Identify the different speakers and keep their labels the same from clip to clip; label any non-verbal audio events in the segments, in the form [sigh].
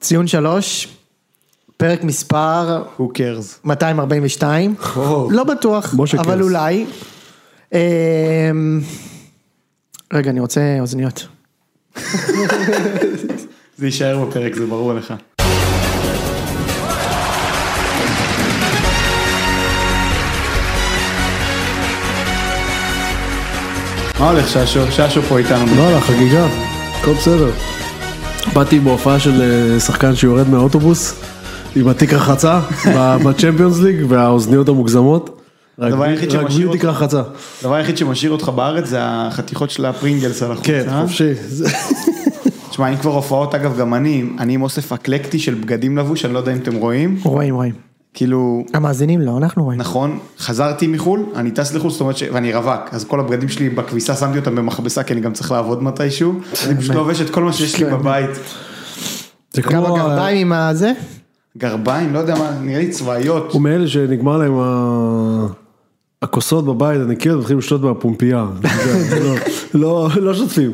Speaker 1: ציון שלוש, פרק מספר
Speaker 2: Who cares?
Speaker 1: 242,
Speaker 2: או.
Speaker 1: לא בטוח,
Speaker 2: משה
Speaker 1: אבל
Speaker 2: קרס.
Speaker 1: אולי. אמ, רגע, אני רוצה אוזניות.
Speaker 2: זה יישאר בפרק, זה ברור לך. מה הולך ששו? ששו פה איתנו.
Speaker 3: וואלה, לא, חגיגה, הכל בסדר. באתי בהופעה של אה, שחקן שיורד מהאוטובוס עם התיק רחצה [laughs] ב- בצ'מפיונס ליג והאוזניות המוגזמות. רק
Speaker 2: הדבר היחיד
Speaker 3: בלי- רק
Speaker 2: שמשאיר
Speaker 3: בלי תיק
Speaker 2: אותך-
Speaker 3: רחצה.
Speaker 2: הדבר היחיד שמשאיר אותך בארץ זה החתיכות של הפרינגלס על החוץ.
Speaker 3: כן,
Speaker 2: אה?
Speaker 3: חופשי. זה-
Speaker 2: תשמע, אין כבר הופעות, אגב, גם אני, אני עם אוסף אקלקטי של בגדים לבוש, אני לא יודע אם אתם רואים.
Speaker 1: רואים, רואים.
Speaker 2: כאילו,
Speaker 1: המאזינים לא, אנחנו רואים.
Speaker 2: נכון, חזרתי מחו"ל, אני טס לחו"ל, זאת אומרת ש... ואני רווק, אז כל הבגדים שלי בכביסה שמתי אותם במכבסה, כי אני גם צריך לעבוד מתישהו, אני פשוט לובש את כל מה שיש לי בבית.
Speaker 3: זה
Speaker 1: גם
Speaker 3: כמו... ה-
Speaker 1: הגרביים עם הזה?
Speaker 2: גרביים, לא יודע מה, נראה לי צבאיות.
Speaker 3: הוא מאלה שנגמר להם ה- הכוסות בבית, הנקיות, מתחילים לשתות מהפומפייה. [laughs] זה- לא- לא- לא שוטפים.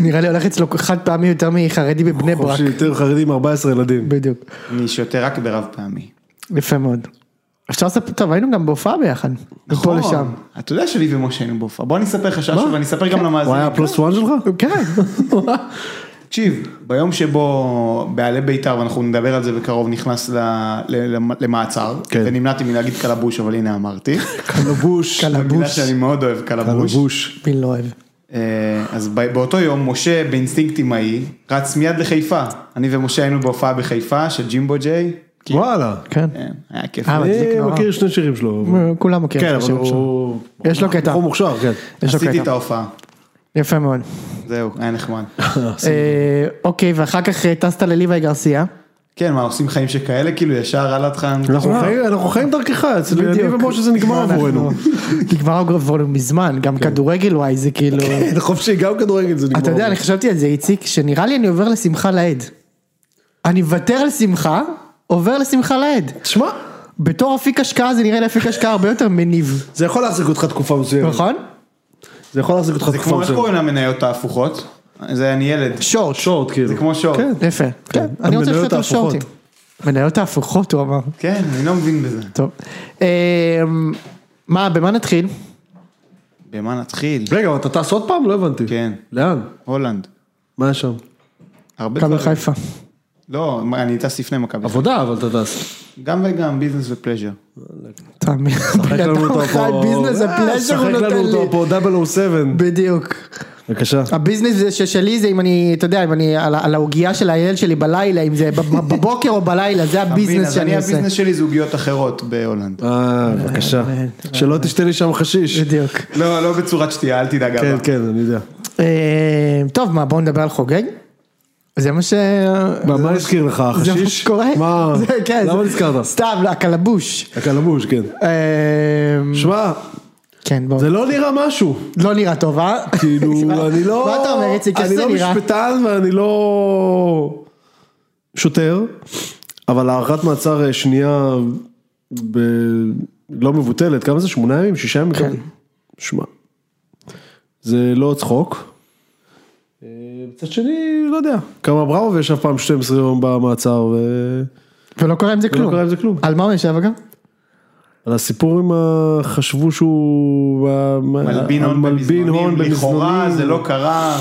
Speaker 1: נראה לי הולך אצלו חד פעמי יותר מחרדי בבני ברק.
Speaker 3: חופשי, יותר חרדים, 14 ילדים.
Speaker 1: בדיוק.
Speaker 2: אני שותה רק ברב פעמי.
Speaker 1: יפה מאוד. אפשר לספר, טוב, היינו גם בהופעה ביחד.
Speaker 3: נכון.
Speaker 1: מפה לשם.
Speaker 2: נכון. אתה יודע שלי ומשה היינו בהופעה, בוא אני אספר לך שעה ואני אספר גם
Speaker 3: הוא
Speaker 2: למאזינים.
Speaker 3: היה הפלוס וואן שלך? [laughs]
Speaker 1: כן.
Speaker 2: תקשיב, ביום שבו בעלי בית"ר, ואנחנו נדבר על זה בקרוב, נכנס ל- ל- למעצר,
Speaker 3: כן.
Speaker 2: ונמנעתי מלהגיד קלבוש, אבל
Speaker 1: [laughs]
Speaker 2: הנה אמרתי.
Speaker 3: קלבוש.
Speaker 2: מילה
Speaker 1: קלבוש.
Speaker 2: שאני מאוד אוהב, קלבוש.
Speaker 3: קלבוש.
Speaker 1: מי לא אוהב.
Speaker 2: אה, אז ב- באותו יום משה באינסטינקט אמאי רץ מיד לחיפה, אני ומשה היינו בהופעה בחיפה של ג'ימבו ג'יי,
Speaker 3: וואלה.
Speaker 1: כן.
Speaker 2: אה, היה כיף,
Speaker 1: אה, מצחיק
Speaker 3: אני
Speaker 1: נורא.
Speaker 3: מכיר שני שירים שלו.
Speaker 1: כולם מכירים.
Speaker 3: כן,
Speaker 1: את
Speaker 3: אבל
Speaker 1: השם שלו.
Speaker 3: הוא...
Speaker 1: יש לו קטע.
Speaker 3: הוא מוכשר, כן.
Speaker 1: יש לו
Speaker 2: עשיתי את
Speaker 1: קטע.
Speaker 2: ההופעה,
Speaker 1: יפה מאוד.
Speaker 2: זהו, היה נחמד.
Speaker 1: אה, אוקיי, ואחר כך אה, טסת לליוואי גרסיה.
Speaker 2: כן, מה עושים חיים שכאלה, כאילו ישר אהלן חן,
Speaker 1: נכון. אה.
Speaker 3: אנחנו חיים- אנחנו חיים דרכך, אצל אני ומשה זה נגמר עבורנו.
Speaker 1: [laughs] נגמר עבורנו מזמן, גם כדורגל וואי זה כאילו...
Speaker 3: כן, [laughs] חופשי, גם כדורגל זה נגמר.
Speaker 1: אתה יודע, אני חשבתי על זה, איציק, שנראה לי אני עובר לשמחה לעד. אני מוותר על שמחה, עובר לשמחה לעד.
Speaker 3: תשמע,
Speaker 1: בתור אפיק השקעה זה נראה לי אפיק השקעה הרבה יותר מניב,
Speaker 3: זה יכול להחזיק אותך תקופה מסוימת.
Speaker 1: נכון?
Speaker 3: זה יכול להחזיק אותך
Speaker 2: זה
Speaker 3: תקופה
Speaker 2: כמו, איך
Speaker 3: מסוימת.
Speaker 2: קוראים למניות ההפוכות? זה אני ילד,
Speaker 1: שורט.
Speaker 3: שורט, כאילו.
Speaker 2: זה כמו שורט,
Speaker 3: כן.
Speaker 1: יפה. כן, אני רוצה
Speaker 3: המניות
Speaker 1: לשאול על
Speaker 3: ההפוכות.
Speaker 1: שורטים. מניות ההפוכות, הוא אמר.
Speaker 2: כן, אני לא מבין בזה.
Speaker 1: טוב. אמ, מה, במה נתחיל?
Speaker 2: במה נתחיל?
Speaker 3: רגע, אבל אתה טס עוד פעם? לא הבנתי.
Speaker 2: כן.
Speaker 3: לאן?
Speaker 2: הולנד,
Speaker 3: מה יש שם?
Speaker 2: הרבה
Speaker 1: מכבי
Speaker 2: דברים,
Speaker 1: חיפה.
Speaker 2: לא, מה, אני טס לפני מכבי,
Speaker 3: עבודה, אבל אתה טס.
Speaker 2: גם וגם ביזנס ופלז'ר,
Speaker 1: תאמין.
Speaker 3: שחק
Speaker 1: בן
Speaker 3: לנו
Speaker 1: אדם
Speaker 3: אותו
Speaker 1: חי
Speaker 3: פה.
Speaker 1: ביזנס,
Speaker 3: אה,
Speaker 1: הפלז'ר הוא
Speaker 3: שחק
Speaker 1: נותן
Speaker 3: לנו
Speaker 1: לי.
Speaker 3: אותו פה 007.
Speaker 1: בדיוק.
Speaker 3: בבקשה.
Speaker 1: הביזנס זה ששלי זה אם אני, אתה יודע, אם אני על ה- על העוגייה של הילד שלי בלילה, אם זה בב- בבוקר או בלילה, זה
Speaker 2: אתה מבין?
Speaker 1: הביזנס
Speaker 2: אז אני
Speaker 1: שאני עושה.
Speaker 2: הביזנס שלי זוגיות אחרות בהולנד,
Speaker 3: אה, בבקשה.
Speaker 1: אה, אה,
Speaker 3: שלא תשתה לי שם חשיש.
Speaker 1: בדיוק.
Speaker 2: לא, לא בצורת שתייה, אל תדאג,
Speaker 3: כן,
Speaker 2: אבא.
Speaker 3: כן, אני יודע.
Speaker 1: אה, טוב, מה, בואו נדבר על חוגג? זה מה ש...
Speaker 3: מה- מה הזכיר לך,
Speaker 1: זה מה
Speaker 3: החשיש?
Speaker 1: שקורה?
Speaker 3: מה?
Speaker 1: [laughs] זה- כן,
Speaker 3: למה
Speaker 1: זה-
Speaker 3: נזכרת?
Speaker 1: סתם, הקלבוש.
Speaker 3: הקלמוש, כן.
Speaker 1: אה,
Speaker 3: שמע,
Speaker 1: כן, בואו.
Speaker 3: זה לא נראה משהו.
Speaker 1: לא נראה טוב, אה?
Speaker 3: כאילו, אני לא...
Speaker 1: [laughs] מה אתה אומר, איציק? איך
Speaker 3: אני
Speaker 1: זה
Speaker 3: לא
Speaker 1: נראה?
Speaker 3: משפטן ואני לא שוטר, אבל הארכת מעצר אה, שנייה ב... לא מבוטלת, כמה זה? שמונה ימים? שישה ימים?
Speaker 1: כן.
Speaker 3: שמע, זה לא צחוק. אה, מצד שני, לא יודע. כמה בראבו וישב פעם 12 יום במעצר ו...
Speaker 1: ולא קורה עם זה כלום.
Speaker 3: קורה עם זה כלום.
Speaker 1: על מה הוא ישב אגב?
Speaker 3: על הסיפור עם ה... חשבו שהוא... אה,
Speaker 2: מלבין הון
Speaker 3: המלבין
Speaker 2: במזנונים, לכאורה
Speaker 3: במזנונים.
Speaker 2: זה לא קרה,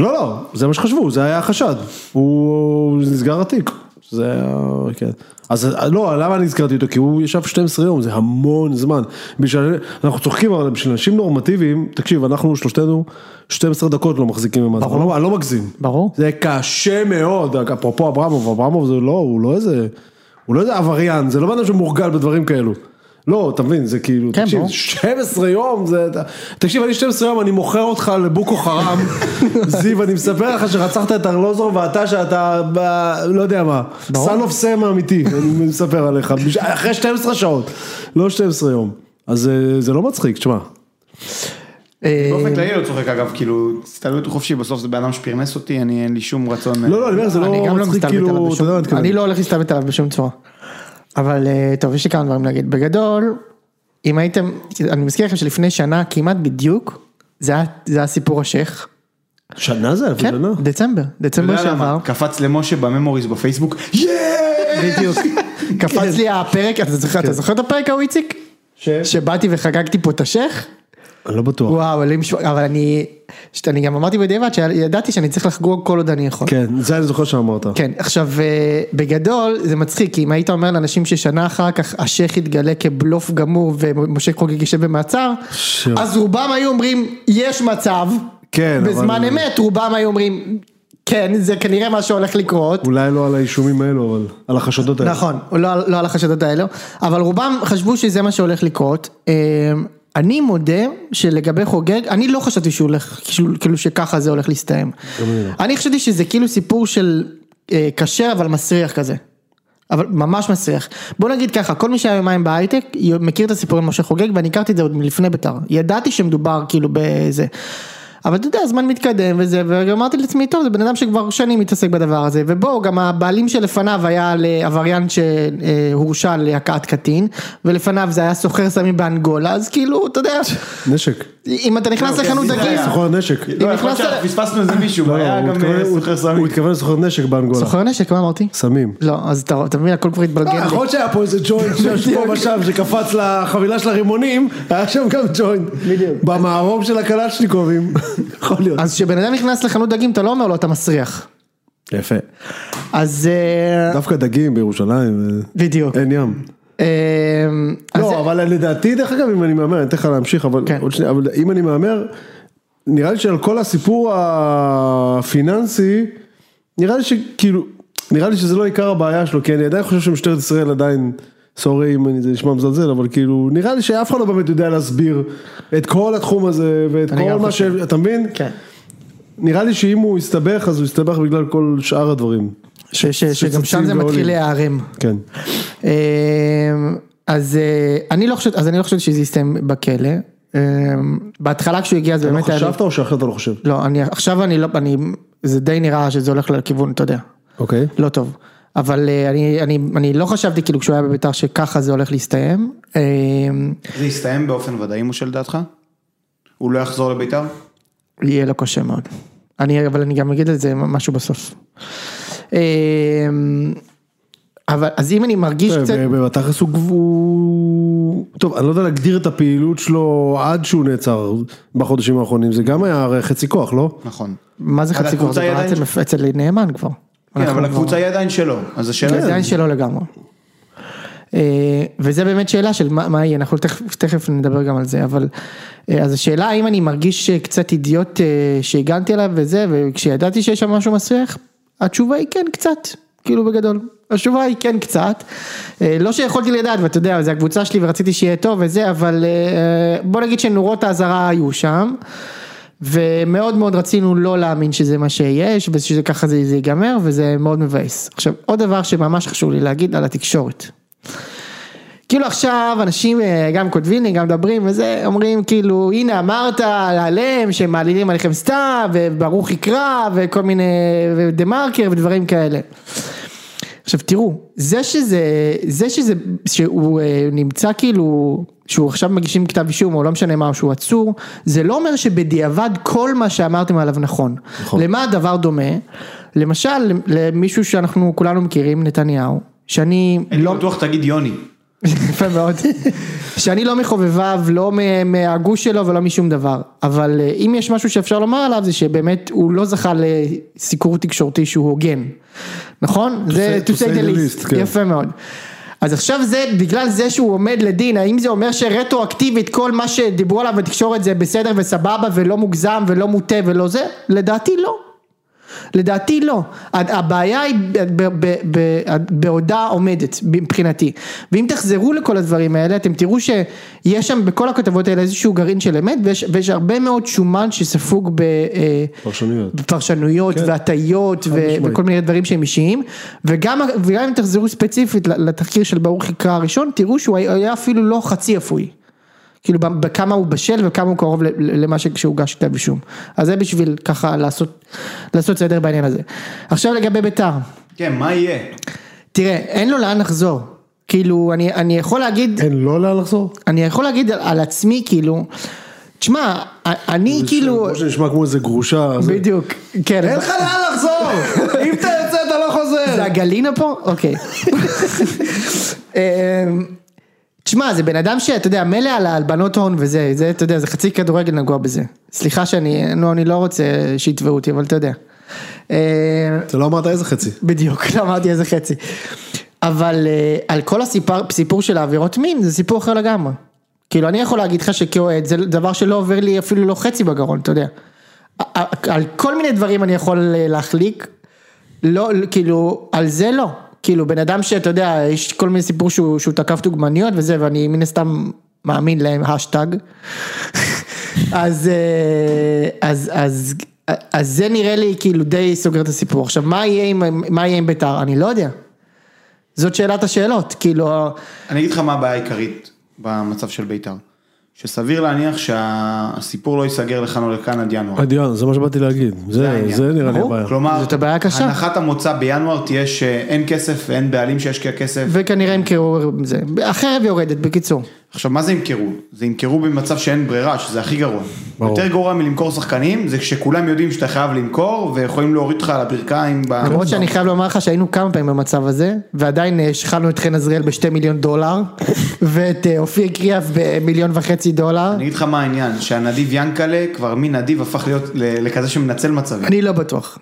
Speaker 3: לא, לא, זה מה שחשבו, זה היה החשד. הוא נסגר התיק. זה היה, כן. אז לא, למה אני הזכרתי אותו? כי הוא ישב 12 יום, זה המון זמן. בשביל, אנחנו צוחקים, אבל בשביל אנשים נורמטיביים, תקשיב, אנחנו שלושתנו 12 דקות לא מחזיקים במעצר. אני לא, אני לא מגזים.
Speaker 1: ברור.
Speaker 3: זה קשה מאוד, אפרופו אברמוב, אברמוב זה לא, הוא לא איזה, הוא לא איזה עבריין, זה לא בן אדם שמורגל בדברים כאלו. לא, אתה מבין, זה כאילו,
Speaker 1: כן,
Speaker 3: תקשיב,
Speaker 1: ברור.
Speaker 3: 12 יום, זה, תקשיב, אני 12 יום, אני מוכר אותך לבוקו
Speaker 1: [laughs]
Speaker 3: חרם, זיו, אני מספר לך שרצחת את ארלוזור ואתה שאתה, ב- לא יודע מה,
Speaker 1: ברור.
Speaker 3: סן אוף סם
Speaker 1: [laughs]
Speaker 3: האמיתי, אני מספר עליך, בש- אחרי 12 שעות, לא 12 יום. אז אה, זה לא מצחיק, תשמע,
Speaker 1: אה,
Speaker 2: באופן כללי לא צוחק אגב, כאילו, הסתלבטו חופשי, בסוף זה בן אדם שפרנס אותי, אני אין לי שום רצון,
Speaker 3: לא, לא, אני אומר, זה
Speaker 1: אני גם לא
Speaker 3: לא מצחיק,
Speaker 1: מסתלבט עליו
Speaker 3: כאילו, אתה
Speaker 1: בשום
Speaker 3: יודע מה אני מתכוון.
Speaker 1: אני לא הולך להסתלבט עליו בשום צורה. אבל אה, טוב, יש לי כמה דברים להגיד. בגדול, אם הייתם, אני מזכיר לכם שלפני שנה כמעט בדיוק, זה היה- זה היה סיפור השייח.
Speaker 3: שנה זה?
Speaker 1: כן,
Speaker 3: שנה?
Speaker 1: דצמבר,
Speaker 3: לא,
Speaker 2: אתה
Speaker 1: דצמבר
Speaker 2: יודע
Speaker 1: שעבר.
Speaker 2: למה? קפץ למשה בממוריז בפייסבוק, יאיי!
Speaker 3: [laughs]
Speaker 1: בדיוק.
Speaker 3: כן.
Speaker 1: קפץ לי הפרק, אתה זוכר- אתה זוכר את הפרק ההוא איציק? שבאתי וחגגתי פה את השייח?
Speaker 3: כן. אני לא בטוח.
Speaker 1: וואו, אלוהים שמור, אבל אני, שאת- אני גם אמרתי בדיעבד שידעתי שאני צריך לחגוג כל עוד אני יכול.
Speaker 3: כן, זה אני זוכר שאמרת.
Speaker 1: כן, עכשיו אה, בגדול זה מצחיק, כי אם היית אומר לאנשים ששנה אחר כך השייח יתגלה כבלוף גמור ומשה חוגג יישב במעצר,
Speaker 3: ש-
Speaker 1: אז רובם היו אומרים יש מצב,
Speaker 3: כן, אבל-
Speaker 1: בזמן אמת רובם היו אומרים כן, זה כנראה מה שהולך לקרות.
Speaker 3: אולי לא על האישומים האלו, אבל על החשדות האלה.
Speaker 1: נכון, לא, לא על החשדות האלו, אבל רובם חשבו שזה מה שהולך לקרות. אמ, אני מודה שלגבי חוגג, אני לא חשבתי שהוא הולך, שהוא, כאילו שככה זה הולך להסתיים. אני לא. חשבתי שזה כאילו סיפור של אה, כשר אבל מסריח כזה. אבל ממש מסריח. בוא נגיד ככה, כל מי שהיה יומיים בהייטק מכיר את הסיפור עם משה חוגג ואני הכרתי את זה עוד מלפני בית"ר. ידעתי שמדובר כאילו בזה. אבל אתה יודע, הזמן מתקדם וזה, ואמרתי לעצמי, טוב, זה בן אדם שכבר שנים מתעסק בדבר הזה, ובואו, גם הבעלים שלפניו היה לעבריין שהורשע על הכאת קטין, ולפניו זה היה סוחר סמים באנגולה, אז כאילו, אתה יודע,
Speaker 3: נשק.
Speaker 1: אם אתה נכנס
Speaker 2: אוקיי,
Speaker 1: לחנות
Speaker 2: אז זה
Speaker 1: דגים,
Speaker 2: היה.
Speaker 3: סוחר נשק.
Speaker 1: אה,
Speaker 2: לא, יכול
Speaker 1: נכנסת
Speaker 2: להיות שאנחנו
Speaker 1: ל-
Speaker 2: פספסנו איזה מישהו, הוא
Speaker 3: לא,
Speaker 2: היה
Speaker 3: הוא
Speaker 2: גם
Speaker 3: התכוון-
Speaker 2: אה,
Speaker 3: הוא-
Speaker 2: סוחר סמים.
Speaker 3: הוא התכוון לסוחר נשק באנגולה.
Speaker 1: סוחר נשק, מה אמרתי?
Speaker 3: סמים.
Speaker 1: לא, אז אתה אתה מבין, הכל כבר התבלגן לי.
Speaker 3: להיות שהיה פה איזה ג'וינט שיש פה ושם שקפץ לחבילה של הרימונים, היה שם גם ג'וינט. בדיוק. במערום של הקלצ'ניקובים. [laughs] יכול להיות.
Speaker 1: אז כשבן אדם נכנס לחנות דגים, אתה לא אומר לו, אתה מסריח.
Speaker 3: יפה.
Speaker 1: אז... אה,
Speaker 3: דווקא דגים בירושלים, אה,
Speaker 1: בדיוק.
Speaker 3: אין ים.
Speaker 1: אה, אז זה-
Speaker 3: לא, אבל לדעתי, דרך אגב, אם אני מהמר, אני אתן לך להמשיך, אבל
Speaker 1: כן.
Speaker 3: עוד שנייה, אבל אם אני מהמר, נראה לי שעל כל הסיפור הפיננסי, נראה לי שכאילו, נראה לי שזה לא עיקר הבעיה שלו, כי אני עדיין חושב שמשטרת ישראל עדיין, סורי אם אני- זה נשמע מזלזל, אבל כאילו, נראה לי שאף אחד לא באמת יודע להסביר את כל התחום הזה, ואת
Speaker 1: אני
Speaker 3: כל
Speaker 1: גם
Speaker 3: מה ש...
Speaker 1: חושב.
Speaker 3: אתה מבין?
Speaker 1: כן.
Speaker 3: נראה לי שאם הוא יסתבך, אז הוא יסתבך בגלל כל שאר הדברים.
Speaker 1: ש- ש- שגם שם זה
Speaker 3: שצצים
Speaker 1: מתחיל
Speaker 3: ועולים.
Speaker 1: להיערם.
Speaker 3: כן.
Speaker 1: אמ, אז אה, אני לא חושבת, אז אני לא חושבת שזה יסתיים בכלא. אמ, בהתחלה כשהוא הגיע זה באמת היה... לי-
Speaker 3: חשבת או שאחרת אתה לא חושב?
Speaker 1: לא, אני עכשיו אני לא, אני, זה די נראה שזה הולך לכיוון, אתה יודע,
Speaker 3: אוקיי.
Speaker 1: לא טוב. אבל אה, אני, אני, אני לא חשבתי כאילו כשהוא היה בביתר שככה זה הולך להסתיים. אמ,
Speaker 2: זה יסתיים באופן ודאי, משה, לדעתך? הוא לא יחזור לביתר?
Speaker 1: יהיה לו קשה מאוד. אני, אבל אני גם אגיד על זה משהו בסוף. אמ, אבל, אז אם אני מרגיש קצת...
Speaker 2: אה,
Speaker 3: בתכלס הוא גב- הוא... טוב, אני לא יודע להגדיר את הפעילות שלו עד שהוא נעצר בחודשים האחרונים, זה גם היה הרי חצי כוח, לא?
Speaker 2: נכון.
Speaker 1: מה זה
Speaker 2: אבל
Speaker 1: חצי כוח?
Speaker 2: הקבוצה
Speaker 1: זה
Speaker 2: היא
Speaker 1: כבר
Speaker 2: עדיין-
Speaker 1: אצל- אצל נאמן כבר.
Speaker 2: כן, אבל הקבוצה היא עדיין שלו, אז השאלה
Speaker 1: זה
Speaker 2: היא...
Speaker 1: עדיין שלו לגמרי. אה, וזה באמת שאלה של מה, מה יהיה, אנחנו תכף, תכף נדבר גם על זה, אבל אה, אז השאלה האם אני מרגיש קצת אידיוט אה, שהגנתי עליו וזה, וכשידעתי שיש שם משהו מסריח, התשובה היא כן קצת, כאילו בגדול, התשובה היא כן קצת, אה, לא שיכולתי לדעת, ואתה יודע, זה הקבוצה שלי ורציתי שיהיה טוב וזה, אבל אה, בוא נגיד שנורות האזהרה היו שם, ומאוד מאוד רצינו לא להאמין שזה מה שיש, ושזה ככה זה, זה ייגמר, וזה מאוד מבאס. עכשיו, עוד דבר שממש חשוב לי להגיד על התקשורת. כאילו עכשיו אנשים אה, גם כותבים לי, גם מדברים וזה, אומרים כאילו, הנה אמרת עליהם שהם מעלילים עליכם סתם, וברוך יקרא, וכל מיני, ודה מרקר ודברים כאלה. עכשיו תראו, זה שזה, זה שזה, שהוא אה, נמצא כאילו, שהוא עכשיו מגישים כתב אישום או לא משנה מה, או שהוא עצור, זה לא אומר שבדיעבד כל מה שאמרתם עליו נכון. נכון. למה הדבר דומה? למשל, למישהו שאנחנו כולנו מכירים, נתניהו, שאני
Speaker 2: אני
Speaker 1: לא...
Speaker 2: בטוח תגיד יוני.
Speaker 1: [laughs] יפה מאוד. שאני לא מחובביו, לא מ- מהגוש שלו ולא משום דבר. אבל אה, אם יש משהו שאפשר לומר עליו זה שבאמת הוא לא זכה לסיקור תקשורתי שהוא הוגן. נכון? זה
Speaker 3: say- to say the least, כן.
Speaker 1: יפה מאוד. אז עכשיו זה, בגלל זה שהוא עומד לדין, האם זה אומר שרטרואקטיבית כל מה שדיברו עליו בתקשורת זה בסדר וסבבה ולא מוגזם ולא מוטה ולא זה? לדעתי לא. לדעתי לא, הד- הבעיה היא ב- ב- ב- ב- בעודה עומדת מבחינתי, ואם תחזרו לכל הדברים האלה אתם תראו שיש שם בכל הכתבות האלה איזשהו גרעין של אמת ויש, ויש הרבה מאוד שומן שספוג ב... אה,
Speaker 3: פרשנויות.
Speaker 1: בפרשנויות כן. והטיות ו-
Speaker 3: משמעית.
Speaker 1: וכל מיני דברים שהם אישיים וגם, וגם אם תחזרו ספציפית ל- לתחקיר של ברוך יקרא הראשון תראו שהוא היה אפילו לא חצי אפוי. כאילו ב- בכמה הוא בשל וכמה הוא קרוב ל- ל- למה ש- שהוגש כתב אישום. אז זה בשביל ככה לעשות, לעשות סדר בעניין הזה. עכשיו לגבי ביתר,
Speaker 2: כן, מה יהיה?
Speaker 1: תראה אין לו לאן לחזור. כאילו אני, אני יכול להגיד
Speaker 3: אין לו לאן לחזור?
Speaker 1: אני יכול להגיד על, על עצמי כאילו, תשמע, אני כאילו,
Speaker 3: כמו שנשמע כמו איזה גרושה. זה-
Speaker 1: בדיוק, כן.
Speaker 3: אין לך לאן
Speaker 1: [laughs]
Speaker 3: לחזור! אם אתה יוצא אתה לא
Speaker 1: זה
Speaker 3: חוזר!
Speaker 1: הגלינה פה? אוקיי. אמ, תשמע, זה בן אדם שאתה יודע, מילא על ההלבנות הון וזה, זה, אתה יודע, זה חצי כדורגל נגוע בזה. סליחה שאני, נו, אני לא רוצה שיתבעו אותי, אבל אתה יודע. אמ,
Speaker 3: אתה לא אמרת איזה חצי.
Speaker 1: בדיוק, לא אמרתי איזה חצי. אבל אה, על כל הסיפור של העבירות מין, זה סיפור אחר לגמרי. כאילו, אני יכול להגיד לך שכאוהד, זה דבר שלא עובר לי אפילו לא חצי בגרון, אתה יודע. על כל מיני דברים אני יכול אה, להחליק, לא, כאילו, על זה לא. כאילו, בן אדם שאתה יודע, יש כל מיני סיפור שהוא, שהוא תקף דוגמניות וזה, ואני מן הסתם מאמין להם, השטג. אז, אה, אז, אז, אז זה נראה לי כאילו די סוגר את הסיפור. עכשיו, מה יהיה עם, מה יהיה עם בית"ר? אני לא יודע. זאת שאלת השאלות, כאילו,
Speaker 2: אני אגיד לך מה הבעיה העיקרית במצב של בית"ר. שסביר להניח שהסיפור לא ייסגר לכאן או לכאן עד ינואר.
Speaker 3: אדיאן, זה מה שבאתי להגיד. זה
Speaker 2: העניין.
Speaker 3: זה נראה לי
Speaker 1: ברור.
Speaker 3: הבעיה.
Speaker 2: כלומר,
Speaker 1: זאת הבעיה הקשה.
Speaker 2: הנחת המוצא בינואר תהיה שאין כסף ואין בעלים שישקיע כסף.
Speaker 1: וכנראה ימכרו עם זה. החרב יורדת, בקיצור.
Speaker 3: אה,
Speaker 2: עכשיו, מה זה ימכרו? זה ימכרו במצב שאין ברירה, שזה הכי גרוע.
Speaker 3: ברור.
Speaker 2: יותר גרוע מלמכור שחקנים, זה כשכולם יודעים שאתה חייב למכור, ויכולים להוריד אותך על הברכיים. ב-
Speaker 3: לא.
Speaker 1: למרות שאני חייב לומר לך שהיינו כמה פעמים במצב הזה, ועדיין אה, שחלנו את חן עזריאל בשתי מיליון
Speaker 3: [laughs]
Speaker 1: דולר, ואת אה, אופיר קריאף במיליון וחצי דולר.
Speaker 2: אני אגיד לך מה העניין, שהנדיב ינקלה, כבר מנדיב הפך להיות ל- לכזה שמנצל מצבים.
Speaker 1: אני לא בטוח.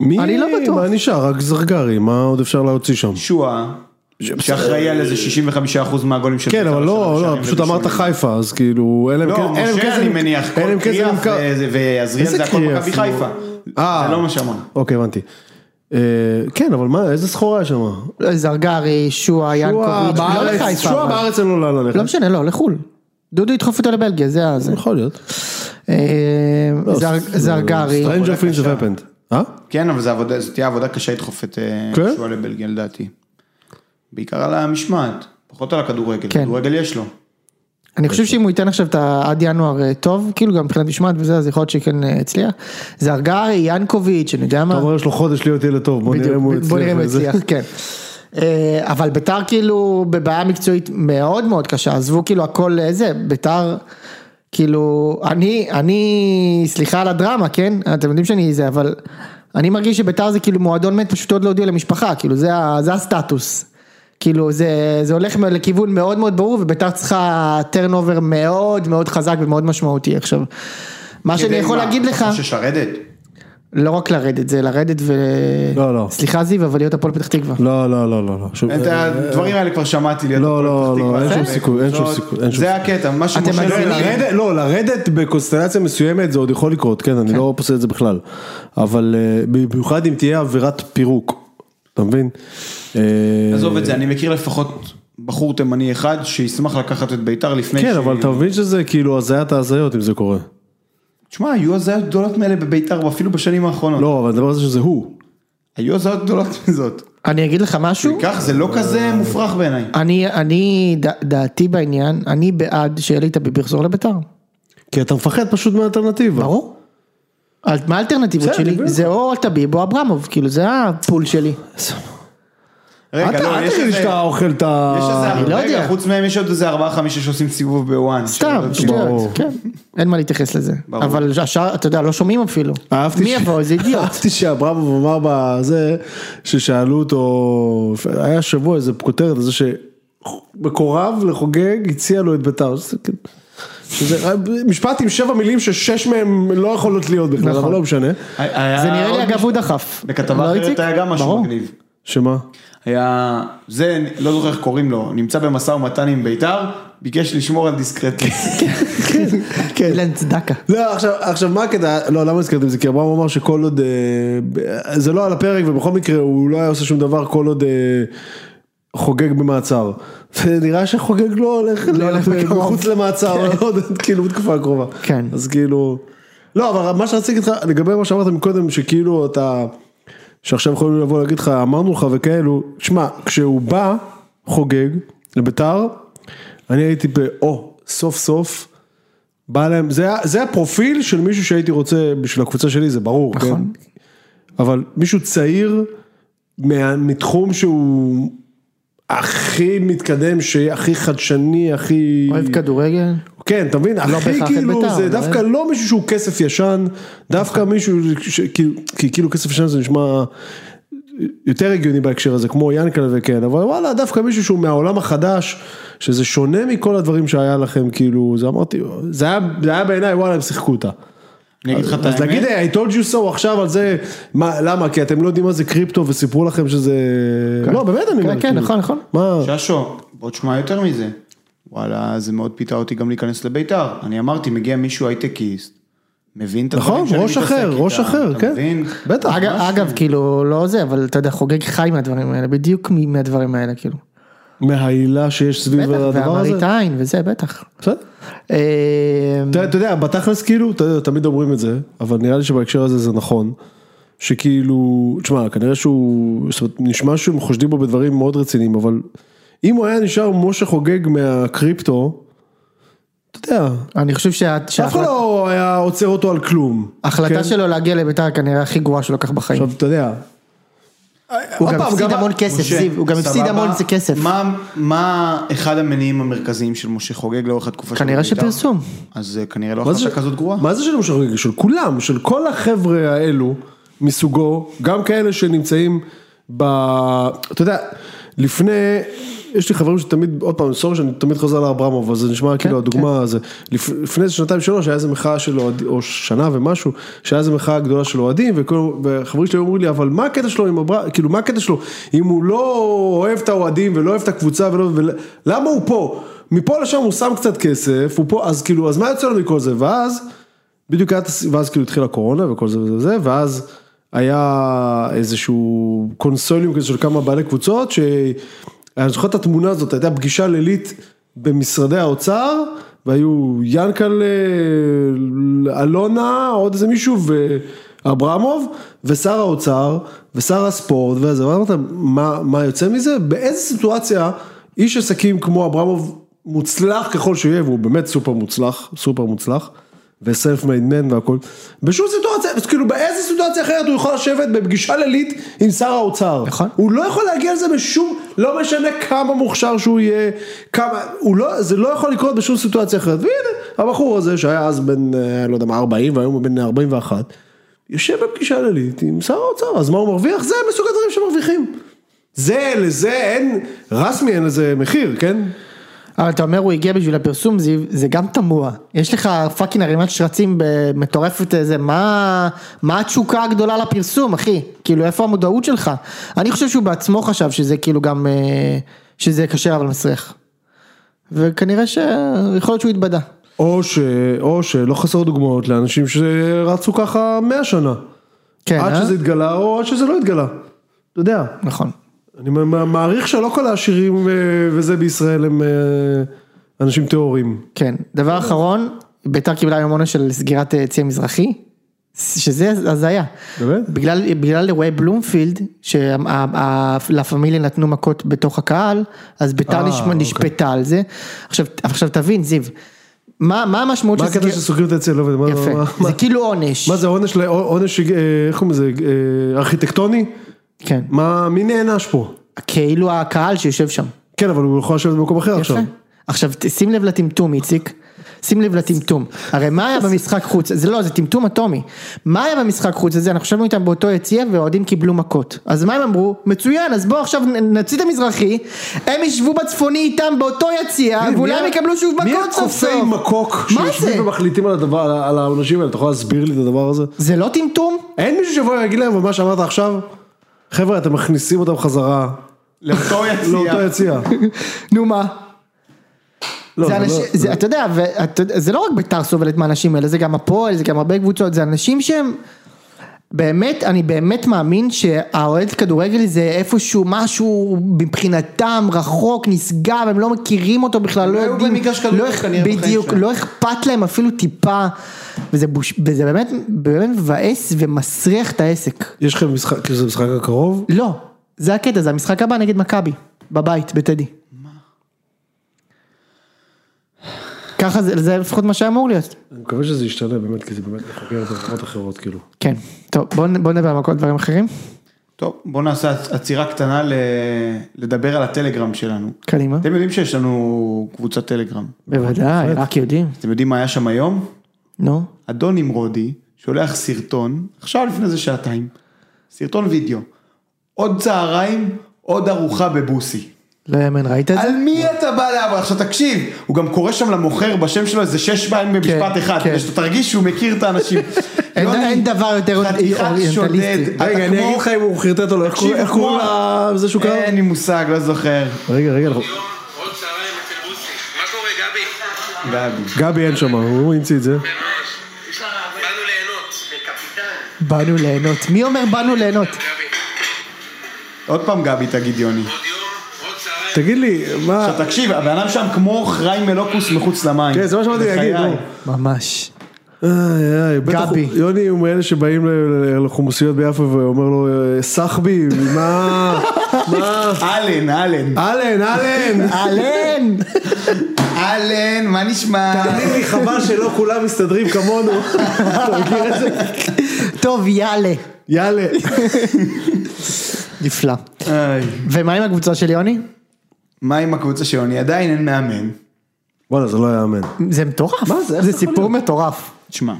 Speaker 3: מי?
Speaker 1: אני לא בטוח.
Speaker 3: מה נשאר? רק זרגרי, מה עוד אפשר להוציא שם?
Speaker 2: שועה, שאחראי על איזה 65% מהגולים של...
Speaker 3: כן,
Speaker 2: בית"ר
Speaker 3: אבל לא,
Speaker 2: השנה,
Speaker 3: לא,
Speaker 2: שערים
Speaker 3: פשוט
Speaker 2: ובישולים.
Speaker 3: אמרת חיפה, אז כאילו, אין להם
Speaker 2: לא,
Speaker 3: כ- אין להם
Speaker 2: משה אני
Speaker 3: כסף-
Speaker 2: מניח,
Speaker 3: אין
Speaker 2: כל
Speaker 3: להם כסף
Speaker 2: קריאף
Speaker 3: למכר.
Speaker 1: אה,
Speaker 2: וזה- ועזריאל
Speaker 3: איזה
Speaker 2: זה הכל
Speaker 3: קריאף?
Speaker 2: מכבי חיפה.
Speaker 3: אה.
Speaker 2: זה לא מה שאמרנו.
Speaker 3: אוקיי, הבנתי. אה, כן, אבל מה, איזה סחורה יש שם?
Speaker 1: זרגרי, לא, שועה, ינקוביץ', לא
Speaker 3: בארץ,
Speaker 1: לחיפה.
Speaker 3: שועה
Speaker 1: אבל.
Speaker 3: בארץ אין לו לאן ללכת.
Speaker 1: לא משנה, לא, לחו"ל. דודו ידחוף אותו לבלגיה, זה ה... זה.
Speaker 3: יכול להיות.
Speaker 1: אה,
Speaker 3: לא,
Speaker 1: זר-
Speaker 3: זה-
Speaker 1: זרגרי.
Speaker 3: Stranger things have happened. אה?
Speaker 2: כן, אבל זה עבודה- זו תהיה עבודה קשה לדחוף את אה,
Speaker 3: כן?
Speaker 2: שועה לבלגיה לדעתי. בעיקר על המשמעת, פחות על הכדורגל.
Speaker 1: כן.
Speaker 2: כדורגל יש לו.
Speaker 1: אני חושב שאם הוא ייתן עכשיו את ה- עד ינואר אה, טוב, כאילו גם מבחינת משמעת וזה, אז יכול להיות שכן אה, יצליח. זרגרי, ינקוביץ', אני יודע מה.
Speaker 3: אתה אומר יש לו חודש להיות ילד טוב, בוא נראה אם הוא
Speaker 1: בדיוק,
Speaker 3: יצליח.
Speaker 1: בוא נראה אם הוא
Speaker 3: וזה. [laughs]
Speaker 1: יצליח, כן. אה, אבל ביתר כאילו בבעיה מקצועית מאוד מאוד קשה, עזבו כאילו הכל אה, זה, ביתר, כאילו, אני, אני, סליחה על הדרמה, כן? אתם יודעים שאני זה, אבל אני מרגיש שביתר זה כאילו מועדון מת, פשוט עוד לא הודיעו למשפחה, כאילו זה, ה- זה הסטטוס. כאילו זה, זה הולך מ- לכיוון מאוד מאוד ברור וביתר צריכה טרנובר מאוד מאוד חזק ומאוד משמעותי עכשיו. מה שאני
Speaker 2: כדי
Speaker 1: יכול
Speaker 2: כן, מה?
Speaker 1: להגיד לך,
Speaker 2: אתה חושש לרדת?
Speaker 1: לא רק לרדת, זה לרדת ו...
Speaker 3: לא, לא.
Speaker 1: סליחה זיו, אבל להיות הפועל פתח תקווה.
Speaker 3: לא, לא, לא, לא, לא. שוב,
Speaker 2: את הדברים האלה כבר שמעתי להיות
Speaker 3: לא,
Speaker 2: הפועל
Speaker 3: לא,
Speaker 2: פתח
Speaker 3: לא,
Speaker 2: תקווה.
Speaker 3: אין שום
Speaker 2: זה-
Speaker 3: סיכוי, אין שום
Speaker 2: זאת-
Speaker 3: סיכוי, אין שום
Speaker 2: זה הקטע, מה שמשה
Speaker 1: מגזימים.
Speaker 2: לא ירד.
Speaker 3: לרדת, לא, לרדת בקונסטלציה מסוימת זה עוד יכול לקרות, כן, אני לא פוסל את זה בכלל. אבל אה, במיוחד אם תהיה עבירת פירוק, אתה מבין? אה,
Speaker 2: עזוב את זה, אני מכיר לפחות בחור תימני אחד שישמח לקחת את ביתר לפני
Speaker 3: כן,
Speaker 2: ש-
Speaker 3: אבל אתה מבין שזה כאילו הזיית ההזיות אם זה קורה.
Speaker 2: תשמע, היו הזיות גדולות מאלה בביתר, אפילו בשנים האחרונות.
Speaker 3: לא, אבל אני מדבר על זה שזה הוא.
Speaker 2: היו הזיות גדולות מזאת.
Speaker 1: אני אגיד לך משהו,
Speaker 2: כך זה לא
Speaker 3: אה,
Speaker 2: כזה מופרך בעיניי.
Speaker 1: אני, אני, ד- דעתי בעניין, אני בעד שאלי תביב יחזור לביתר.
Speaker 3: כי אתה מפחד פשוט מהאלטרנטיבה.
Speaker 1: ברור. אל- מה האלטרנטיבות
Speaker 3: בסדר,
Speaker 1: שלי?
Speaker 3: בדיוק.
Speaker 1: זה או תביב או אברמוב, כאילו זה הפול שלי.
Speaker 2: רגע,
Speaker 3: אתה-
Speaker 2: לא,
Speaker 3: אל
Speaker 2: יש
Speaker 3: תגיד לי
Speaker 2: איזה-
Speaker 3: שאתה אוכל את ה...
Speaker 2: יש [laughs] איזה
Speaker 1: אני לא
Speaker 2: הרבה, רגע,
Speaker 1: יודע.
Speaker 2: חוץ מהם יש עוד איזה ארבעה חמישה שעושים סיבוב בוואן.
Speaker 1: סתם,
Speaker 2: שלא-
Speaker 3: ברור.
Speaker 1: שטויות, כן. אין מה להתייחס לזה.
Speaker 2: ברור.
Speaker 1: אבל השאר, אתה יודע, לא שומעים אפילו.
Speaker 3: אהבתי
Speaker 1: מי
Speaker 3: ש-
Speaker 1: יבוא? איזה אידיוט.
Speaker 3: אהבתי שאברמוב אמר בזה, ששאלו אותו, היה שבוע איזה כותרת, על זה שמקורב לחוגג הציע לו את ביתר. שזה כאילו- שזה משפט עם שבע מילים ששש מהם לא יכולות להיות בכלל, אבל
Speaker 1: נכון.
Speaker 3: לא משנה.
Speaker 2: [laughs] כאילו. היה-
Speaker 1: זה נראה לי
Speaker 2: עוד
Speaker 1: אגב
Speaker 2: מישהו-
Speaker 1: הוא דחף. לא,
Speaker 2: בכתבה
Speaker 1: איציק?
Speaker 2: אחרת היה גם משהו
Speaker 1: ברור.
Speaker 2: מגניב.
Speaker 3: שמה?
Speaker 2: היה, זה, לא זוכר איך קוראים לו, נמצא במשא ומתן עם ביתר, ביקש לשמור על
Speaker 3: [laughs]
Speaker 2: דיסקרטיות.
Speaker 3: כן.
Speaker 1: אילן צדקה.
Speaker 3: לא, עכשיו, עכשיו מה הקטע, לא, למה הזכרתי את זה? כי אברהם אמר שכל עוד, אה, ב- זה לא על הפרק ובכל מקרה הוא לא היה עושה שום דבר כל עוד אה, חוגג במעצר. [laughs] ונראה שחוגג לא הולך,
Speaker 1: לא הולך
Speaker 3: להיות
Speaker 1: בקרוב.
Speaker 3: מחוץ למעצר, עוד, [laughs] כאילו בתקופה הקרובה.
Speaker 1: כן.
Speaker 3: אז כאילו, לא, אבל מה שרציתי להגיד לך, לגבי מה שאמרת מקודם, שכאילו אתה, שעכשיו יכולים לבוא להגיד לך, אמרנו לך וכאלו, שמע, כשהוא בא, חוגג, לביתר, אני הייתי ב... או, סוף סוף. בא להם, זה, היה- זה הפרופיל של מישהו שהייתי רוצה בשביל הקבוצה שלי, זה ברור, נכון. כן? אבל מישהו צעיר מה, מתחום שהוא הכי מתקדם, שהכי חדשני, הכי...
Speaker 1: אוהב כדורגל.
Speaker 3: כן, אתה מבין?
Speaker 1: לא
Speaker 3: הכי
Speaker 1: בהכרח את
Speaker 3: כאילו,
Speaker 1: בית"ר,
Speaker 3: זה
Speaker 1: אבל-
Speaker 3: דווקא לא מישהו שהוא כסף ישן, דווקא מישהו, ש- כאילו- כי כאילו כסף ישן זה נשמע יותר הגיוני בהקשר הזה, כמו ינקלה וכן, אבל וואלה, דווקא מישהו שהוא מהעולם החדש, שזה שונה מכל הדברים שהיה לכם, כאילו, זה אמרתי, זה היה, זה היה בעיניי, וואלה, הם שיחקו אותה.
Speaker 2: אני אגיד לך את
Speaker 3: אז להגיד,
Speaker 2: האמת,
Speaker 3: "Hey, I told you so עכשיו על זה, מה, למה, כי אתם לא יודעים מה זה קריפטו וסיפרו לכם שזה... לא, באמת אני אומר.
Speaker 1: כן, כן,
Speaker 3: כאילו.
Speaker 1: נכון, נכון.
Speaker 3: מה?
Speaker 2: ששו, בוא תשמע יותר מזה. וואלה, זה מאוד פיתה אותי גם להיכנס לביתר. אני אמרתי, מגיע מישהו הייטקיסט, מבין את הדברים
Speaker 3: נכון,
Speaker 2: שאני
Speaker 3: ראש
Speaker 2: מתעסק
Speaker 3: אחר,
Speaker 2: איתם,
Speaker 3: ראש אחר,
Speaker 2: אתה
Speaker 3: כן.
Speaker 2: מבין?
Speaker 3: בטח.
Speaker 1: אגב, אגב, כאילו, לא זה, אבל אתה יודע, חוגג חי מהדברים האלה, בדיוק מ- מהדברים האלה, כאילו.
Speaker 3: מההילה שיש סביב
Speaker 1: בטח,
Speaker 3: הדבר הזה.
Speaker 1: והמראית עין וזה, בטח.
Speaker 3: בסדר.
Speaker 1: אה,
Speaker 3: אתה אתה יודע, בתכלס כאילו, אתה יודע, תמיד אומרים את זה, אבל נראה לי שבהקשר הזה זה נכון, שכאילו, תשמע, כנראה שהוא, זאת אומרת, נשמע שהם חושדים בו בדברים מאוד רציניים, אבל אם הוא היה נשאר משה חוגג מהקריפטו, אתה יודע,
Speaker 1: אני חושב שה-
Speaker 3: אף אחד
Speaker 1: שההחלטה
Speaker 3: לא כן. היה עוצר אותו על כלום.
Speaker 1: ההחלטה שלו להגיע לביתר כנראה הכי גרועה שהוא לקח בחיים.
Speaker 3: עכשיו, אתה יודע,
Speaker 1: הוא
Speaker 3: עוד
Speaker 1: גם
Speaker 3: פעם,
Speaker 1: הפסיד
Speaker 3: גם-
Speaker 1: המון כסף,
Speaker 2: משה,
Speaker 1: זיו, הוא גם הפסיד
Speaker 2: סבבה?
Speaker 1: המון זה כסף.
Speaker 2: מה- מה אחד המניעים המרכזיים של משה חוגג לאורך התקופה שלו?
Speaker 1: כנראה
Speaker 2: בבית"ר?
Speaker 1: שפרסום.
Speaker 2: אז אה, כנראה לא
Speaker 3: מה זה
Speaker 2: החלטה כזאת
Speaker 3: [laughs]
Speaker 2: גרועה.
Speaker 3: מה זה של משה חוגג? של כולם, של כל החבר'ה האלו מסוגו, גם כאלה שנמצאים ב... אתה יודע, לפני, יש לי חברים שתמיד, עוד פעם, סורי שאני תמיד חוזר לאברמוב, אבל זה
Speaker 2: כן,
Speaker 3: נשמע כאילו הדוגמה הזה. לפ... לפני איזה שנתיים שלוש היה איזה מחאה של אוהדים, או שנה ומשהו, שהיה איזה מחאה גדולה של אוהדים, וכל- וחברים שלי אמרו לי, אבל מה הקטע שלו עם אברמוב, כאילו מה הקטע שלו, אם הוא לא אוהב את האוהדים ולא אוהב את הקבוצה, ולא... ולמה הוא פה? מפה לשם הוא שם קצת כסף, הוא פה, אז כאילו, אז מה יוצא לו מכל זה? ואז, בדיוק היה, את הס- ואז כאילו התחילה הקורונה וכל זה וזה וזה, ואז היה איזשהו קונסוליום כזה של כמה בעלי קבוצות, שאני זוכר את התמונה הזאת, הייתה פגישה לילית במשרדי האוצר, והיו ינקל, אה, אלונה, עוד איזה מישהו, ואברמוב, ושר האוצר, ושר הספורט, וזה, ואמרת, מה, מה יוצא מזה? באיזה סיטואציה איש עסקים כמו אברמוב, מוצלח ככל שיהיה, והוא באמת סופר מוצלח, סופר מוצלח, וסלף מייד מן והכל, בשום סיטואציה, אז כאילו באיזה סיטואציה אחרת הוא יכול לשבת בפגישה לילית עם שר האוצר.
Speaker 1: נכון.
Speaker 3: הוא לא יכול להגיע לזה בשום, לא משנה כמה מוכשר שהוא יהיה, כמה, הוא לא, זה לא יכול לקרות בשום סיטואציה אחרת. והנה, הבחור הזה שהיה אז בן, אה, לא יודע מה, 40, והיום הוא בן 41, יושב בפגישה לילית עם שר האוצר, אז מה הוא מרוויח? זה מסוג הדברים שמרוויחים. זה, לזה אין, רסמי אין לזה מחיר, כן?
Speaker 1: אבל אתה אומר הוא הגיע בשביל הפרסום זיו, זה גם תמוה. יש לך פאקינג ערימת שרצים ב- מטורפת איזה, מה, מה התשוקה הגדולה לפרסום אחי? כאילו איפה המודעות שלך? אני חושב שהוא בעצמו חשב שזה כאילו גם, אה, שזה קשה אבל מסריח. וכנראה שיכול להיות שהוא התבדה.
Speaker 3: או, ש... או שלא חסר דוגמאות לאנשים שרצו ככה 100 שנה.
Speaker 1: כן,
Speaker 3: עד
Speaker 1: אה?
Speaker 3: שזה התגלה או עד שזה לא התגלה. אתה יודע,
Speaker 1: נכון.
Speaker 3: אני מ- מ- מעריך שלא כל העשירים אה, וזה בישראל הם אה, אנשים טהורים.
Speaker 1: כן. דבר אחרון, ביתר קיבלה היום עונש של סגירת אה, צי המזרחי, שזה הזיה.
Speaker 3: באמת?
Speaker 1: בגלל, בגלל אירועי בלומפילד, שלה פמיליה נתנו מכות בתוך הקהל, אז ביתר
Speaker 3: אה,
Speaker 1: נשמ-
Speaker 3: אוקיי.
Speaker 1: נשפטה על זה. עכשיו, עכשיו תבין, זיו, מה, מה המשמעות
Speaker 3: מה
Speaker 1: של
Speaker 3: הקטע שסוגרים את היציאה? לא עובד, מה- מה-
Speaker 1: יפה,
Speaker 3: מה-
Speaker 1: זה כאילו עונש.
Speaker 3: מה זה עונש, ל- עונש, אה, איך קוראים לזה, אה, ארכיטקטוני?
Speaker 1: כן.
Speaker 3: מה, מי נענש פה?
Speaker 1: כאילו הקהל שיושב שם.
Speaker 3: כן, אבל הוא יכול לשבת במקום אחר עכשיו.
Speaker 1: יפה. אה, עכשיו ת- שים לב לטמטום איציק, שים לב לטמטום, הרי מה היה במשחק חוץ, זה לא, זה טמטום אטומי, מה היה במשחק חוץ הזה, אנחנו ישבנו איתם באותו יציע והאוהדים קיבלו מכות, אז מה הם אמרו, מצוין, אז בואו עכשיו נ- נוציא את המזרחי, הם ישבו בצפוני איתם באותו יציע,
Speaker 3: מי-
Speaker 1: ואולי
Speaker 3: מי
Speaker 1: הם
Speaker 3: ה-
Speaker 1: יקבלו שוב
Speaker 3: מי
Speaker 1: מכות סוף סוף,
Speaker 3: הקופי מקוק
Speaker 1: מה זה?
Speaker 3: שיושבים ומחליטים על הדבר, על ה- על העונשים האלה? אתה יכול להסביר לי את הדבר הזה?
Speaker 1: זה לא טמטום?
Speaker 3: אין מישהו שיבוא ויגיד להם, אבל מה שאמרת עכשיו, חבר'ה, אתם מכניסים אותם חזרה לא
Speaker 2: לאותו יציע.
Speaker 3: לאותו יציע.
Speaker 2: [laughs]
Speaker 1: נו מה?
Speaker 3: לא,
Speaker 1: זה
Speaker 3: זה
Speaker 1: אנשים,
Speaker 3: לא-
Speaker 1: זה- אתה יודע, ואת- זה לא רק ביתר סובלת מהאנשים האלה, זה גם הפועל, זה גם הרבה קבוצות, זה אנשים שהם... באמת, אני באמת מאמין שהאוהד כדורגל זה איפשהו משהו מבחינתם רחוק, נשגב, הם לא מכירים אותו בכלל, לא
Speaker 2: היו
Speaker 1: יודעים,
Speaker 2: במגרש
Speaker 1: לא
Speaker 2: כדורגל
Speaker 1: אכ-
Speaker 2: כנראה בחיים
Speaker 1: בדיוק,
Speaker 2: שלהם.
Speaker 1: לא אכפת להם אפילו טיפה, וזה, בוש, וזה באמת, באמת מבאס ומסריח את העסק.
Speaker 3: יש לכם משחק, כאילו זה משחק הקרוב?
Speaker 1: לא, זה הקטע, זה המשחק הבא נגד מכבי, בבית, בטדי. ככה זה, זה לפחות מה שהיה אמור להיות.
Speaker 3: אני מקווה שזה ישתנה באמת, כי זה באמת חוקר את החברות אחרות, כאילו.
Speaker 1: כן, טוב, בואו בוא נדבר על כל דברים אחרים.
Speaker 2: טוב, בוא נעשה עצירה קטנה ל- לדבר על הטלגרם שלנו.
Speaker 1: קדימה.
Speaker 2: אתם יודעים שיש לנו קבוצת טלגרם.
Speaker 1: בוודאי, רק יודעים.
Speaker 2: אתם יודעים מה היה שם היום?
Speaker 1: נו.
Speaker 2: אדון נמרודי שולח סרטון, עכשיו לפני איזה שעתיים, סרטון וידאו. עוד צהריים, עוד ארוחה בבוסי.
Speaker 1: לא יאמן, ראית את זה?
Speaker 2: על מי אתה בא לעבוד? עכשיו תקשיב, הוא גם קורא שם למוכר בשם שלו איזה שש פעמים במשפט
Speaker 1: כן,
Speaker 2: אחד,
Speaker 1: כן.
Speaker 2: כדי שאתה תרגיש שהוא מכיר את האנשים.
Speaker 1: [laughs] אין-
Speaker 2: יוני,
Speaker 1: אין דבר יותר
Speaker 2: חתיכת
Speaker 1: אוריינטליסטי.
Speaker 2: שודד, אתה
Speaker 3: רגע, אני
Speaker 2: כמו-
Speaker 3: אגיד לך אם הוא חרטט או לא, איך
Speaker 2: תקשיב,
Speaker 3: קוראים- איך
Speaker 2: כמו-
Speaker 3: קוראים לזה שהוא קרא?
Speaker 2: אין לי מושג, לא זוכר.
Speaker 3: רגע, רגע, אנחנו-
Speaker 4: יום, עוד צהריים אצל בוסי. מה קורה, גבי?
Speaker 2: גבי.
Speaker 3: גבי אין שם, הוא המציא את זה.
Speaker 4: באנו ליהנות.
Speaker 1: באנו ליהנות. מי אומר באנו ליהנות?
Speaker 4: גבי.
Speaker 2: עוד פעם גבי תגיד יוני.
Speaker 4: עוד יום, עוד צהריים.
Speaker 3: תגיד לי, מה...
Speaker 2: עכשיו תקשיב, הבן אדם שם כמו חיים מלוקוס מחוץ למים.
Speaker 3: כן, זה מה שבאתי להגיד,
Speaker 2: בחיי.
Speaker 3: נו.
Speaker 1: ממש.
Speaker 3: איי, איי, בטח
Speaker 1: גבי.
Speaker 3: הוא- יוני הוא מאלה שבאים ל- ל- לחומוסיות ביפו ואומר לו, "אה, סחבי, מה?
Speaker 2: [laughs]
Speaker 3: מה?
Speaker 2: אלן, אלן.
Speaker 3: אלן, אלן!
Speaker 1: אהלן!
Speaker 2: אלן, מה נשמע?
Speaker 3: תאמין לי, חבל שלא כולם מסתדרים כמונו. אתה מכיר את זה?
Speaker 1: טוב, יאללה.
Speaker 3: יאללה.
Speaker 1: נפלא.
Speaker 2: איי.
Speaker 1: ומה עם הקבוצה של יוני?
Speaker 2: מה עם הקבוצה של יוני? עדיין אין מאמן.
Speaker 3: וואלה, זה לא יאמן.
Speaker 1: זה מטורף.
Speaker 3: מה זה? איך
Speaker 1: זה
Speaker 3: זה יכול
Speaker 1: סיפור מטורף.
Speaker 2: תשמע,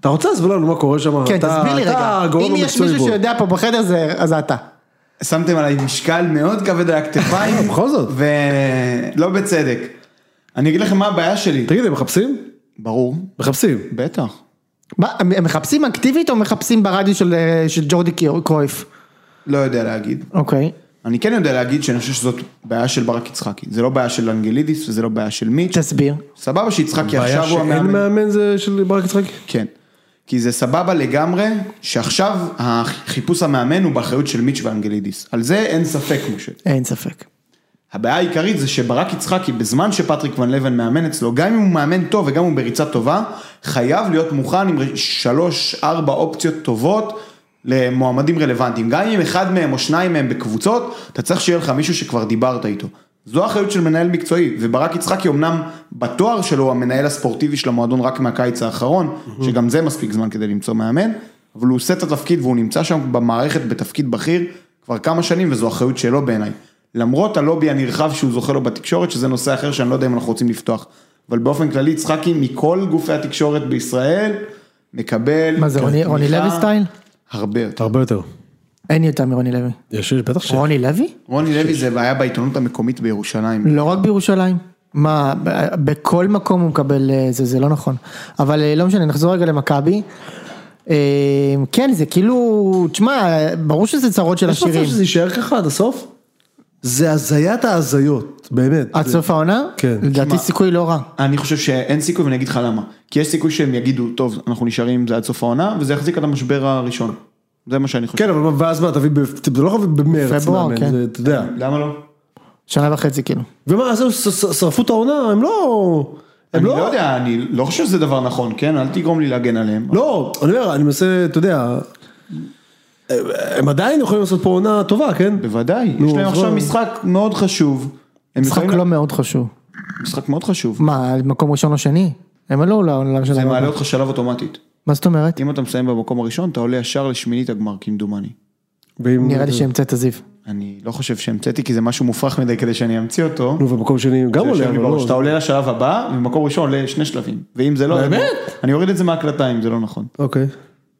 Speaker 3: אתה רוצה להסביר לנו מה קורה שם?
Speaker 1: כן,
Speaker 3: אתה-
Speaker 1: תסביר לי רגע.
Speaker 3: אתה הגורם
Speaker 1: אם יש
Speaker 3: המקצועי
Speaker 1: מישהו
Speaker 3: פה.
Speaker 1: שיודע פה בחדר, זה- אז זה אתה.
Speaker 2: שמתם עליי משקל מאוד כבד על הכתפיים.
Speaker 3: [laughs] בכל זאת.
Speaker 2: ולא בצדק. אני אגיד לכם מה הבעיה שלי.
Speaker 3: תגיד, הם מחפשים?
Speaker 2: ברור.
Speaker 3: מחפשים.
Speaker 2: בטח.
Speaker 1: מה, הם הם מחפשים אקטיבית או מחפשים ברדיו של, אה, של ג'ורדי קיו- קרויף?
Speaker 2: לא יודע להגיד.
Speaker 1: אוקיי.
Speaker 2: אני כן יודע להגיד שאני חושב שזאת בעיה של ברק יצחקי. זה לא בעיה של אנגלידיס וזה לא בעיה של מיץ'.
Speaker 1: תסביר.
Speaker 2: סבבה שיצחקי
Speaker 3: בעיה
Speaker 2: עכשיו הוא
Speaker 3: שאין
Speaker 2: המאמן.
Speaker 3: מאמן זה של ברק יצחקי?
Speaker 2: כן. כי זה סבבה לגמרי שעכשיו החיפוש המאמן הוא באחריות של מיץ' ואנגלידיס. על זה אין ספק משה.
Speaker 1: אין ספק.
Speaker 2: הבעיה העיקרית זה שברק יצחקי, בזמן שפטריק ון לבן מאמן אצלו, גם אם הוא מאמן טוב וגם הוא בריצה טובה, חייב להיות מוכן עם שלוש, ארבע אופציות טובות למועמדים רלוונטיים. גם אם אחד מהם או שניים מהם בקבוצות, אתה צריך שיהיה לך מישהו שכבר דיברת איתו. זו האחריות של מנהל מקצועי, וברק יצחקי אמנם בתואר שלו הוא המנהל הספורטיבי של המועדון רק מהקיץ האחרון, שגם זה מספיק זמן כדי למצוא מאמן, אבל הוא עושה את התפקיד והוא נמצא שם במערכת בתפקיד בכיר כבר כמה שנים וזו אחריות שלו בעיניי. למרות הלובי הנרחב שהוא זוכה לו בתקשורת, שזה נושא אחר שאני לא יודע אם אנחנו רוצים לפתוח. אבל באופן כללי, יצחקי מכל גופי התקשורת בישראל, מקבל...
Speaker 1: מה זה, רוני- רוני
Speaker 2: תמיכה
Speaker 1: לוי סטייל?
Speaker 2: הרבה יותר.
Speaker 3: הרבה יותר.
Speaker 1: אין יותר מרוני לוי.
Speaker 3: יש, בטח ש...
Speaker 1: רוני לוי?
Speaker 2: רוני לוי זה בעיה בעיתונות המקומית בירושלים.
Speaker 1: לא רק בירושלים. מה, ב- בכל מקום הוא מקבל אה, זה, זה לא נכון. אבל אה, לא משנה, נחזור רגע למכבי. אה, כן, זה כאילו, תשמע, אה, ברור שזה צרות של
Speaker 3: יש מצב
Speaker 1: עשירים.
Speaker 3: שזה יישאר ככה עד הסוף? זה הזיית ההזיות, באמת.
Speaker 1: עד
Speaker 3: זה-
Speaker 1: סוף העונה?
Speaker 3: כן.
Speaker 1: לדעתי סיכוי לא רע.
Speaker 2: אני חושב שאין סיכוי ואני אגיד לך למה. כי יש סיכוי שהם יגידו, טוב, אנחנו נשארים עם זה עד סוף העונה, וזה יחזיק עד המשבר הראשון. זה מה שאני חושב.
Speaker 3: כן, אבל מה- ואז מה, תביא, ב- זה לא חייב במרץ,
Speaker 1: פברואר, כן.
Speaker 3: מאמן, זה- אתה יודע.
Speaker 2: למה לא?
Speaker 1: שנה וחצי כאילו.
Speaker 3: ומה, אז הם ש- ש- שרפו את העונה, הם לא...
Speaker 2: אני
Speaker 3: הם
Speaker 2: לא
Speaker 3: לא...
Speaker 2: יודע, אני לא חושב שזה דבר נכון, כן? אל תגרום לי להגן עליהם.
Speaker 3: לא, אני אומר, אני מנסה, אתה יודע... הם עדיין יכולים לעשות פה עונה טובה, כן?
Speaker 2: בוודאי,
Speaker 3: נו,
Speaker 2: יש להם
Speaker 3: אז
Speaker 2: עכשיו
Speaker 3: לא.
Speaker 2: משחק מאוד חשוב. הם
Speaker 1: משחק
Speaker 2: יכולים-
Speaker 1: לא מאוד חשוב.
Speaker 2: משחק מאוד חשוב.
Speaker 1: מה, מקום ראשון או שני? הם עלו לעולם של
Speaker 2: זה
Speaker 1: העולם.
Speaker 2: מעלה אותך שלב אוטומטית.
Speaker 1: מה זאת אומרת?
Speaker 2: אם אתה מסיים במקום הראשון, אתה עולה ישר לשמינית הגמר, כמדומני.
Speaker 3: ואם-
Speaker 1: נראה לי שהמצאת זיו.
Speaker 2: אני לא חושב שהמצאתי, כי זה משהו מופרך מדי כדי שאני אמציא אותו.
Speaker 3: נו, ובמקום שני גם
Speaker 2: זה
Speaker 3: עולה,
Speaker 2: יושב לי
Speaker 3: אבל
Speaker 2: בראש. אתה
Speaker 3: לא...
Speaker 2: עולה לשלב הבא, ובמקום ראשון עולה שני שלבים. ואם זה לא...
Speaker 3: באמת?
Speaker 2: אני אוריד את זה מההקלטה, אם זה לא נכון.
Speaker 3: אוקיי.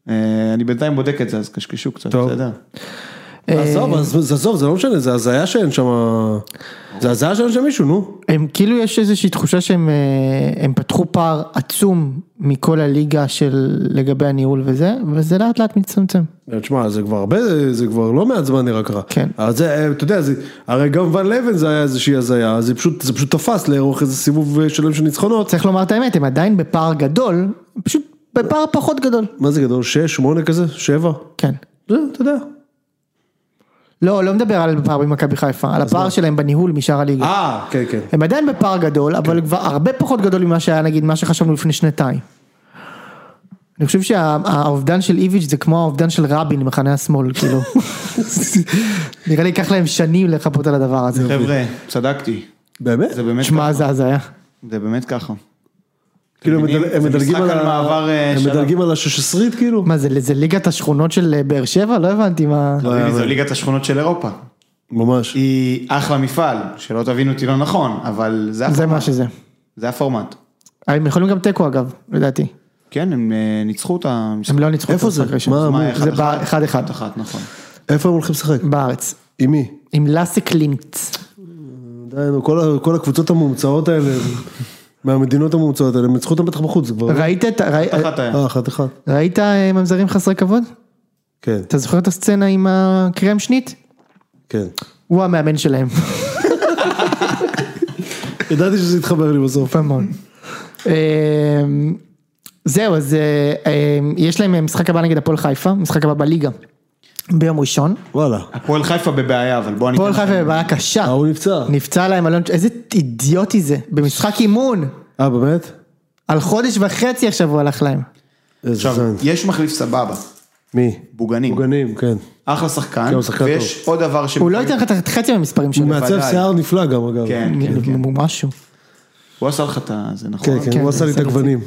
Speaker 2: אה, אני בינתיים בודק את זה, אז קשקשו קצת,
Speaker 3: טוב.
Speaker 2: בסדר?
Speaker 1: אה,
Speaker 3: עזוב, אז- אז עזוב, זה לא משנה, זה הזיה שאין שם... זה הזיה שאין שם מישהו, נו.
Speaker 1: הם כאילו יש איזושהי תחושה שהם אה, הם פתחו פער עצום מכל הליגה של לגבי הניהול וזה, וזה לאט לאט מצטמצם.
Speaker 3: אה, תשמע, זה כבר הרבה, זה- זה כבר לא מעט זמן נראה ככה.
Speaker 1: כן.
Speaker 3: אז זה, אה, אתה יודע, זה, הרי גם ון לבן זה היה איזושהי הזיה, אז זה פשוט, זה פשוט תפס לאורך איזה סיבוב אה, שלם של ניצחונות.
Speaker 1: צריך לומר את האמת, הם עדיין בפער גדול, פשוט בפער פחות גדול.
Speaker 3: מה זה גדול? שש, שמונה כזה? שבע?
Speaker 1: כן.
Speaker 3: זה, אתה יודע.
Speaker 1: לא, לא מדבר על הפער במכבי חיפה, על הפער שלהם בניהול משאר הליגה.
Speaker 3: אה, כן, כן.
Speaker 1: הם עדיין בפער גדול, אבל כבר הרבה פחות גדול ממה שהיה נגיד מה שחשבנו לפני שנתיים. אני חושב שהאובדן של איביץ' זה כמו האובדן של רבין ממחנה השמאל, כאילו. [laughs] נראה לי ייקח להם שנים לחפות על הדבר הזה.
Speaker 2: חבר'ה, צדקתי.
Speaker 3: באמת?
Speaker 2: זה באמת
Speaker 1: שמע,
Speaker 2: ככה.
Speaker 1: זה הזיה.
Speaker 2: זה באמת ככה.
Speaker 3: כאילו הם
Speaker 2: מבינים?
Speaker 3: מדל- הם
Speaker 2: זה
Speaker 3: מדלגים
Speaker 2: משחק
Speaker 3: על
Speaker 2: על מעבר, אה,
Speaker 3: ה- הם
Speaker 2: שלב.
Speaker 3: מדלגים על הששעשרית כאילו.
Speaker 1: מה זה, זה ליגת השכונות של אה, באר שבע? לא הבנתי מה...
Speaker 2: חביבי, זו ליגת השכונות של אירופה.
Speaker 3: ממש.
Speaker 2: היא אחלה מפעל, שלא תבינו אותי לא נכון, אבל זה
Speaker 1: זה מה
Speaker 2: הפורמט.
Speaker 1: שזה.
Speaker 2: זה הפורמט.
Speaker 1: הם יכולים גם תיקו אגב, לדעתי.
Speaker 2: כן, הם אה, ניצחו את המשחק.
Speaker 1: הם לא ניצחו
Speaker 3: איפה
Speaker 1: את המשחק
Speaker 3: זה?
Speaker 1: הראשון.
Speaker 3: מה,
Speaker 2: מה,
Speaker 1: זה
Speaker 2: אחד-אחד?
Speaker 1: באחד-אחד.
Speaker 2: אחד-אחד, נכון.
Speaker 3: איפה הם הולכים לשחק?
Speaker 1: בארץ.
Speaker 3: עם מי?
Speaker 1: עם לאסי קלימץ.
Speaker 3: דהיינו, כל ה- כל הקבוצות המומצאות האלה, מהמדינות המומצאות האלה, הם ניצחו אותם בטח בחוץ, זה כבר...
Speaker 1: ראית את... ה- ראי-
Speaker 2: אחת היה.
Speaker 3: אה, אחת אחת.
Speaker 1: ראית אה, ממזרים חסרי כבוד?
Speaker 3: כן,
Speaker 1: אתה זוכר את הסצנה עם הקרמשנית?
Speaker 3: כן.
Speaker 1: הוא המאמן שלהם. [laughs]
Speaker 3: ידעתי שזה יתחבר לי בסוף.
Speaker 1: יפה מאוד. אמ, זהו, אז אה, אמ, יש להם משחק הבא נגד הפועל חיפה, משחק הבא בליגה. ביום ראשון.
Speaker 3: וואלה.
Speaker 2: הפועל חיפה בבעיה, אבל בוא אני...
Speaker 1: הפועל
Speaker 2: אתן לכם-
Speaker 1: חיפה בבעיה קשה.
Speaker 3: ההוא נפצע.
Speaker 1: נפצע להם אלון, איזה אידיוטי זה, במשחק אימון.
Speaker 3: אה, באמת?
Speaker 1: על חודש וחצי עכשיו הוא הלך להם.
Speaker 3: איזה
Speaker 2: עכשיו,
Speaker 3: זין.
Speaker 2: יש מחליף סבבה,
Speaker 3: מי?
Speaker 2: בוגנים.
Speaker 3: מוגנים, כן.
Speaker 2: אחלה שחקן,
Speaker 3: כן, הוא שחקן
Speaker 2: ויש עוד דבר ש...
Speaker 1: הוא לא ייתן לך את חצי מהמספרים שלו.
Speaker 3: הוא מעצב
Speaker 2: בוודאי.
Speaker 3: שיער נפלא גם, אגב.
Speaker 2: כן, כן, כן.
Speaker 1: הוא משהו.
Speaker 2: הוא עשה לך את ה... זה נכון.
Speaker 3: כן, כן,
Speaker 1: כן,
Speaker 3: הוא עשה לי את
Speaker 1: בסדר.
Speaker 3: הגוונים.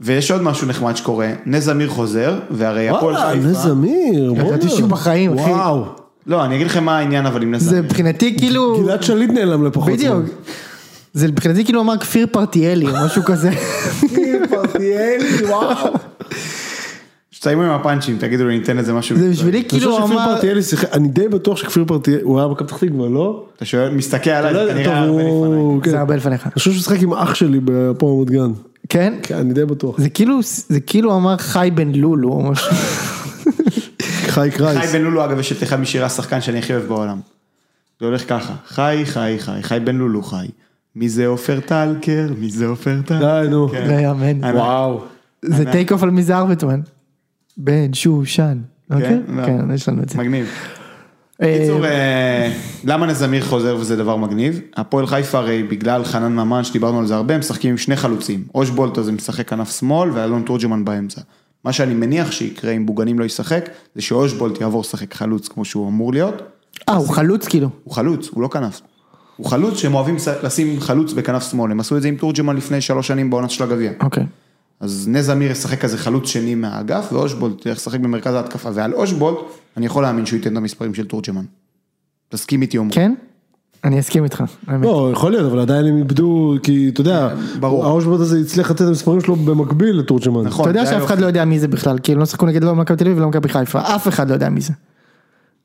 Speaker 2: ויש עוד משהו נחמד שקורה, נס אמיר חוזר, והרי הפועל
Speaker 3: וואלה,
Speaker 2: חיפה...
Speaker 3: נס אמיר.
Speaker 1: ידעתי
Speaker 3: בואנה.
Speaker 1: שהוא בחיים, אחי.
Speaker 3: וואו.
Speaker 2: לא, אני אגיד לכם מה העניין אבל עם נס
Speaker 1: זה
Speaker 2: אמיר.
Speaker 1: מבחינתי כאילו,
Speaker 3: גלעד שליט נעלם לפחות.
Speaker 1: בדיוק. זה מבחינתי כאילו אמר כפיר פרטיאלי או משהו
Speaker 2: [laughs]
Speaker 1: כזה.
Speaker 2: כן. שתסיימו עם הפאנצ'ים, תגידו לי, ניתן לזה משהו.
Speaker 1: זה בשבילי
Speaker 3: כאילו
Speaker 1: כאילו
Speaker 3: הוא
Speaker 1: הוא
Speaker 3: שכפיר
Speaker 1: אמר,
Speaker 3: פרטיאלי שיחק, אני די בטוח שכפיר פרטיאלי, הוא היה במכבי פתח תקווה, לא?
Speaker 2: אתה שואל, מסתכל עליי,
Speaker 3: לא
Speaker 2: זה
Speaker 3: יודע, טוב,
Speaker 2: כנראה הרבה
Speaker 3: הוא-
Speaker 2: לפניי.
Speaker 3: כן.
Speaker 1: זה הרבה לפניך.
Speaker 3: אני חושב שהוא שיחק עם אח שלי בהפועל רמת גן.
Speaker 1: כן?
Speaker 3: כן, אני די
Speaker 2: [laughs]
Speaker 3: בטוח.
Speaker 1: זה כאילו, זה כאילו אמר חי בן לולו או משהו.
Speaker 2: כן.
Speaker 3: חי
Speaker 2: חי
Speaker 3: קרייס.
Speaker 2: בן לולו, אגב, יש את אחד משירי השחקן שאני הכי אוהב בעולם. זה הולך ככה, חי, חי, חי, חי בן לולו, חי. מי זה עופר טלקר? מי זה עופר
Speaker 3: [laughs]
Speaker 2: טלקר?
Speaker 3: די, נו.
Speaker 2: כן.
Speaker 1: לא יאמן.
Speaker 2: אני-
Speaker 3: וואו.
Speaker 1: זה טייק אוף על מי זה ארבטמן. בן שושן. אוקיי?
Speaker 2: לא.
Speaker 1: כן, יש לנו את זה.
Speaker 2: מגניב.
Speaker 1: אה,
Speaker 2: בקיצור, אה, למה נזמיר חוזר וזה דבר מגניב? הפועל חיפה הרי בגלל חנן ממן, שדיברנו על זה הרבה, הם משחקים עם שני חלוצים. אוש בולטה זה משחק כנף שמאל ואלון תורג'מן באמצע. מה שאני מניח שיקרה אם בוגנים לא ישחק, זה שאוש בולט יעבור לשחק חלוץ כמו שהוא אמור להיות.
Speaker 1: אה, הוא חלוץ כאילו.
Speaker 2: הוא חלוץ, הוא לא כנף. הוא חלוץ שהם אוהבים לשים חלוץ בכנף שמאל, הם עשו את זה עם תורג'מן לפני שלוש שנים בעונת של הגביע.
Speaker 1: אוקיי.
Speaker 2: אז נז אמיר ישחק כזה חלוץ שני מהאגף, ואושבולט ישחק במרכז ההתקפה, ועל אושבולט, אני יכול להאמין שהוא ייתן את המספרים של תורג'מן. תסכים איתי עומרי.
Speaker 1: כן? אני אסכים איתך. האמת.
Speaker 3: לא, יכול להיות, אבל עדיין הם איבדו, כי אתה יודע,
Speaker 2: כן, ברור.
Speaker 3: האושבוט הזה הצליח לתת את המספרים שלו במקביל לתורג'מן.
Speaker 2: נכון.
Speaker 1: אתה יודע
Speaker 2: זה היה
Speaker 1: שאף אחד לא יודע מי זה בכלל, כאילו לא שיחקו נגד לא מכבי תל אביב ולא מכבי חיפה, אף אחד לא יודע מי זה.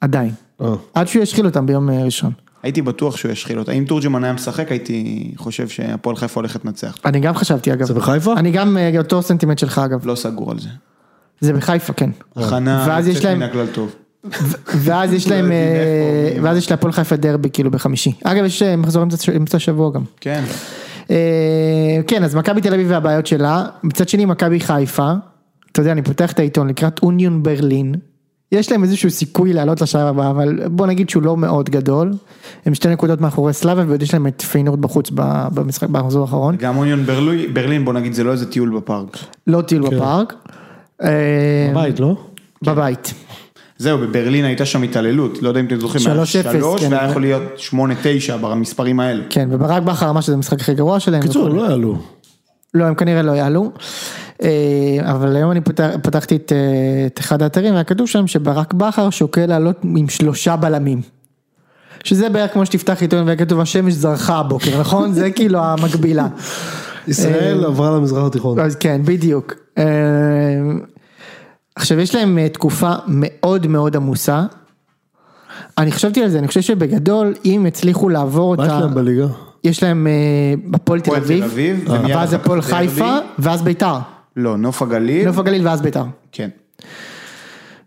Speaker 1: עדיין.
Speaker 3: אה.
Speaker 1: עד שהוא ישחיל אותם ביום אה, ראשון.
Speaker 2: הייתי בטוח שהוא ישחיל אותה. אם תורג'מן היה משחק, הייתי חושב שהפועל חיפה הולכת לנצח.
Speaker 1: אני גם חשבתי אגב.
Speaker 3: זה בחיפה?
Speaker 1: אני גם אה, אותו סנטימנט שלך אגב.
Speaker 2: לא סגור על זה.
Speaker 1: זה בחיפה, כן.
Speaker 2: הכנה,
Speaker 1: ואז יש
Speaker 2: יוצאת
Speaker 1: להם-
Speaker 2: מן הכלל טוב.
Speaker 1: ואז יש
Speaker 2: [laughs] לא
Speaker 1: להם,
Speaker 2: יודעים
Speaker 1: אה,
Speaker 2: איפה, מי-
Speaker 1: ואז יש להפועל חיפה דרבי כאילו בחמישי. אגב, יש אה, מחזור אמצע- אמצע שבוע גם.
Speaker 2: כן.
Speaker 1: אה, כן, אז מכבי תל אביב והבעיות שלה, מצד שני מכבי חיפה, אתה יודע, אני פותח את העיתון לקראת אוניון ברלין, יש להם איזשהו סיכוי לעלות לשלב הבא, אבל בוא נגיד שהוא לא מאוד גדול, הם שתי נקודות מאחורי סלאבה ועוד יש להם את פיינורד בחוץ ב- במשחק, במחזור האחרון,
Speaker 2: גם אוניון ברלוי- ברלין, בוא נגיד, זה לא איזה טיול בפארק.
Speaker 1: לא טיול בפארק. אה,
Speaker 3: בית, לא?
Speaker 1: בבית.
Speaker 2: זהו, בברלין הייתה שם התעללות, לא יודע אם אתם זוכרים. היה
Speaker 1: 3-0,
Speaker 2: שלוש,
Speaker 1: כן.
Speaker 2: והיה יכול להיות שמונה, תשע במספרים האלה.
Speaker 1: כן, וברק בכר אמר שזה המשחק הכי גרוע שלהם.
Speaker 3: קיצור,
Speaker 1: וכו'.
Speaker 3: לא יעלו.
Speaker 1: לא, הם כנראה לא יעלו. אה, אבל היום אני פותח, פתחתי את, אה, את אחד האתרים, היה כתוב שם שברק בכר שוקל לעלות עם שלושה בלמים. שזה בערך כמו שתפתח עיתון והיה כתוב השמש זרחה הבוקר, [laughs] נכון? זה כאילו המקבילה.
Speaker 3: ישראל עברה למזרח התיכון.
Speaker 1: אז כן, בדיוק. אה, עכשיו, יש להם אה, תקופה מאוד מאוד עמוסה. אני חשבתי על זה, אני חושב שבגדול, אם יצליחו לעבור אותה...
Speaker 3: מה יש להם בליגה?
Speaker 1: יש להם אה, הפועל תל
Speaker 2: הפועל תל
Speaker 1: אביב,
Speaker 2: אביב, ומיד
Speaker 1: ואז
Speaker 2: אחר
Speaker 1: הפועל
Speaker 2: כך דרבי.
Speaker 1: חיפה, ואז ביתר,
Speaker 2: לא, נוף הגליל.
Speaker 1: נוף הגליל ואז ביתר,
Speaker 2: כן.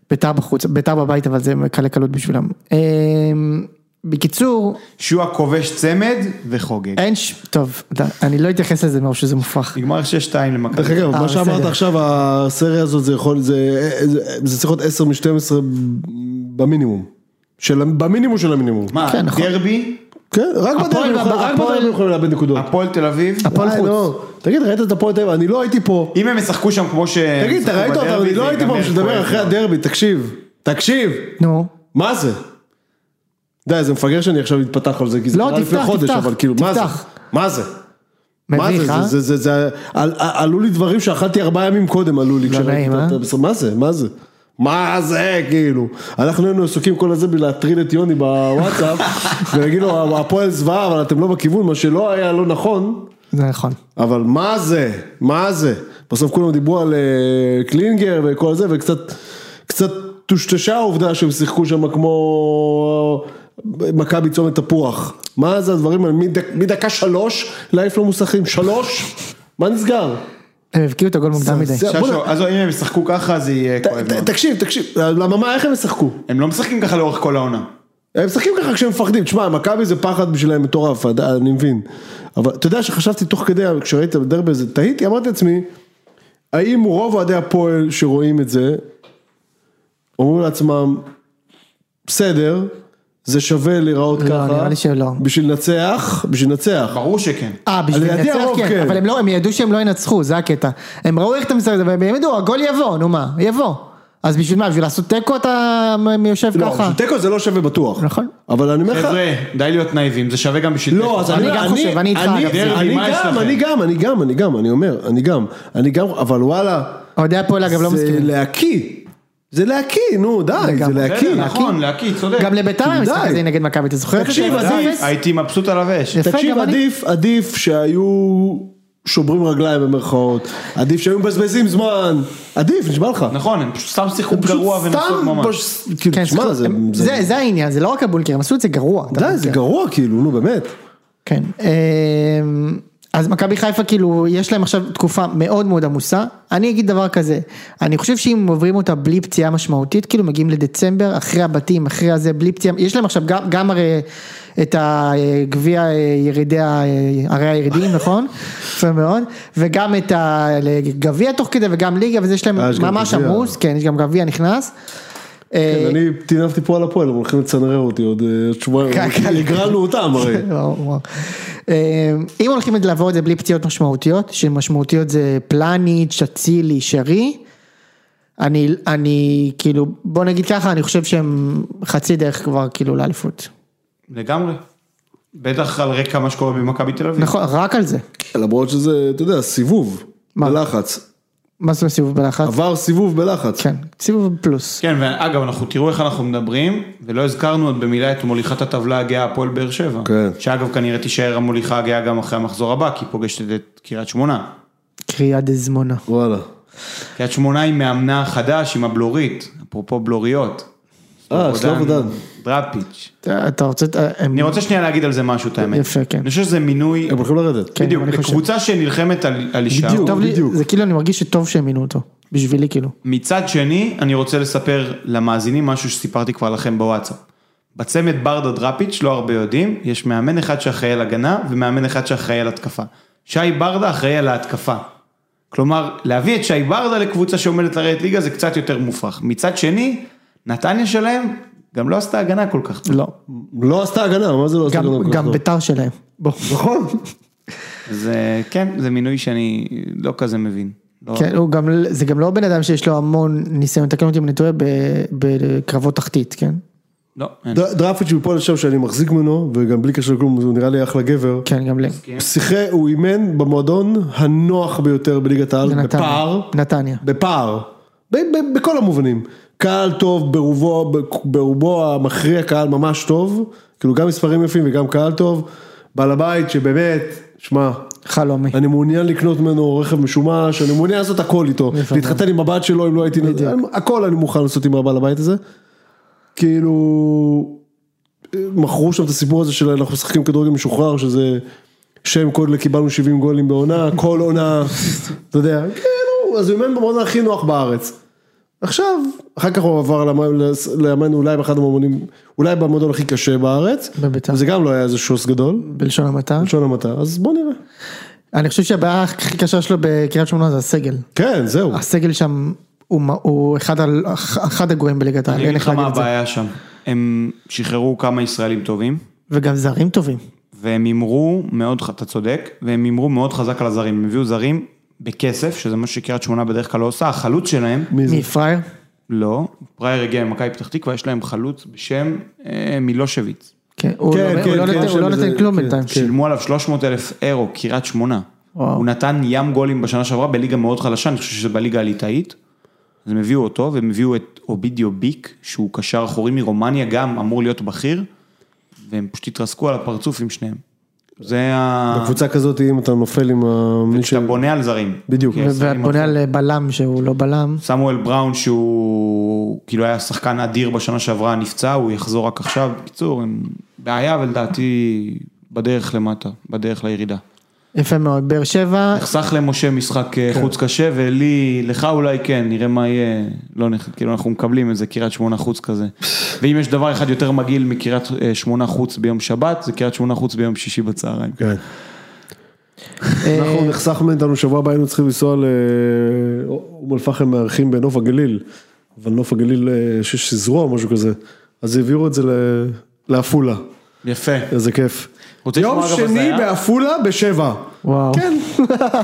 Speaker 1: ביתר בחוץ, ביתר בבית אבל זה קלה קלות בשבילם. אה,
Speaker 3: אמ,
Speaker 1: בקיצור,
Speaker 2: שועה כובש צמד וחוגג.
Speaker 1: אין ש... טוב, ד- אני לא אתייחס לזה מרוב שזה מופרך.
Speaker 2: נגמר 6-2 למכבי.
Speaker 3: דרך אגב,
Speaker 1: אה,
Speaker 3: מה שאמרת
Speaker 1: בסדר.
Speaker 3: עכשיו, הסריה הזאת זה יכול, זה זה- זה צריך להיות 10 מ-12 במינימום. של- במינימום של המינימום.
Speaker 2: מה,
Speaker 1: כן, נכון.
Speaker 2: דרבי,
Speaker 3: כן, רק
Speaker 1: הפועל
Speaker 3: בדרבי
Speaker 1: והב-
Speaker 3: יכולים- רק
Speaker 1: הפועל-
Speaker 3: בדרבי יכולים לאבד נקודות.
Speaker 2: הפועל תל אביב.
Speaker 1: הפועל
Speaker 3: די,
Speaker 1: חוץ.
Speaker 3: נו. תגיד, ראית את הפועל תל אביב? אני לא הייתי פה.
Speaker 2: אם הם ישחקו שם כמו ש...
Speaker 1: כן,
Speaker 3: תגיד, אתה
Speaker 2: ישחקו
Speaker 3: ראית אותם?
Speaker 2: בדרבי,
Speaker 3: אני
Speaker 2: זה
Speaker 3: לא הייתי פה
Speaker 2: ייגמר
Speaker 3: בשביל לדבר
Speaker 2: כואב.
Speaker 3: אחרי הדרבי, תקשיב. תקשיב.
Speaker 1: נו,
Speaker 3: מה זה? די, זה מפגר שאני עכשיו מתפתח על זה, כי זה
Speaker 1: לא,
Speaker 3: קרה לפני
Speaker 1: תפתח,
Speaker 3: חודש,
Speaker 1: תפתח,
Speaker 3: אבל כאילו, מה זה?
Speaker 1: תפתח.
Speaker 3: מה זה? מה זה,
Speaker 1: מביך, אה?
Speaker 3: זה, זה, זה, זה, על- על- עלו לי דברים שאכלתי ארבעה ימים קודם, עלו לי, כשראיתי
Speaker 1: נעים,
Speaker 3: את
Speaker 1: אה?
Speaker 3: הבשר. מה זה, מה זה? מה זה, כאילו, אנחנו היינו עסוקים כל הזה בלהטריד את יוני
Speaker 1: [laughs]
Speaker 3: בוואטסאפ, ולהגיד לו, הפועל זוועה, אבל אתם לא בכיוון, מה שלא היה לא נכון,
Speaker 1: זה נכון.
Speaker 3: אבל מה זה? מה זה? בסוף כולם דיברו על אה, קלינגר וכל זה, וקצת קצת טושטשה העובדה שהם שיחקו שם כמו אה, מכבי צומת תפוח. מה זה הדברים האלה? מדק- מדקה שלוש להעיף לו מוסכים. שלוש? מה נסגר?
Speaker 1: הם הבקיעו את הגול מוקדם מדי.
Speaker 3: זה- בוא
Speaker 2: ששו, אז אם הם ישחקו ככה זה יהיה
Speaker 3: ת-
Speaker 2: כואב
Speaker 3: ת-
Speaker 2: מאוד.
Speaker 3: תקשיב, תקשיב, למה מה, איך הם ישחקו?
Speaker 2: הם לא משחקים ככה לאורך כל העונה.
Speaker 3: הם משחקים ככה כשהם מפחדים, תשמע, מכבי זה פחד בשבילהם מטורף, עד- אני מבין. אבל אתה יודע שחשבתי תוך כדי, כשראיתי את הדרבי הזה, תהיתי, אמרתי לעצמי, האם רוב אוהדי הפועל שרואים את זה, אומרים לעצמם, בסדר, זה שווה להיראות
Speaker 1: לא,
Speaker 3: ככה,
Speaker 1: נראה לי שלא.
Speaker 3: בשביל לנצח, בשביל לנצח.
Speaker 2: ברור שכן.
Speaker 1: אה, בשביל
Speaker 3: לדעתי
Speaker 1: לנצח
Speaker 3: הרוב כן.
Speaker 1: כן, אבל הם לא, הם ידעו שהם לא ינצחו, זה הקטע. הם ראו איך אתה מסתכל, והם ידעו, הגול יבוא, נו מה, יבוא. אז בשביל מה, בשביל לעשות תיקו אתה מ- יושב
Speaker 3: לא,
Speaker 1: ככה?
Speaker 3: בשביל תיקו זה לא שווה בטוח.
Speaker 1: נכון.
Speaker 3: אבל אני אומר לך...
Speaker 2: חבר'ה, די להיות נאיבים, זה שווה גם בשביל...
Speaker 3: אה, לא,
Speaker 2: תיקו.
Speaker 3: אז
Speaker 1: אני
Speaker 3: אני
Speaker 1: גם חושב, אני איתך, אגב,
Speaker 3: אני,
Speaker 1: זה-
Speaker 3: אני,
Speaker 2: מה יש
Speaker 3: גם,
Speaker 2: לכם?
Speaker 3: אני גם, אני גם, אני גם, אני אומר, אני גם, אני גם, אבל וואלה,
Speaker 1: אוהדי הפועל אגב לא
Speaker 3: זה
Speaker 1: מסכימים.
Speaker 3: להקיא, זה להקיא, נו די, זה
Speaker 1: לגמרי.
Speaker 3: להקיא.
Speaker 2: בסדר, נכון, להקיא, צודק.
Speaker 1: גם לביתר היה משחק
Speaker 3: די.
Speaker 1: הזה נגד מכבי, אתה זוכר? את זה?
Speaker 3: תקשיב,
Speaker 1: זה
Speaker 3: עדיף.
Speaker 1: אפס?
Speaker 2: הייתי מבסוט על הוושט.
Speaker 1: יפה,
Speaker 3: תקשיב,
Speaker 1: גם אני.
Speaker 3: עדיף, עדיף שהיו שוברים רגליים במרכאות, עדיף שהיו מבזבזים זמן, עדיף, נשבע לך.
Speaker 2: נכון, הם פשוט סתם שיחקו
Speaker 3: הם פשוט
Speaker 2: גרוע ונסו
Speaker 3: סתם,
Speaker 2: כמו ממש.
Speaker 3: בש- כאילו,
Speaker 1: כן,
Speaker 3: תשמע,
Speaker 1: סליחה,
Speaker 3: זה,
Speaker 1: הם-
Speaker 3: זה-
Speaker 1: זה- זה העניין, זה לא רק הבונקר, הם עשו את זה כן. גרוע. את
Speaker 3: די, זה
Speaker 1: הבונקר.
Speaker 3: גרוע כאילו, נו באמת.
Speaker 1: כן. אמ, אז מכבי חיפה כאילו יש להם עכשיו תקופה מאוד מאוד עמוסה, אני אגיד דבר כזה, אני חושב שאם עוברים אותה בלי פציעה משמעותית, כאילו מגיעים לדצמבר, אחרי הבתים, אחרי הזה, בלי פציעה, יש להם עכשיו גם, גם הרי את הגביע אה, ירידי, ה- אה, הרי
Speaker 3: [laughs]
Speaker 1: הירידים, נכון? יפה מאוד, וגם את הגביע תוך כדי וגם ליגה, וזה יש להם
Speaker 3: אה, יש גם
Speaker 1: ממש
Speaker 3: גביע.
Speaker 1: עמוס, כן, יש גם גביע נכנס.
Speaker 3: כן,
Speaker 1: אה,
Speaker 3: אני טינפתי פה על הפועל, הם הולכים לצנרר אותי עוד אה, עוד שבועיים,
Speaker 1: כן, כן.
Speaker 3: הגרלנו אותם
Speaker 1: [laughs]
Speaker 3: הרי.
Speaker 1: וואו, וואו. לא, אמ, אם הולכים לעבור את זה בלי פציעות משמעותיות, שמשמעותיות זה פלניץ', אצילי, שרי, אני, אני כאילו, בוא נגיד ככה, אני חושב שהם חצי דרך כבר כאילו לאליפות.
Speaker 2: לגמרי. בטח על רקע מה שקורה במכבי תל אביב.
Speaker 1: נכון, רק על זה.
Speaker 3: למרות שזה, אתה יודע, סיבוב,
Speaker 1: מה?
Speaker 3: בלחץ.
Speaker 1: מה זאת אומרת סיבוב בלחץ?
Speaker 3: עבר סיבוב בלחץ.
Speaker 1: כן, סיבוב פלוס.
Speaker 2: כן, ואגב, אנחנו תראו איך אנחנו מדברים, ולא הזכרנו עוד במילה את מוליכת הטבלה הגאה הפועל באר שבע.
Speaker 3: כן.
Speaker 2: שאגב, כנראה תישאר המוליכה הגאה גם אחרי המחזור הבא, כי היא פוגשת את קריית שמונה.
Speaker 1: קריאה דזמונה.
Speaker 3: וואלה.
Speaker 2: קריית שמונה היא מאמנה החדש עם הבלורית, אפרופו בלוריות.
Speaker 3: אה, סלובודן.
Speaker 2: דראפיץ'.
Speaker 1: אתה אתה רוצה... את ה- הם-
Speaker 2: אני רוצה שנייה להגיד על זה משהו, את האמת.
Speaker 1: יפה, כן.
Speaker 2: אני חושב שזה מינוי,
Speaker 3: הם הולכים לרדת.
Speaker 1: כן,
Speaker 2: בדיוק,
Speaker 1: אני חושב.
Speaker 2: לקבוצה שנלחמת על על הישארות.
Speaker 1: טוב לי,
Speaker 3: בדיוק.
Speaker 1: זה כאילו אני מרגיש שטוב שהם מינו אותו. בשבילי כאילו.
Speaker 2: מצד שני, אני רוצה לספר למאזינים משהו שסיפרתי כבר לכם בוואטסאפ. בצמד ברדה דראפיץ', לא הרבה יודעים, יש מאמן אחד שאחראי על הגנה ומאמן אחד שאחראי על התקפה. שי ברדה אחראי על ההתקפה. כלומר, להביא את שי ברדה לקבוצה שעומדת לרדת ליגה זה קצת יותר מופרך. מצד שני, נתניה שלהם גם לא עשתה הגנה כל כך טוב.
Speaker 1: לא.
Speaker 3: לא עשתה הגנה, מה זה לא עשתה
Speaker 1: גם,
Speaker 3: הגנה? כל כך
Speaker 1: גם
Speaker 3: טוב?
Speaker 1: ביתר שלהם. בוא.
Speaker 3: נכון.
Speaker 2: זה, כן, זה מינוי שאני לא כזה מבין. לא.
Speaker 1: כן,
Speaker 3: אוקיי.
Speaker 1: הוא גם, זה גם לא בן אדם שיש לו המון ניסיון, תקן אותי אם אני טועה, ב- בקרבות תחתית, כן?
Speaker 2: לא, אין.
Speaker 3: ד- דראפיץ' מפה לשם שאני מחזיק ממנו, וגם בלי קשר לכלום, הוא נראה לי אחלה גבר.
Speaker 1: כן, גם לי.
Speaker 3: שיחק, הוא אימן במועדון הנוח ביותר בליגת העל,
Speaker 1: לנתניה.
Speaker 3: בפער,
Speaker 1: נתניה.
Speaker 3: בפער, ב- ב- בכל המובנים. קהל טוב, ברובו, ב- ברובו המכריע קהל ממש טוב, כאילו גם מספרים יפים וגם קהל טוב. בעל הבית שבאמת, שמע,
Speaker 1: חלומי.
Speaker 3: אני מעוניין לקנות ממנו רכב משומש, אני מעוניין לעשות הכל איתו,
Speaker 1: יפה מאוד.
Speaker 3: להתחתן עם הבת שלו אם לא הייתי, אני- הכל אני מוכן לעשות עם הבעל הבית הזה. כאילו, מכרו שם את הסיפור הזה של אנחנו משחקים כדורגל משוחרר, שזה שם קוד לקיבלנו 70 גולים בעונה, כל עונה, אתה יודע, כאילו, אז הוא אימן במועדון הכי נוח בארץ. עכשיו, אחר כך הוא עבר לאמן- לאמן אולי באחד המועדונים, אולי במועדון הכי קשה בארץ,
Speaker 1: בביתר.
Speaker 3: זה גם לא היה איזה שוס גדול,
Speaker 1: בלשון המעטה.
Speaker 3: בלשון המעטה, אז בוא נראה.
Speaker 1: אני חושב שהבעיה הכי קשה שלו בקריית שמונה זה הסגל.
Speaker 3: כן, זהו.
Speaker 1: הסגל שם הוא מ- הוא אחד על- אח- אחד הגרועים בליגת העל,
Speaker 2: אני
Speaker 1: אין
Speaker 2: אגיד
Speaker 1: איך
Speaker 2: לך
Speaker 1: להגיד
Speaker 2: מה
Speaker 1: את זה.
Speaker 2: הבעיה שם. הם שחררו כמה ישראלים טובים.
Speaker 1: וגם זרים טובים.
Speaker 2: והם הימרו מאוד, ח- אתה צודק, והם הימרו מאוד חזק על הזרים, הם הביאו זרים בכסף, שזה מה שקריית שמונה בדרך כלל לא עושה, החלוץ שלהם,
Speaker 3: מי זה?
Speaker 1: מי פרייר?
Speaker 2: לא, פרייר הגיע ממכבי פתח תקווה, יש להם חלוץ בשם אה, מילושביץ,
Speaker 1: כן, הוא
Speaker 3: כן,
Speaker 1: לא-
Speaker 3: כן,
Speaker 1: הוא לא
Speaker 3: כן,
Speaker 1: נותן-
Speaker 3: שם
Speaker 1: הוא לא
Speaker 3: איזה-
Speaker 1: נותן כלום
Speaker 3: כן.
Speaker 1: בינתיים.
Speaker 2: שילמו עליו 300 אלף אירו, קריית שמונה,
Speaker 1: וואו.
Speaker 2: הוא נתן ים גולים בשנה שעברה בליגה מאוד חלשה, אני חושב שזה בליגה הליטאית. אז הם הביאו אותו, והם הביאו את אובידיו ביק, שהוא קשר אחורי מרומניה, גם אמור להיות בכיר, והם פשוט התרסקו על הפרצוף עם שניהם. זה ה...
Speaker 3: בקבוצה כזאת, אם אתה נופל עם ה- מי ש...
Speaker 2: כשאתה בונה על זרים.
Speaker 3: בדיוק.
Speaker 2: כן, שמים
Speaker 1: ובונה על בלם שהוא לא בלם.
Speaker 2: סמואל בראון שהוא כאילו היה שחקן אדיר בשנה שעברה נפצע, הוא יחזור רק עכשיו. בקיצור, הם בעיה ולדעתי בדרך למטה, בדרך לירידה.
Speaker 1: יפה מאוד. באר שבע,
Speaker 3: נכון.
Speaker 2: נחסך למשה משחק
Speaker 3: כן.
Speaker 2: אה, חוץ קשה ולי, לך אולי כן, נראה מה יהיה. לא נכ... כאילו אנחנו מקבלים איזה קריית שמונה חוץ כזה. ואם יש דבר אחד יותר מגעיל מקריית אה, שמונה חוץ ביום שבת, זה קריית שמונה חוץ ביום שישי בצהריים.
Speaker 3: כן.
Speaker 1: אה,
Speaker 3: אנחנו נחסך מאיתנו, שבוע הבא היינו צריכים לנסוע לאום אל פחם מארחים בנוף הגליל, אבל נוף הגליל, אה, שיש זרוע או משהו כזה, אז העבירו את זה ל- לעפולה,
Speaker 2: יפה.
Speaker 3: איזה כיף.
Speaker 2: רוצה
Speaker 3: יום
Speaker 2: לשמוע, אגב,
Speaker 3: שני
Speaker 2: הזיה?
Speaker 3: בעפולה בשבע.
Speaker 1: וואו.
Speaker 2: [laughs]
Speaker 3: כן,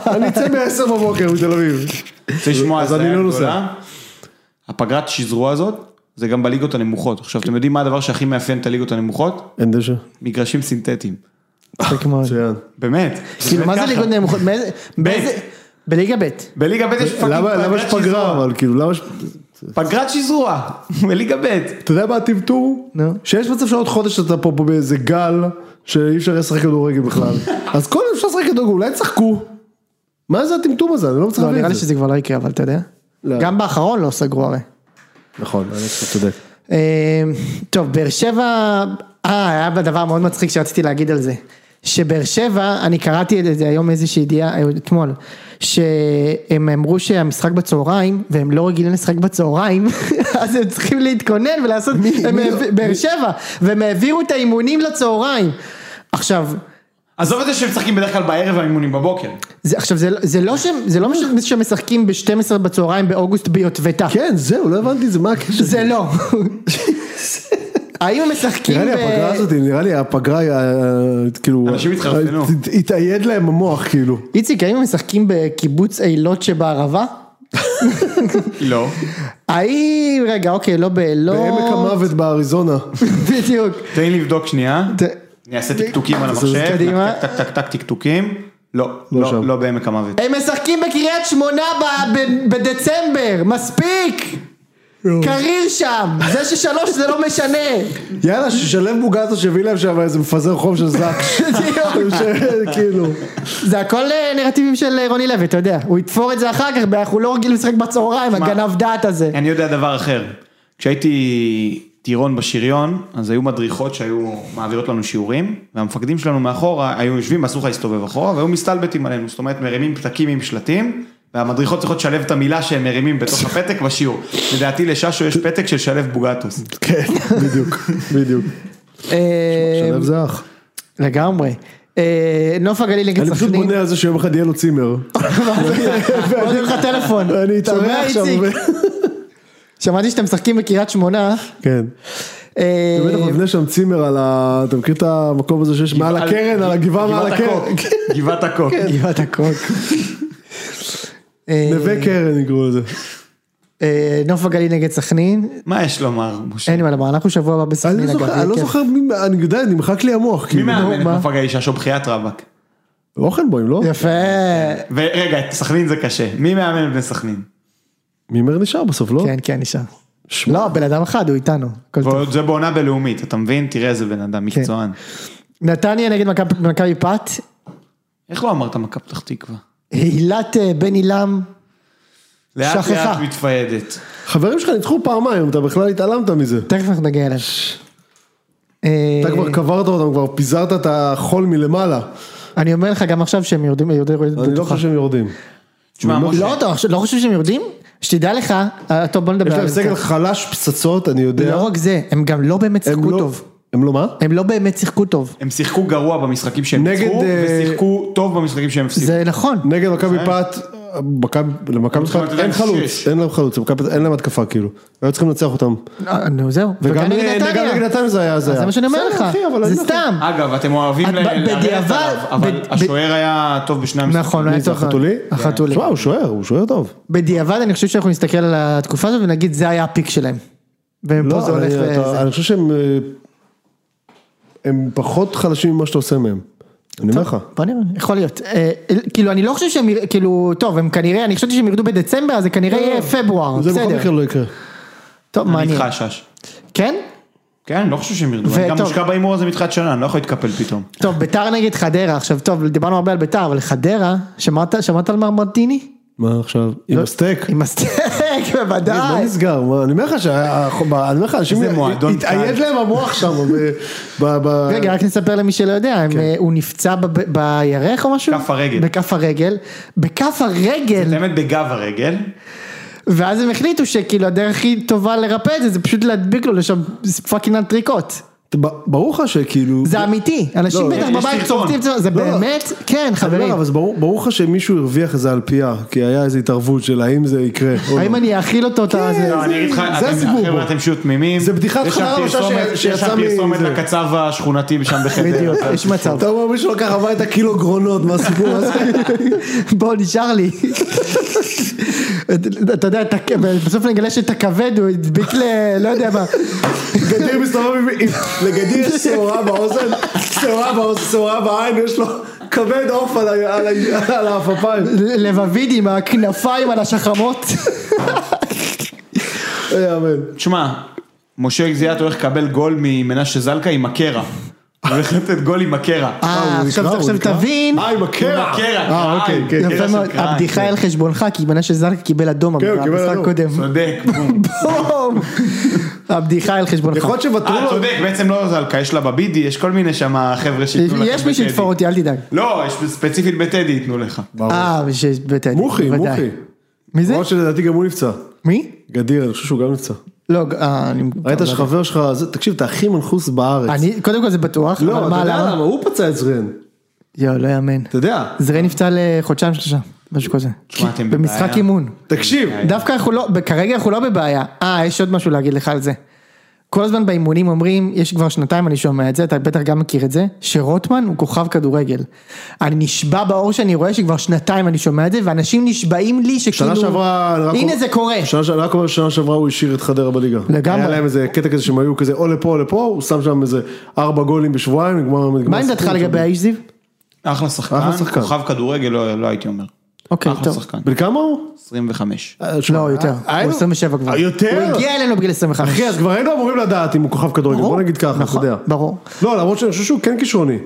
Speaker 3: אני אצא ב-10 בבוקר מתל אביב.
Speaker 2: רוצה לשמוע
Speaker 3: אז אני
Speaker 2: הזיה
Speaker 3: לא נוסע.
Speaker 2: גדולה? הפגרת שזרוע הזאת, זה גם בליגות הנמוכות. עכשיו, אתם יודעים מה הדבר שהכי מאפיין את הליגות הנמוכות?
Speaker 3: אין דשא.
Speaker 2: מגרשים סינתטיים.
Speaker 1: מצחיק מאוד.
Speaker 3: מצוין.
Speaker 2: באמת.
Speaker 1: כאילו מה זה
Speaker 2: ככה.
Speaker 1: ליגות נמוכות? מאיזה- באיזה- בליגה ב'.
Speaker 2: בליגה ב' יש פאקינג
Speaker 3: למה למה יש
Speaker 2: פגרת
Speaker 3: פגרה
Speaker 2: שזרוע.
Speaker 3: אבל כאילו למה ש...
Speaker 2: פגרת שזרוע, בליגה ב'.
Speaker 3: אתה יודע מה הטמטום?
Speaker 1: נו.
Speaker 3: שיש מצב שעוד חודש אתה פה פה באיזה גל שאי אפשר לשחק כדורגל
Speaker 1: [laughs]
Speaker 3: בכלל. אז קודם אפשר לשחק כדורגל, אולי תשחקו. מה זה הטמטום הזה? אני לא מצליח
Speaker 1: לא, נראה
Speaker 3: להבין
Speaker 1: לי
Speaker 3: את זה.
Speaker 1: שזה כבר לא יקרה, אבל אתה יודע.
Speaker 3: לא.
Speaker 1: גם באחרון לא סגרו הרי.
Speaker 3: נכון, אני קצת צודק.
Speaker 1: אה, טוב, באר שבע, אה, היה בדבר מאוד מצחיק שרציתי להגיד על זה. שבאר שבע, אני קראתי את זה היום איזושהי ידיעה, אה, אתמול, שהם אמרו שהמשחק בצהריים, והם לא רגילים לשחק בצהריים, [laughs] אז הם צריכים להתכונן ולעשות, הם העב- באר שבע, והם העבירו את האימונים לצהריים. עכשיו,
Speaker 2: עזוב את זה שהם משחקים בדרך כלל בערב והאימונים בבוקר.
Speaker 1: זה, עכשיו זה, לא- זה לא שהם, זה לא
Speaker 3: [laughs]
Speaker 1: מש- שמשחקים ב-12 בצהריים באוגוסט ביוטבתה.
Speaker 3: כן, זהו, לא הבנתי את זה, מה הקשר?
Speaker 1: זה לא. האם הם משחקים
Speaker 3: נראה לי
Speaker 1: ב-
Speaker 3: הפגרה הזאת, נראה לי הפגרה, אה, כאילו,
Speaker 2: אנשים התחרפנו.
Speaker 3: הת- התאייד להם המוח, כאילו.
Speaker 1: איציק, האם הם משחקים בקיבוץ אילות שבערבה?
Speaker 2: לא.
Speaker 1: האם, רגע, אוקיי, לא באילות.
Speaker 3: בעמק המוות באריזונה.
Speaker 1: [laughs] בדיוק.
Speaker 2: תן לי לבדוק שנייה.
Speaker 1: ת-
Speaker 2: אני אעשה טקטוקים על
Speaker 1: זוז
Speaker 2: המחשב.
Speaker 1: קדימה.
Speaker 2: טק טק טק טק טקטוקים. לא,
Speaker 3: לא
Speaker 2: לא,
Speaker 3: שם.
Speaker 2: לא בעמק המוות.
Speaker 1: הם משחקים בקריית שמונה ב- ב- בדצמבר, מספיק! קריר שם, זה ששלוש זה לא משנה. [laughs]
Speaker 3: יאללה, שישלב בוגזו שיביא להם שם איזה מפזר חום של זק. [laughs]
Speaker 1: בדיוק.
Speaker 3: כאילו.
Speaker 1: זה הכל אה, נרטיבים של אה, רוני לוי, אתה יודע. הוא יתפור את זה אחר כך, אנחנו לא רגילים לשחק בצהריים, הגנב דעת הזה.
Speaker 2: אני יודע דבר אחר. כשהייתי טירון בשריון, אז היו מדריכות שהיו מעבירות לנו שיעורים, והמפקדים שלנו מאחורה היו יושבים, אסור לך להסתובב אחורה, והיו מסתלבטים עלינו, זאת אומרת מרימים פתקים עם שלטים, והמדריכות צריכות לשלב את המילה שהם מרימים בתוך הפתק בשיעור. לדעתי לששו יש פתק של שלב בוגטוס.
Speaker 3: כן, בדיוק, בדיוק.
Speaker 1: אה,
Speaker 3: שלב זה אח.
Speaker 1: לגמרי. אה, נוף הגליל נגד
Speaker 3: אני פשוט
Speaker 1: סכנין.
Speaker 3: בונה על זה שיום אחד יהיה לו
Speaker 1: [laughs]
Speaker 3: צימר.
Speaker 1: עונים לך טלפון.
Speaker 3: אני
Speaker 1: שומע,
Speaker 3: אתארח עכשיו.
Speaker 1: איציק? שמעתי שאתם משחקים בקריית שמונה.
Speaker 3: [laughs] כן.
Speaker 1: אה,
Speaker 3: אתה בטח מבנה שם צימר על ה... אתה מכיר את המקום הזה שיש מעל הקרן, על הגבעה מעל הקרן.
Speaker 2: הקוק. גבעת הקוק.
Speaker 1: גבעת הקוק. אה,
Speaker 3: [laughs] נווה כן. קרן יקראו לזה.
Speaker 1: אה, נוף הגליל נגד סכנין.
Speaker 2: מה יש לומר, משה?
Speaker 1: אין לי מה לומר, אנחנו שבוע הבא בסכנין.
Speaker 3: אני לא
Speaker 1: אגב,
Speaker 3: זוכר,
Speaker 1: יהיה
Speaker 3: אני לא
Speaker 1: כיף.
Speaker 3: זוכר מי, אני יודע, נמחק לי המוח.
Speaker 2: מי
Speaker 3: כאילו.
Speaker 2: מאמן נכון. את
Speaker 1: מה?
Speaker 2: נוף הגליל ששו בחיית רבאק?
Speaker 3: אוכלבוים, לא?
Speaker 1: יפה.
Speaker 2: ורגע, את סכנין זה קשה. מי מאמן את בני סכנין?
Speaker 3: מימר נשאר בסוף, לא?
Speaker 1: כן, כן, נשאר.
Speaker 3: שמע,
Speaker 1: לא, בן אדם אחד, הוא איתנו. הכל טוב.
Speaker 2: ועוד זה בעונה בלאומית, אתה מבין? תראה איזה בן אדם
Speaker 1: כן.
Speaker 2: מקצוען.
Speaker 1: נתניה נגד מכבי- מכבי פת.
Speaker 2: איך לא אמרת מכבי פתח תקווה?
Speaker 1: הילת אה, בן עילם.
Speaker 2: לאט לאט
Speaker 1: שכחה.
Speaker 2: מתפיידת.
Speaker 3: חברים שלך ניצחו פעמיים, אתה בכלל התעלמת מזה.
Speaker 1: תכף אנחנו נגיע אליו.
Speaker 3: אתה
Speaker 1: אה,
Speaker 3: כבר קברת אותם, כבר פיזרת את החול מלמעלה.
Speaker 1: אני אומר לך גם עכשיו שהם יורדים, יורדים, יורדים
Speaker 3: אני לא
Speaker 1: בטוחה.
Speaker 3: חושב שהם יורדים.
Speaker 2: תשמע, משה,
Speaker 1: לא, אתה חושב- לא חושב שהם יורדים? שתדע לך, אה, טוב בוא נדבר
Speaker 3: יש להם
Speaker 1: על זה.
Speaker 3: סגל חלש פצצות, אני יודע.
Speaker 1: לא רק זה, הם גם לא באמת
Speaker 3: הם
Speaker 1: שיחקו
Speaker 3: לא-
Speaker 1: טוב.
Speaker 3: הם לא מה?
Speaker 1: הם לא באמת שיחקו טוב.
Speaker 2: הם שיחקו גרוע במשחקים שהם
Speaker 3: נגד,
Speaker 2: ניצחו,
Speaker 3: אה,
Speaker 2: ושיחקו טוב במשחקים שהם הפסידו.
Speaker 1: זה נכון.
Speaker 3: נגד מכבי פת, מכבי- למכבי
Speaker 2: צריכים
Speaker 3: פת
Speaker 2: לתת להם
Speaker 3: אין חלוץ,
Speaker 2: שש.
Speaker 3: אין להם חלוץ, למכבי פת אין להם התקפה כאילו, היו צריכים לנצח אותם.
Speaker 1: אה, נו זהו.
Speaker 3: וגם
Speaker 1: נגד
Speaker 3: נגד-
Speaker 1: נתניה.
Speaker 3: גם נגד נתניה זה היה, זה
Speaker 1: אז
Speaker 3: היה.
Speaker 1: זה מה שאני אומר
Speaker 3: בסדר,
Speaker 1: לך,
Speaker 3: אחי, אבל
Speaker 1: זה
Speaker 3: אני לא-
Speaker 1: סתם.
Speaker 2: אגב, אתם אוהבים
Speaker 1: את-
Speaker 2: ל-
Speaker 1: ב-
Speaker 2: לרדת
Speaker 1: בדיעבד-
Speaker 2: עליו, אבל
Speaker 1: ב-
Speaker 2: השוער היה טוב בשני המשחקים.
Speaker 1: נכון, לא
Speaker 3: מי
Speaker 1: היה
Speaker 3: זה
Speaker 1: צורך.
Speaker 3: החתולי?
Speaker 1: החתולי.
Speaker 3: שמע, הוא שוער, הוא שוער טוב.
Speaker 1: בדיעבד אני חושב שאנחנו נסתכל על התקופה הזאת ונגיד זה היה הפיק שלהם. ומפה
Speaker 3: לא,
Speaker 1: זה הולך
Speaker 3: אני- אתה-
Speaker 1: לזה.
Speaker 3: אני חושב שהם אה, הם פחות חלשים ממה שאתה עושה מהם. אני אומר לך.
Speaker 1: בוא נראה, יכול להיות. אה, כאילו, אני לא חושב שהם, יר- כאילו, טוב, הם כנראה, אני חשבתי שהם ירדו בדצמבר, אז זה כנראה יהיה פברואר,
Speaker 3: לא, זה בכל
Speaker 1: בסדר.
Speaker 3: מקרה לא יקרה.
Speaker 1: טוב,
Speaker 2: אני
Speaker 1: מעניין.
Speaker 2: איתך שש.
Speaker 1: כן?
Speaker 2: כן, אני לא חושב שהם ירדו, אני גם
Speaker 1: וטוב.
Speaker 2: מושקע בהימור הזה מתחילת שנה, אני לא יכול להתקפל פתאום.
Speaker 1: טוב, ביתר נגד חדרה, עכשיו, טוב, דיברנו הרבה על ביתר, אבל חדרה, שמעת, שמעת על מר מרטיני?
Speaker 3: מה עכשיו? עם
Speaker 1: לא-
Speaker 3: הסטייק?
Speaker 1: עם הסטייק,
Speaker 3: מה
Speaker 1: בוודאי.
Speaker 3: נסגר? מה, אני אומר לך שה- ה- אני אומר לך, אנשים,
Speaker 2: איזה מועדון קל.
Speaker 3: התאייד להם המוח שם. ב- ב- ב-
Speaker 1: רגע, רק נספר למי שלא יודע, הם, אה, הוא נפצע בב- בירך או משהו?
Speaker 2: כף הרגל.
Speaker 1: בכף הרגל. בכף הרגל,
Speaker 2: באמת בגב הרגל,
Speaker 1: ואז הם החליטו שכאילו הדרך הכי טובה לרפא את זה, זה פשוט להדביק לו לשם פאקינג אנטריקוט.
Speaker 3: ב- ברור לך שכאילו...
Speaker 1: זה אמיתי, אנשים
Speaker 3: לא,
Speaker 1: בטח
Speaker 2: יש
Speaker 1: בבית
Speaker 2: סרטון.
Speaker 1: צורכים את זה, זה
Speaker 3: לא, לא.
Speaker 1: באמת, כן
Speaker 3: אני אומר,
Speaker 1: חברים,
Speaker 3: אבל זה ברור ברור לך שמישהו הרוויח איזה אלפייה, כי היה איזו התערבות של האם זה יקרה. או לא.
Speaker 1: האם אני אאכיל אותו, אתה- זה-
Speaker 2: לא, אני אגיד לך,
Speaker 3: זה
Speaker 2: אתם-
Speaker 3: הסיפור
Speaker 2: חבר'ה,
Speaker 3: פה.
Speaker 2: אתם פשוט תמימים,
Speaker 3: זה בדיחת
Speaker 2: יש
Speaker 3: חלל
Speaker 2: שם
Speaker 3: למשל
Speaker 2: פרסומת-
Speaker 3: ש-
Speaker 2: יש
Speaker 3: שיצא
Speaker 2: שם פרסומת
Speaker 3: מזה.
Speaker 2: לקצב השכונתי שם בחדר,
Speaker 1: בדיוק, יש מצב,
Speaker 3: אתה אומר מישהו לקח הביתה קילו גרונות, מה הסיפור הזה?
Speaker 1: בוא נשאר לי, אתה יודע, את הכ- בסוף נגלה שאת הכבד הוא הדביק ל... לא יודע מה,
Speaker 3: גדיר מסתובב עם... עם- לגדיר יש שעורה באוזן, שעורה באוזן, שעורה בעין, יש לו כבד עוף על ה- על ה- על העפפיים.
Speaker 1: לבביד עם הכנפיים על השחמות,
Speaker 3: לא יאמן.
Speaker 2: תשמע, משה גזיאת הולך לקבל גול ממנשה זלקה עם הקרע, הוא הולך לתת גול עם הקרע,
Speaker 1: אה,
Speaker 3: הוא
Speaker 1: עכשיו
Speaker 3: נקרע, הוא
Speaker 1: עכשיו
Speaker 3: נקרע?
Speaker 1: תבין,
Speaker 3: אה, עם הקרע.
Speaker 2: עם הקרע,
Speaker 3: אה, אוקיי, כן.
Speaker 2: קרע
Speaker 1: יפה
Speaker 2: של
Speaker 1: מאוד,
Speaker 2: קריים,
Speaker 1: הבדיחה
Speaker 2: כן.
Speaker 1: היא על חשבונך, כי מנשה זרקה קיבל אדום
Speaker 3: כן, הוא קיבל
Speaker 1: במשחק
Speaker 3: אדום.
Speaker 1: קודם,
Speaker 3: [laughs]
Speaker 2: צודק, בום.
Speaker 1: בום. הבדיחה היא על חשבונך,
Speaker 3: יכול להיות שוותרו
Speaker 2: אה,
Speaker 3: לו.
Speaker 2: צודק, בעצם לא זלקה, יש לה בבידי, יש כל מיני שם חבר'ה שייתנו לך
Speaker 1: יש מי
Speaker 2: בטדי.
Speaker 1: שיתפור אותי, אל תדאג,
Speaker 2: לא, יש ספציפית בטדי ייתנו לך.
Speaker 1: אה, שיש- בטדי,
Speaker 3: מוחי,
Speaker 1: בוודאי.
Speaker 3: מוחי.
Speaker 1: מי זה?
Speaker 3: למרות שלדעתי גם הוא נפצע.
Speaker 1: מי?
Speaker 3: גדיר, אני חושב שהוא גם נפצע.
Speaker 1: לא, אה, אני...
Speaker 3: ראית שחבר שלך, זה- תקשיב, אתה הכי מנחוס בארץ.
Speaker 1: אני, קודם כל זה בטוח,
Speaker 3: לא,
Speaker 1: אבל
Speaker 3: אתה
Speaker 1: מה,
Speaker 3: יודע למה?
Speaker 1: למה?
Speaker 3: הוא פצע את זרן.
Speaker 1: יואו, לא יאמן.
Speaker 3: אתה יודע.
Speaker 1: זרי נפצע לחודשיים שלושה, משהו כזה.
Speaker 2: תשמע, אתם
Speaker 1: במשחק
Speaker 2: בבעיה.
Speaker 1: אימון.
Speaker 3: תקשיב.
Speaker 1: דווקא אנחנו לא, כרגע אנחנו לא בבעיה. אה, יש עוד משהו להגיד לך על זה. כל הזמן באימונים אומרים, יש כבר שנתיים אני שומע את זה, אתה בטח גם מכיר את זה, שרוטמן הוא כוכב כדורגל. אני נשבע באור שאני רואה שכבר שנתיים אני שומע את זה, ואנשים נשבעים לי שכאילו,
Speaker 3: שנה שעברה, אני רק
Speaker 1: כאילו, הנה
Speaker 3: אומר-
Speaker 1: זה קורה.
Speaker 3: שנה שעברה, רק אומר שנה שעברה הוא השאיר את חדרה בליגה.
Speaker 1: לגמרי.
Speaker 3: היה להם איזה קטע כזה שהם היו כזה או לפה או לפה, הוא שם שם איזה ארבע גולים בשבועיים, נגמר... נגמר
Speaker 1: מה עמדתך
Speaker 3: הסיפור
Speaker 1: לגבי
Speaker 3: שם.
Speaker 1: האיש זיו?
Speaker 2: אחלה שחקן,
Speaker 3: אחלה שחקן.
Speaker 2: כוכב כדורגל, לא לא הייתי אומר.
Speaker 1: אוקיי,
Speaker 3: אה,
Speaker 2: אחלה
Speaker 1: טוב.
Speaker 2: שחקן.
Speaker 3: בן כמה הוא?
Speaker 2: 25.
Speaker 1: לא, הוא יותר, הוא 27 כבר.
Speaker 3: אה, יותר?
Speaker 1: הוא הגיע אלינו בגיל 25.
Speaker 3: אחי, אז כבר היינו אמורים לדעת אם הוא כוכב כדורגל,
Speaker 1: ברור.
Speaker 3: בוא נגיד ככה, אתה
Speaker 1: נכון,
Speaker 3: יודע.
Speaker 1: ברור.
Speaker 3: לא, למרות שאני חושב שהוא כן כישרוני.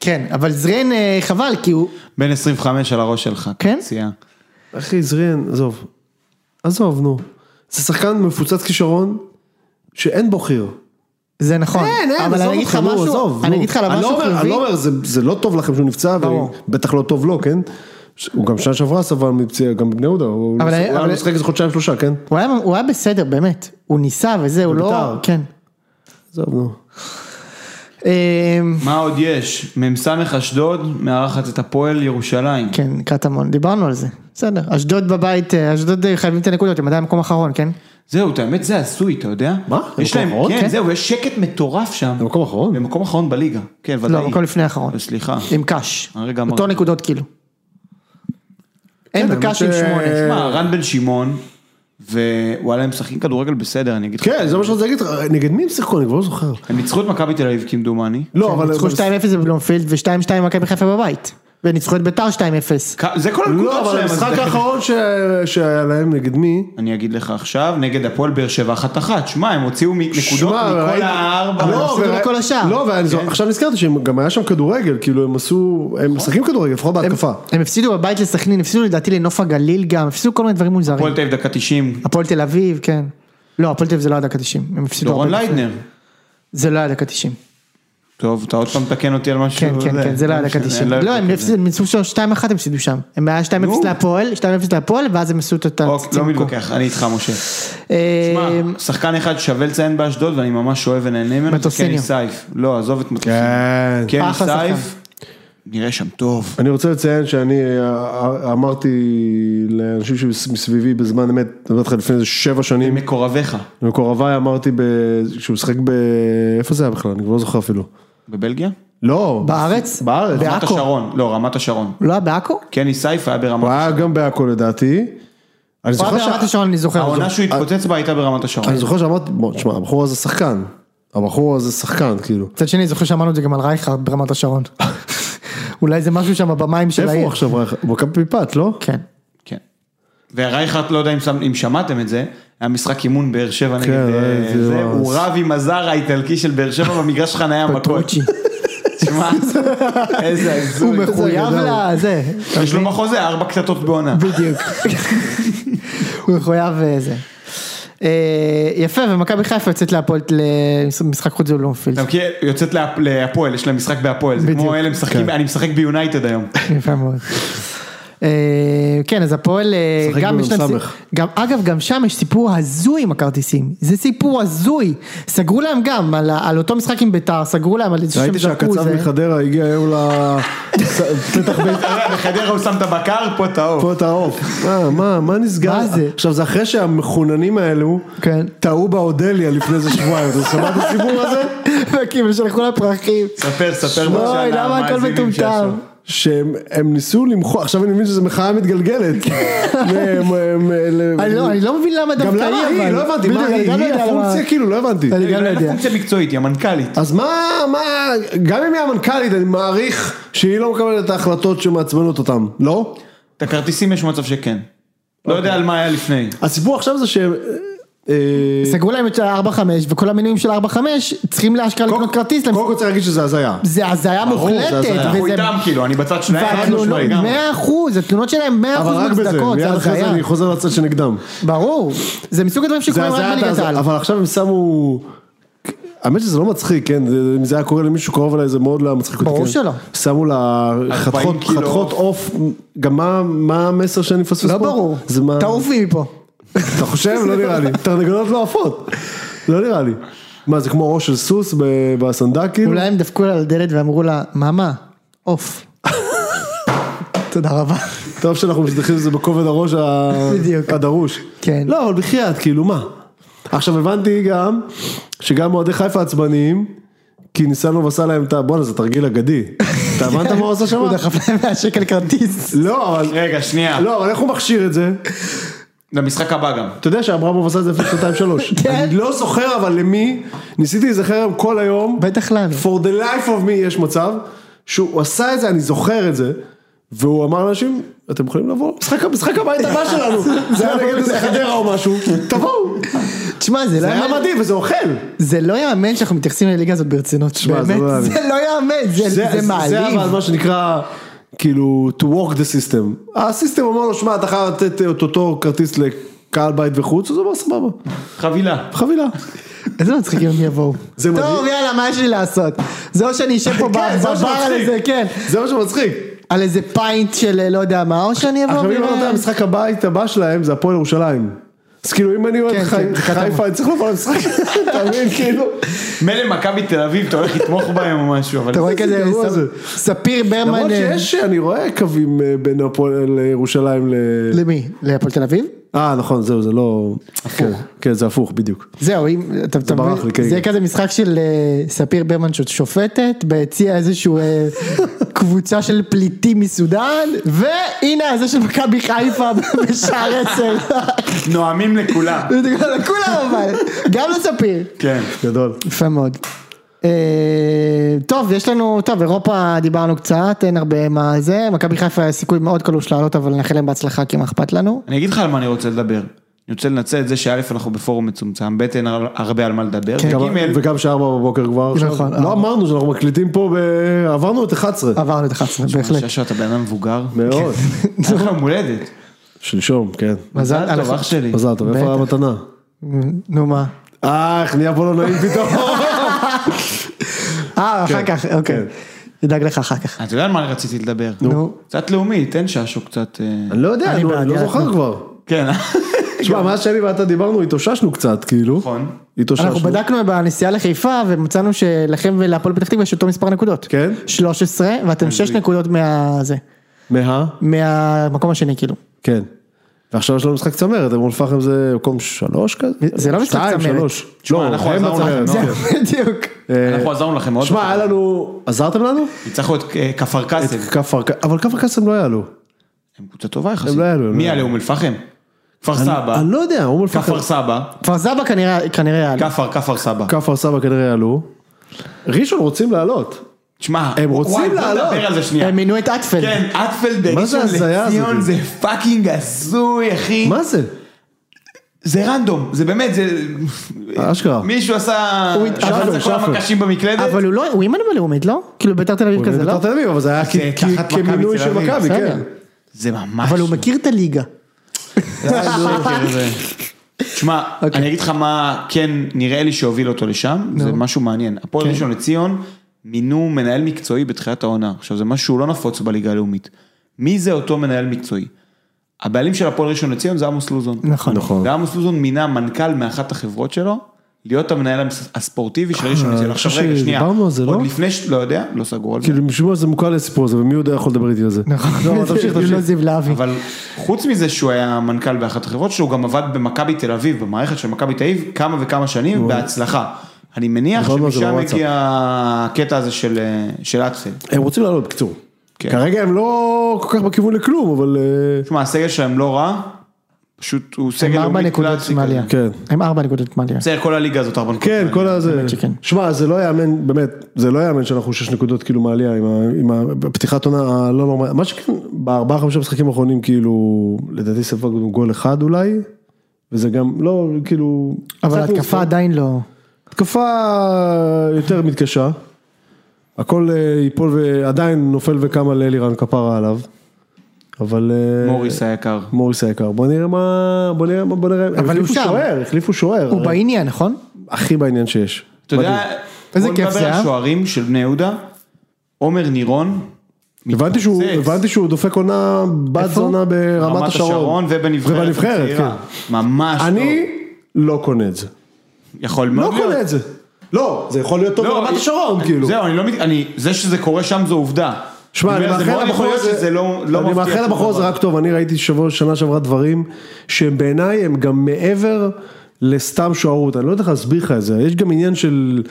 Speaker 1: כן, אבל זרין אה, חבל, כי הוא...
Speaker 2: בן 25 על הראש שלך.
Speaker 1: כן?
Speaker 2: פציעה.
Speaker 3: אחי, זריאן, עזוב. עזוב, נו. זה שחקן מפוצץ כישרון, שאין בו חיר.
Speaker 1: זה נכון. אבל
Speaker 3: כן, עזוב
Speaker 1: אני אגיד לך
Speaker 3: אותך, נו,
Speaker 1: משהו,
Speaker 3: עזוב,
Speaker 1: אני
Speaker 3: נו.
Speaker 1: אגיד לך
Speaker 3: אני
Speaker 1: על
Speaker 3: לא
Speaker 1: משהו
Speaker 3: אומר- אני
Speaker 1: חיובי.
Speaker 3: לא אומר, זה- זה לא טוב לכם שהוא נפצע,
Speaker 1: ברור.
Speaker 3: ובטח לא טוב לו, כן? ש- הוא גם שנה שעברה סבל מפציעה, גם בני יהודה, הוא
Speaker 1: אבל-
Speaker 3: הוא היה
Speaker 1: אבל-
Speaker 3: משחק איזה חודשיים שלושה, כן?
Speaker 1: הוא היה- הוא היה בסדר, באמת. הוא ניסה וזה, הוא לא...
Speaker 3: בבית"ר.
Speaker 1: כן.
Speaker 3: עזוב, נו.
Speaker 1: אמ,
Speaker 2: מה עוד יש? מ"ס אשדוד מארחת את הפועל ירושלים.
Speaker 1: כן, קטמון, דיברנו על זה. בסדר. אשדוד בבית, אה, אשדוד אה, חייבים את הנקודות, הם עדיין מקום אחרון, כן?
Speaker 2: זהו, את האמת זה הזוי, אתה יודע?
Speaker 3: מה?
Speaker 2: יש
Speaker 3: במקום
Speaker 2: להם,
Speaker 3: אחרון?
Speaker 2: כן,
Speaker 3: כן. לא
Speaker 2: זהו, יש שקט מטורף שם.
Speaker 3: במקום אחרון?
Speaker 2: במקום אחרון בליגה. כן, ודאי.
Speaker 1: נכון. לא, מקום לפני האחרון.
Speaker 3: אה.
Speaker 2: סליחה.
Speaker 1: עם קאש.
Speaker 2: הרגע
Speaker 1: אותו
Speaker 2: אמרתי.
Speaker 1: נקודות כאילו. הם
Speaker 3: כן, האמת
Speaker 1: וקאש עם
Speaker 3: ש-
Speaker 1: שמונה.
Speaker 2: תשמע, אה, רן בן שמעון, ווואלה, הם משחקים כדורגל בסדר, אני אגיד לך.
Speaker 3: כן, זה מה שאני רוצה להגיד לך, נגד מי הם שיחקו, אני כבר לא זוכר.
Speaker 2: הם ניצחו את מכבי תל אביב כמדומני.
Speaker 3: לא,
Speaker 1: הם
Speaker 3: אבל...
Speaker 1: כן, ניצחו 2-0 בבלומפילד ו-2-2 מכבי חיפה בבית. וניצחו את ביתר 2-0.
Speaker 2: כ- זה כל
Speaker 3: לא,
Speaker 2: הנקודות
Speaker 3: אבל
Speaker 2: שלהם. אז
Speaker 3: המשחק
Speaker 2: תכף-
Speaker 3: האחרון ש- שהיה להם, נגד מי?
Speaker 2: אני אגיד לך עכשיו, נגד הפועל באר שבע אחת אחת. שמע, הם הוציאו מ- נקודות
Speaker 3: שמע,
Speaker 2: מכל
Speaker 3: ראיתי-
Speaker 2: הארבע.
Speaker 3: לא,
Speaker 1: הפסידו
Speaker 3: ורא-
Speaker 1: לכל השאר. כן.
Speaker 3: לא, ועכשיו נזכרתי שהם גם היה שם כדורגל, כאילו הם עשו, הם משחקים כדורגל, לפחות בהתקפה.
Speaker 1: נכון. הם הפסידו בבית לסכנין, הפסידו לדעתי לנוף הגליל גם, הפסידו כל מיני דברים מוזרים.
Speaker 2: הפועל תל אביב דקה 90.
Speaker 1: הפועל תל אביב, כן. לא, הפועל תל אביב זה לא היה דקה 90. הם הפסידו
Speaker 2: דורון
Speaker 1: הרבה לפני.
Speaker 2: ליידנר.
Speaker 1: זה לא היה דקה 90.
Speaker 2: טוב, אתה עוד פעם מתקן אותי על משהו.
Speaker 1: כן, כן, כן, זה לא היה דקה
Speaker 2: משנה,
Speaker 1: 90.
Speaker 2: לא
Speaker 1: לא,
Speaker 2: יודע
Speaker 1: הם
Speaker 2: כזה.
Speaker 1: הפסידו, הם ניצחו שם 2-1 הם הפסידו שם. הם היה 2-0
Speaker 2: נו.
Speaker 1: להפועל, 2-0 להפועל, ואז הם עשו את אה,
Speaker 2: אוקיי, לא מתווכח, אני איתך משה. שמע, שחקן אחד שווה לציין באשדוד ואני ממש אוהב ונהנה ממנו, זה
Speaker 1: מטוסיניו.
Speaker 2: קני סייף. לא, עזוב את מטוסיניו.
Speaker 3: כן.
Speaker 2: קני
Speaker 1: אחלה שחקן.
Speaker 2: סייף, נראה שם טוב.
Speaker 3: אני רוצה לציין שאני אה, אמרתי לאנשים שמסביבי בזמן אמת, אני אומר לך לפני איזה שבע שנים,
Speaker 2: מקורביך,
Speaker 3: למקורביי אמרתי ב- שהוא משחק ב... איפה זה היה בכלל? אני כבר לא זוכר אפילו.
Speaker 2: בבלגיה?
Speaker 3: לא.
Speaker 1: בארץ?
Speaker 3: בארץ.
Speaker 2: רמת
Speaker 1: בעכו.
Speaker 2: השרון, לא, רמת השרון.
Speaker 1: לא היה בעכו?
Speaker 2: קני סייף היה
Speaker 3: הוא
Speaker 2: ברמת
Speaker 3: היה גם בעכו לדעתי. אני
Speaker 1: הוא
Speaker 3: זוכר
Speaker 1: היה
Speaker 3: שה-
Speaker 1: ברמת השרון, אני זוכר.
Speaker 2: העונה שהוא התפוצץ בה הייתה ברמת השרון.
Speaker 3: אני זוכר שאמרתי, בוא, תשמע, הבחור הזה שחקן. הבחור הזה שחקן, כאילו.
Speaker 1: מצד שני, אני זוכר שאמרנו את זה גם על רייכרד ברמת השרון. [laughs] אולי זה משהו שם במים של
Speaker 3: איפה
Speaker 1: העיר.
Speaker 3: הוא עכשיו? רייך- הוא מכבי פת, לא?
Speaker 1: כן.
Speaker 2: כן. ורייכרט, לא יודע אם, שם, אם שמעתם את זה, היה משחק אימון באר שבע
Speaker 1: כן,
Speaker 2: נגד... אה,
Speaker 3: זה
Speaker 2: זה,
Speaker 3: ממש.
Speaker 2: הוא רב עם הזר האיטלקי של באר שבע [laughs] במגרש חניה מכות.
Speaker 1: פטרוצ'י.
Speaker 2: תשמע, איזה הזוי.
Speaker 1: [laughs] הוא
Speaker 2: איזה
Speaker 1: מחויב
Speaker 2: גדול.
Speaker 1: לזה.
Speaker 2: יש לו בחוזה ארבע קטטות בעונה.
Speaker 1: בדיוק. הוא מחויב אה, זה. אה, יפה, ומכבי חיפה יוצאת להפועל למשחק חוץ בבלומפילד.
Speaker 2: אתה מכיר, היא יוצאת להפ- להפועל, יש להם משחק בהפועל, זה
Speaker 1: בדיוק. כן.
Speaker 2: כמו אלה משחקים, אני משחק ביונייטד
Speaker 1: [laughs]
Speaker 2: היום.
Speaker 3: אוקיי.
Speaker 1: יפה מאוד. אה, כן, אז הפועל, אה,
Speaker 3: משחק
Speaker 1: גם יש להם,
Speaker 3: במ"ס.
Speaker 1: סי- גם, אגב, גם שם יש סיפור הזוי עם הכרטיסים, זה סיפור הזוי, סגרו להם גם על, ה- על אותו משחק עם ביתר, סגרו להם על איזה שהם
Speaker 3: ראיתי
Speaker 1: זרקו
Speaker 3: שהקצב
Speaker 1: זה,
Speaker 3: מחדרה הגיע היום
Speaker 1: [laughs]
Speaker 3: לפתח בית"ר.
Speaker 2: אתה יודע, בחדרה הוא שם את הבקר, פה את האור.
Speaker 3: פה את העוף. מה, מה, מה נסגר?
Speaker 1: מה זה?
Speaker 3: עכשיו זה אחרי שהמחוננים האלו,
Speaker 1: כן.
Speaker 3: טעו באודליה לפני איזה שבועיים, אתה שמע את הסיפור הזה?
Speaker 1: וכאילו שלחו לה
Speaker 3: [laughs]
Speaker 1: פרחים,
Speaker 2: ספר, ספר
Speaker 1: אוי,
Speaker 2: בבקשה
Speaker 1: למה הכל
Speaker 2: למאזינים
Speaker 1: מטומטם,
Speaker 2: שעשו.
Speaker 3: שהם הם ניסו למחוא, עכשיו אני מבין שזו מחאה מתגלגלת. הם- הם- הם-
Speaker 1: כן. אני לא- אני לא מבין למה דווקא
Speaker 3: גם
Speaker 1: היא,
Speaker 3: למה היא?
Speaker 1: אבל-
Speaker 3: לא הבנתי, מה
Speaker 1: בדיוק, אני
Speaker 3: היא?
Speaker 1: גם לא
Speaker 3: היא
Speaker 1: יודע למה-
Speaker 3: הפונקציה? כאילו, לא הבנתי.
Speaker 1: אני
Speaker 2: היא
Speaker 1: גם לא
Speaker 2: אין לה
Speaker 1: יודע,
Speaker 2: פונקציה מקצועית, היא המנכ"לית.
Speaker 3: אז מה, מה, גם אם היא המנכ"לית, אני מעריך שהיא לא מקבלת את ההחלטות שמעצבנות אותם, לא?
Speaker 2: את הכרטיסים יש מצב שכן.
Speaker 1: אוקיי.
Speaker 2: לא יודע על מה היה לפני.
Speaker 3: הסיפור עכשיו זה שהם... אה,
Speaker 1: סגרו להם את ה-4-5 וכל המינויים של 4-5 צריכים להשכרה לקנות כרטיס,
Speaker 3: קודם כל צריך להגיד שזה הזיה.
Speaker 1: זה הזיה
Speaker 3: ברור, זה
Speaker 1: מוחלטת,
Speaker 3: הזיה.
Speaker 2: אנחנו
Speaker 1: וזה-
Speaker 2: איתם כאילו, אני בצד שלהם, חד
Speaker 1: והתלונות,
Speaker 2: משמעי גם.
Speaker 1: 100%, התלונות שלהם 100%
Speaker 3: אבל רק בזה,
Speaker 1: מוצדקות,
Speaker 3: מיד
Speaker 1: זה
Speaker 3: אחרי זה
Speaker 1: הזיה.
Speaker 3: אני חוזר לצד שנגדם.
Speaker 1: ברור, זה מסוג הדברים
Speaker 3: זה
Speaker 1: שקורים רק
Speaker 3: הזיה,
Speaker 1: בליגת
Speaker 3: אתה-
Speaker 1: העל.
Speaker 3: אבל עכשיו הם שמו... האמת שזה לא מצחיק, כן, זה- אם זה היה קורה למישהו קרוב אליי זה מאוד לא היה מצחיק אותי.
Speaker 1: ברור
Speaker 3: כן.
Speaker 1: שלא.
Speaker 3: שמו לה חתכות-
Speaker 2: 40 קילו
Speaker 3: חתכות עוף, גם מה- מה המסר שאני מפספס פה?
Speaker 1: לא ברור,
Speaker 3: זה מה-
Speaker 1: תעופי מפה.
Speaker 3: אתה חושב? לא נראה
Speaker 1: [laughs]
Speaker 3: לי. תרנגולות לא עפות. לא נראה לי. מה זה כמו ראש של סוס ב- בסנדק כאילו?
Speaker 1: אולי הם דפקו לה על הדלת ואמרו לה, מאמה,
Speaker 3: [laughs]
Speaker 1: עוף. תודה רבה.
Speaker 3: טוב שאנחנו מתייחסים לזה בכובד הראש ה-
Speaker 1: בדיוק.
Speaker 3: הדרוש.
Speaker 1: כן.
Speaker 3: לא, אבל בחייאת, כאילו מה? עכשיו הבנתי גם, שגם אוהדי חיפה עצבניים, כי ניסנוב עשה להם את ה... בואנה, זה תרגיל אגדי. אתה הבנת מה הוא עשה שם?
Speaker 1: [laughs] הוא דחף להם 100 שקל כרטיס.
Speaker 3: לא, אבל...
Speaker 2: רגע, שנייה.
Speaker 3: לא, אבל איך הוא מכשיר את זה?
Speaker 2: למשחק הבא גם.
Speaker 3: אתה יודע שאברמוב עשה את זה לפני שנתיים שלוש.
Speaker 1: כן.
Speaker 3: אני לא זוכר אבל למי, ניסיתי להיזכר היום כל היום.
Speaker 1: בטח לנו.
Speaker 3: for the life of me יש מצב, שהוא עשה את זה, אני זוכר את זה, והוא אמר לאנשים, אתם יכולים לבוא? משחק, משחק הבית הבא שלנו, זה היה נגד איזה חדרה או משהו, תבואו,
Speaker 1: תשמע, זה לא
Speaker 3: זה היה
Speaker 1: יאמן-
Speaker 3: מדהים וזה אוכל.
Speaker 1: זה לא יאמן שאנחנו מתייחסים לליגה הזאת ברצינות.
Speaker 3: תשמע, זה לא
Speaker 1: באמת,
Speaker 3: יאמן.
Speaker 1: זה לא יאמן, זה- זה
Speaker 3: זה
Speaker 1: מעליב.
Speaker 3: אבל מה שנקרא, כאילו, to work the system. הסיסטם אומר לו, שמע, אתה חייב לתת את אותו כרטיס לקהל בית וחוץ, אז הוא אמר, סבבה,
Speaker 2: חבילה.
Speaker 3: חבילה.
Speaker 1: איזה מצחיקים הם יבואו.
Speaker 3: זה
Speaker 1: טוב,
Speaker 3: מדהים.
Speaker 1: יאללה, מה יש לי לעשות? זה או שאני אשב פה
Speaker 3: כן, זה מה
Speaker 1: בבר על
Speaker 3: שמצחיק.
Speaker 1: איזה, כן,
Speaker 3: זה מה שמצחיק.
Speaker 1: על איזה פיינט של אה, לא יודע מה, או שאני אבוא...
Speaker 3: עכשיו אם
Speaker 1: ואראה-
Speaker 3: לא נותן המשחק הבית הבא שלהם זה הפועל ירושלים. אז כאילו אם אני
Speaker 1: כן,
Speaker 3: אוהד חי-
Speaker 1: כן, חתם.
Speaker 3: חיפה אני צריך לבוא למשחק, אתה מבין כאילו?
Speaker 2: מילא מכבי תל אביב, אתה הולך לתמוך בהם או משהו, אבל...
Speaker 1: אתה רואה
Speaker 3: איזה
Speaker 1: כזה,
Speaker 3: אירוע
Speaker 1: ס-
Speaker 3: זה.
Speaker 1: ספיר ברמן...
Speaker 3: למרות
Speaker 1: אה,
Speaker 3: שיש, אני רואה קווים אה, בין הפועל ירושלים ל...
Speaker 1: למי? להפועל תל אביב?
Speaker 3: אה נכון זהו זה לא... הפוך. כן זה הפוך בדיוק.
Speaker 1: זהו, אם אתה אתה
Speaker 3: ברח
Speaker 1: מבין,
Speaker 3: לי, כן,
Speaker 1: זה
Speaker 3: כן.
Speaker 1: כזה משחק של אה, ספיר ברמן שאת שופטת, ביציע איזשהו
Speaker 3: [laughs]
Speaker 1: אה, קבוצה של פליטים מסודאן, והנה זה של מכבי חיפה [laughs] בשער עשר. [laughs]
Speaker 2: נואמים לכולם.
Speaker 1: לכולם אבל, גם לספיר.
Speaker 2: כן.
Speaker 3: גדול.
Speaker 1: יפה מאוד. אה, טוב, יש לנו, טוב, אירופה דיברנו קצת, אין הרבה מה זה, מכבי חיפה היה סיכוי מאוד קלוש לעלות, אבל נאחל להם בהצלחה כי מה אכפת לנו.
Speaker 2: אני אגיד לך על מה אני רוצה לדבר. אני רוצה לנצל את זה שא' אנחנו בפורום מצומצם, ב' אין הר- הרבה על מה לדבר,
Speaker 1: כן.
Speaker 3: גם-
Speaker 2: וג'
Speaker 3: וגם שארבע בבוקר כבר. עכשיו.
Speaker 1: נכון, אה.
Speaker 3: לא אמרנו שאנחנו מקליטים פה, ב- עברנו את 11.
Speaker 1: עברנו את 11, בהחלט.
Speaker 2: שאשו אתה בן אדם מבוגר.
Speaker 3: מאוד.
Speaker 2: היה לך יום הולדת.
Speaker 3: שלשום כן.
Speaker 1: מזל
Speaker 2: טוב, אח שלי.
Speaker 3: מזל טוב, איפה
Speaker 1: בטח.
Speaker 3: המתנה?
Speaker 1: נו מה.
Speaker 3: אה, איך נהיה פה לא נעים פתאום.
Speaker 1: אה, אחר כך, אוקיי.
Speaker 3: כן.
Speaker 1: נדאג לך אחר כך.
Speaker 2: אתה יודע על מה רציתי לדבר?
Speaker 1: נו.
Speaker 2: קצת לאומי, תן שאשו קצת... אה,
Speaker 3: אני לא יודע,
Speaker 1: אני
Speaker 3: נו,
Speaker 1: בעד,
Speaker 3: אני לא
Speaker 1: יאללה,
Speaker 3: זוכר
Speaker 1: נו.
Speaker 3: כבר. [laughs]
Speaker 2: כן.
Speaker 3: תשמע, מאז שאני ואתה דיברנו, התאוששנו קצת, כאילו.
Speaker 2: נכון.
Speaker 3: התאוששנו.
Speaker 1: אנחנו בדקנו בנסיעה לחיפה ומצאנו שלכם ולהפועל פתח תקווה יש אותו מספר נקודות.
Speaker 3: כן?
Speaker 1: 13 ואתם 6 נקודות מה... זה.
Speaker 3: מה?
Speaker 1: מהמקום השני כאילו.
Speaker 3: כן. ועכשיו יש לנו משחק צמרת, אום אל-פחם זה מקום שלוש כזה?
Speaker 1: זה לא משחק
Speaker 3: שתיים,
Speaker 1: צמרת.
Speaker 3: שלוש.
Speaker 2: תשמע,
Speaker 3: לא,
Speaker 2: אנחנו
Speaker 3: הם
Speaker 2: עזרנו
Speaker 3: בצמרת.
Speaker 2: לכם,
Speaker 1: זהו, [laughs] בדיוק.
Speaker 3: אה,
Speaker 2: אנחנו עזרנו לכם מאוד.
Speaker 3: תשמע, היה לנו... עזרתם לנו?
Speaker 2: ניצחנו את אה, כפר קאסם.
Speaker 3: כפר קאסם, אבל כפר קאסם לא היה לו.
Speaker 2: הם קבוצה טובה יחסית.
Speaker 3: הם לא יעלו, הם
Speaker 2: מי
Speaker 3: לא
Speaker 2: יעלה אום אל פחם? כפר סבא.
Speaker 3: אני לא יודע, אום אל-פחם.
Speaker 2: כפר סבא.
Speaker 1: כפר סבא כנראה כנראה היה לי.
Speaker 2: כפר, כפר סבא.
Speaker 3: כפר סבא כנראה יעלו. ראשון רוצים לעלות.
Speaker 2: תשמע,
Speaker 3: הם רוצים
Speaker 2: וואי, בוא
Speaker 3: לעלות.
Speaker 2: נדבר על זה שנייה.
Speaker 1: הם מינו את אטפלד.
Speaker 2: כן, אטפלד
Speaker 3: מה זה
Speaker 2: בראשון
Speaker 3: ההזיה הזאת?
Speaker 2: לציון זה פאקינג הזוי, אחי.
Speaker 3: מה זה?
Speaker 2: זה רנדום, זה באמת, זה...
Speaker 3: אשכרה.
Speaker 2: מישהו עשה...
Speaker 1: אה. הוא הת-
Speaker 2: שחט
Speaker 1: אבל-
Speaker 2: את כל המקשים במקלדת?
Speaker 1: אבל הוא לא, הוא אימן בלאומית, לא? כאילו ביתר תל אביב כזה, לא?
Speaker 3: בית"ר תל אביב, אבל זה היה כ-
Speaker 2: תחת
Speaker 3: כ-
Speaker 2: מכבי
Speaker 3: כמינוי
Speaker 2: תל
Speaker 3: של
Speaker 2: אביב,
Speaker 3: מכבי,
Speaker 1: בסדר.
Speaker 3: כן.
Speaker 2: זה ממש...
Speaker 1: אבל הוא מכיר את הליגה.
Speaker 2: שקר זה. [laughs] תשמע,
Speaker 1: אוקיי.
Speaker 2: אני אגיד לך מה כן נראה לי שהוביל אותו לשם, זה משהו מעניין.
Speaker 3: כן.
Speaker 2: הפועל ראשון לציון מינו מנהל מקצועי בתחילת העונה. עכשיו זה משהו שהוא לא נפוץ בליגה הלאומית. מי זה אותו מנהל מקצועי? הבעלים של הפועל ראשון לציון זה עמוס לוזון.
Speaker 1: נכון.
Speaker 3: נכון.
Speaker 2: ועמוס לוזון מינה מנכ"ל מאחת החברות שלו, להיות המנהל המס- הספורטיבי של ראשון לציון.
Speaker 3: אני
Speaker 2: עכשיו
Speaker 3: חושב
Speaker 2: רגע, שנייה.
Speaker 3: אה, שדיברנו על זה,
Speaker 2: עוד
Speaker 3: לא?
Speaker 2: לפני ש... לא יודע, לא סגרו על זה.
Speaker 3: כאילו משום מה זה מוכר לי הסיפור הזה, ומי יודע יכול לדבר איתי על זה.
Speaker 2: נכון.
Speaker 1: [laughs]
Speaker 3: לא, אבל תמשיך,
Speaker 1: לא
Speaker 3: תמשיך.
Speaker 1: זיו להבי.
Speaker 2: אבל חוץ מזה שהוא היה מנכ"ל באחת החברות שלו, הוא גם עבד במכבי תל אביב, במערכת של מכבי תל אביב, כמה וכמה שנים, בהצלחה. אני מניח
Speaker 3: נכון מאוד, זה
Speaker 2: שמשם
Speaker 3: בוואטסאפ.
Speaker 2: הגיע הקטע הזה של, אה, של אטפל.
Speaker 3: הם רוצים לעלות, בקיצור.
Speaker 2: כן.
Speaker 3: כרגע הם לא כל כך בכיוון לכלום, אבל... אה,
Speaker 2: תשמע, הסגל שלהם לא רע, פשוט הוא סגל
Speaker 1: הם ארבע
Speaker 2: לאומי
Speaker 1: נקודות
Speaker 2: קלאסי כזה.
Speaker 1: מעלייה.
Speaker 3: כן.
Speaker 1: הם ארבע נקודות מעלייה.
Speaker 2: בסדר, כל הליגה הזאת ארבע נקודות.
Speaker 3: כן, כל הזה.
Speaker 1: האמת שכן.
Speaker 3: שמע, זה לא יאמן, באמת, זה לא יאמן שאנחנו שש נקודות כאילו מעלייה עם ה- עם הפתיחת עונה הלא נורמלית. מה שכן, בארבעה חמישה משחקים האחרונים כאילו, לדעתי ספגנו גול אחד אולי, וזה גם לא, כאילו...
Speaker 1: אבל
Speaker 3: קצת מאוחר.
Speaker 1: ההתקפה עדיין לא...
Speaker 3: התקפה יותר מתקשה. הכל אה, ייפול ועדיין נופל וקם על אלירן כפרה עליו. אבל... אה,
Speaker 2: מוריס היקר.
Speaker 3: מוריס היקר. בוא נראה מה... בוא נראה מה... בוא נראה...
Speaker 1: אבל הוא
Speaker 3: החליפו
Speaker 1: שם.
Speaker 3: שוער, החליפו שוער.
Speaker 1: הוא
Speaker 3: הרי.
Speaker 1: בעניין, נכון?
Speaker 3: הכי בעניין שיש.
Speaker 2: אתה
Speaker 3: מדהים.
Speaker 2: יודע,
Speaker 1: איזה
Speaker 2: בוא
Speaker 1: כיף זה,
Speaker 2: נדבר
Speaker 1: אה?
Speaker 2: על שוערים של בני יהודה, עומר נירון,
Speaker 3: הבנתי שהוא,
Speaker 2: מתפוצץ.
Speaker 3: הבנתי שהוא דופק עונה בת
Speaker 1: איפה?
Speaker 3: זונה ברמת
Speaker 2: רמת השרון
Speaker 3: השרון.
Speaker 2: ובנבחרת.
Speaker 3: ובנבחרת,
Speaker 2: הצעירה.
Speaker 3: כן.
Speaker 2: ממש
Speaker 3: אני לא קונה את זה.
Speaker 2: לא. יכול מאוד
Speaker 3: לא
Speaker 2: להיות.
Speaker 3: קונה את זה. לא, זה יכול להיות טוב
Speaker 2: לא,
Speaker 3: ברמת
Speaker 2: אני-
Speaker 3: השרון, כאילו.
Speaker 2: זהו, אני לא מת... אני... זה שזה קורה שם זו עובדה.
Speaker 3: שמע, אני
Speaker 2: אומר, זה
Speaker 3: מאחל
Speaker 2: מאוד
Speaker 3: לבחור
Speaker 2: יכול להיות
Speaker 3: הזה,
Speaker 2: שזה לא, לא
Speaker 3: אני
Speaker 2: מבטיח
Speaker 3: מאחל
Speaker 2: שום
Speaker 3: לבחור הזה
Speaker 2: דבר.
Speaker 3: רק טוב, אני ראיתי שבוע, שנה שעברה דברים שהם בעיניי הם גם מעבר לסתם שוערות, אני לא יודע איך להסביר לך את זה, יש גם עניין של,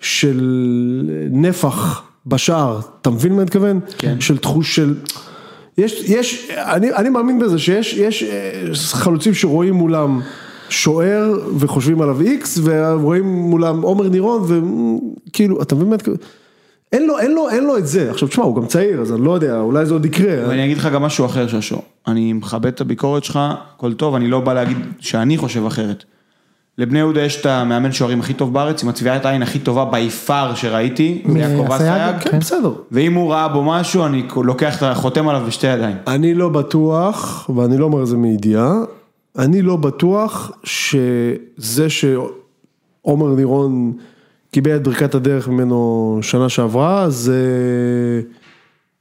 Speaker 3: של נפח בשער, אתה מבין מה אני מתכוון? כן. של תחוש של... יש, יש, אני, אני מאמין בזה שיש יש אה, חלוצים שרואים מולם שוער וחושבים עליו איקס ורואים מולם עומר נירון וכאילו, אתה מבין מה את... אין לו, אין לו, אין לו את זה. עכשיו תשמע, הוא גם צעיר, אז אני לא יודע, אולי זה עוד יקרה.
Speaker 2: ואני אגיד לך גם משהו אחר, ששו. אני מכבד את הביקורת שלך, הכל טוב, אני לא בא להגיד שאני חושב אחרת. לבני יהודה יש את המאמן שוערים הכי טוב בארץ, עם הצביעת עין הכי טובה בי פאר שראיתי, זה יעקב
Speaker 1: אסייג,
Speaker 2: אסייג.
Speaker 1: כן.
Speaker 3: כן, בסדר.
Speaker 2: ואם הוא ראה בו משהו, אני לוקח, את ה- חותם עליו בשתי ידיים.
Speaker 3: אני לא בטוח, ואני לא אומר את זה מידיעה, אני לא בטוח שזה שעומר נירון קיבל את ברכת הדרך ממנו שנה שעברה, זה...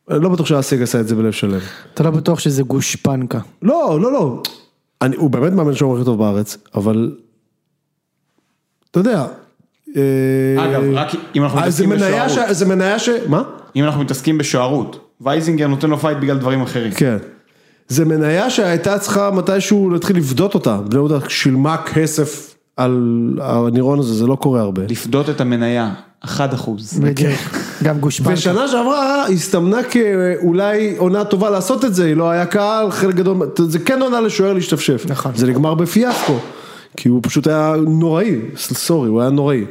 Speaker 3: אני לא בטוח שהאסג עשה את זה בלב שלם.
Speaker 1: אתה לא בטוח שזה גושפנקה.
Speaker 3: לא, לא, לא. אני, הוא באמת מאמן שהוא הכי טוב בארץ, אבל... אתה יודע. אה,
Speaker 2: אגב, רק אם אנחנו
Speaker 3: אה, זה
Speaker 2: מתעסקים
Speaker 3: מניה ש-
Speaker 2: בשוערות.
Speaker 3: זה מניה ש... מה?
Speaker 2: אם אנחנו מתעסקים בשוערות, וייזינגר נותן לו פייט בגלל דברים אחרים.
Speaker 3: כן. זה מניה שהייתה צריכה מתישהו להתחיל לפדות אותה. בני יהודה שילמה כסף על הנירון הזה, זה לא קורה הרבה.
Speaker 2: לפדות את המניה, 1 אחוז.
Speaker 1: בדיוק. גם גושפנקה.
Speaker 3: ושנה שעברה הסתמנה כאולי עונה טובה לעשות את זה, לא היה קהל, חלק גדול, זה כן עונה לשוער להשתפשף.
Speaker 1: נכון.
Speaker 3: זה נגמר בפיאסקו, כי הוא פשוט היה נוראי, ס- סורי, הוא היה נוראי.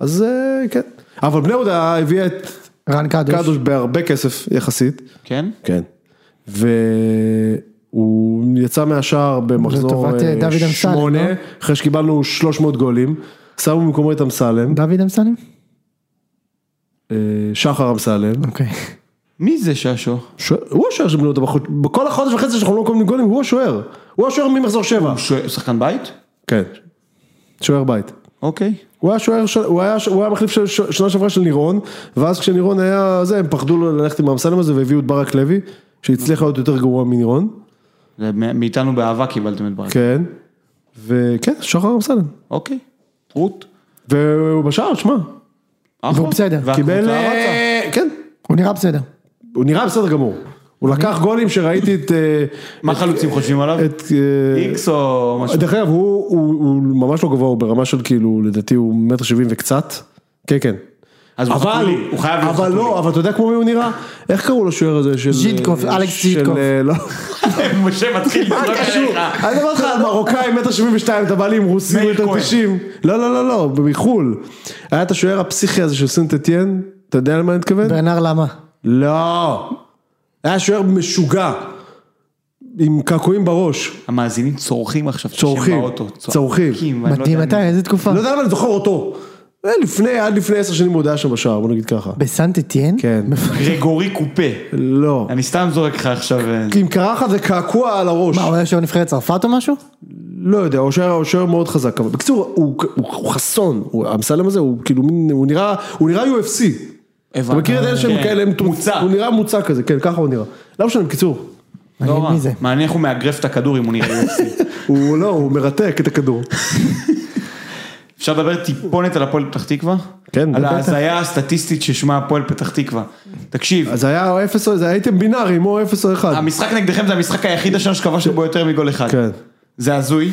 Speaker 3: אז אה, כן. אבל בני יהודה הביאה את
Speaker 1: רן קדוש.
Speaker 3: קדוש בהרבה כסף יחסית.
Speaker 2: כן?
Speaker 3: כן. והוא יצא מהשער במחזור
Speaker 1: לטובת,
Speaker 3: אה,
Speaker 1: אה, דוד אמסלם,
Speaker 3: שמונה,
Speaker 1: לא?
Speaker 3: אחרי שקיבלנו 300 גולים, שמו במקומו את אמסלם,
Speaker 1: דוד אמסלם?
Speaker 3: אה, שחר אמסלם.
Speaker 1: אוקיי.
Speaker 2: מי זה ששו?
Speaker 3: שוער- הוא השוער של בני יהודה, בחוד- בכל החודש וחצי שאנחנו לא מקבלים גולים, הוא השוער. הוא השוער ממחזור שבע.
Speaker 2: שו- שחקן בית?
Speaker 3: כן. שוער בית.
Speaker 2: אוקיי.
Speaker 3: הוא היה שוער, של- הוא היה, הוא היה מחליף של ש- שנה שעברה של נירון, ואז כשנירון היה זה, הם פחדו לו ללכת עם האמסלם הזה והביאו את ברק לוי, שהצליח להיות יותר גרוע מנירון,
Speaker 2: זה מ- מאיתנו באהבה קיבלתם את ברק.
Speaker 3: כן, וכן, שחר אמסלם,
Speaker 2: אוקיי. רות.
Speaker 3: והוא בשער, שמע,
Speaker 1: והוא בסדר.
Speaker 3: קיבל,
Speaker 2: והקבוצה רצה.
Speaker 3: אה, כן,
Speaker 1: הוא נראה בסדר.
Speaker 3: הוא נראה בסדר גמור, הוא לקח גולים שראיתי את, אה,
Speaker 2: מה
Speaker 3: את-
Speaker 2: חלוצים חושבים עליו?
Speaker 3: את, אה,
Speaker 2: איקס או משהו?
Speaker 3: דרך אגב, הוא, הוא, הוא ממש לא גבוה, הוא ברמה של כאילו, לדעתי הוא מטר שבעים וקצת. כן, כן.
Speaker 2: אז הוא חתולי, הוא חייב להיות
Speaker 3: אבל
Speaker 2: חתולי.
Speaker 3: לא, אבל אתה יודע כמו מי הוא נראה? איך קראו לשוער הזה של...
Speaker 1: ז'יטקוף,
Speaker 3: אה,
Speaker 1: אלכס
Speaker 3: של,
Speaker 1: ז'יטקוף.
Speaker 3: אה, לא,
Speaker 2: משה מתחיל
Speaker 3: מה
Speaker 2: לצעוק
Speaker 3: קשור?
Speaker 2: עליך.
Speaker 3: אני אומר לך, מרוקאי, מטר שבעים ושתיים, אתה בא לי עם רוסי,
Speaker 2: אה, מאיר
Speaker 3: מטר
Speaker 2: כהן.
Speaker 3: תשעים. לא, לא, לא, לא, מחול. היה את השוער הפסיכי הזה של סנט אתיין, אתה יודע למה אני מתכוון?
Speaker 1: ברנר למה?
Speaker 3: לא. היה שוער משוגע. עם קעקועים בראש.
Speaker 2: המאזינים צורכים עכשיו,
Speaker 3: צורכים,
Speaker 2: כשהם באוטו.
Speaker 3: צורכים.
Speaker 2: ואני
Speaker 1: מדהים
Speaker 2: לא
Speaker 1: אתה,
Speaker 2: יודע מי.
Speaker 1: איזה תקופה.
Speaker 3: לא יודע למה אני זוכר אותו. אה, לפני, עד לפני עשר שנים הוא עוד היה שם בשער, בוא נגיד ככה.
Speaker 1: בסנטטיין?
Speaker 3: כן.
Speaker 2: גרגורי קופה.
Speaker 3: לא.
Speaker 2: אני סתם זורק לך עכשיו. אה,
Speaker 3: עם קרחת וקעקוע על הראש.
Speaker 1: מה, אה, הוא היה שוער נבחרת צרפת או משהו?
Speaker 3: לא יודע, הוא שוער- הוא שוער מאוד חזק, אבל בקיצור, הוא, הוא, הוא חסון, הוא, אמסלם הזה, הוא כאילו מין, הוא נראה, הוא נראה UFC. אתה מכיר את אלה שהם
Speaker 2: כן.
Speaker 3: כאלה, הם-
Speaker 2: מוצק.
Speaker 3: הוא נראה מוצק כזה, כן, ככה הוא נראה. לא משנה, בקיצור,
Speaker 1: מעניין
Speaker 2: לא רע.
Speaker 1: מי זה.
Speaker 2: מעניין איך הוא מאגרף את הכדור אם הוא נראה UFC.
Speaker 3: הוא לא, הוא מרתק את הכדור.
Speaker 2: אפשר לדבר טיפונת על הפועל פתח תקווה?
Speaker 3: כן,
Speaker 2: על
Speaker 3: בטח.
Speaker 2: ההזיה הסטטיסטית ששמה הפועל פתח תקווה. תקשיב,
Speaker 3: אז היה אפס, או- זה הייתם בינאריים, או אפס או אחד.
Speaker 2: המשחק נגדכם זה המשחק היחיד השנה שכבשנו בו יותר מגול אחד.
Speaker 3: כן.
Speaker 2: זה הזוי,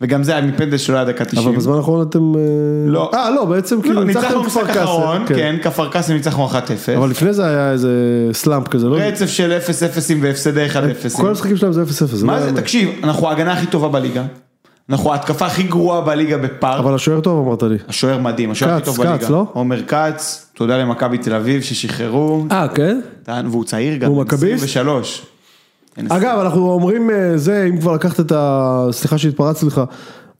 Speaker 2: וגם זה היה מפנדל שלא היה דקה 90.
Speaker 3: אבל בזמן האחרון אתם... אה,
Speaker 2: לא.
Speaker 3: אה, לא, בעצם כאילו
Speaker 2: לא,
Speaker 3: ניצחתם
Speaker 2: ניצחנו
Speaker 3: את
Speaker 2: במשחק האחרון,
Speaker 3: כן.
Speaker 2: כן, כפר קאסם ניצחנו 1-0.
Speaker 3: אבל לפני זה היה איזה סלאמפ כזה, לא?
Speaker 2: רצף של 0-0 והפסדי 1-0.
Speaker 3: כל המשחקים שלהם זה לא אפס אפס.
Speaker 2: מה זה, תקשיב, אנחנו ההגנה הכי טובה בליגה, אנחנו ההתקפה הכי גרועה בליגה בפארק.
Speaker 3: אבל השוער טוב אמרת לי.
Speaker 2: השוער מדהים, השוער הכי
Speaker 3: כץ,
Speaker 2: טוב
Speaker 3: כץ,
Speaker 2: בליגה.
Speaker 3: לא?
Speaker 2: עומר כץ, תודה למכבי תל אביב ששחררו,
Speaker 3: אה, כן?
Speaker 2: טען, והוא צעיר גם,
Speaker 3: הוא
Speaker 2: בן כן,
Speaker 3: מכביסט?
Speaker 2: 23. אין
Speaker 3: אגב, אנחנו אומרים אה, זה, אם כבר לקחת את ה... סליחה שהתפרצתי לך.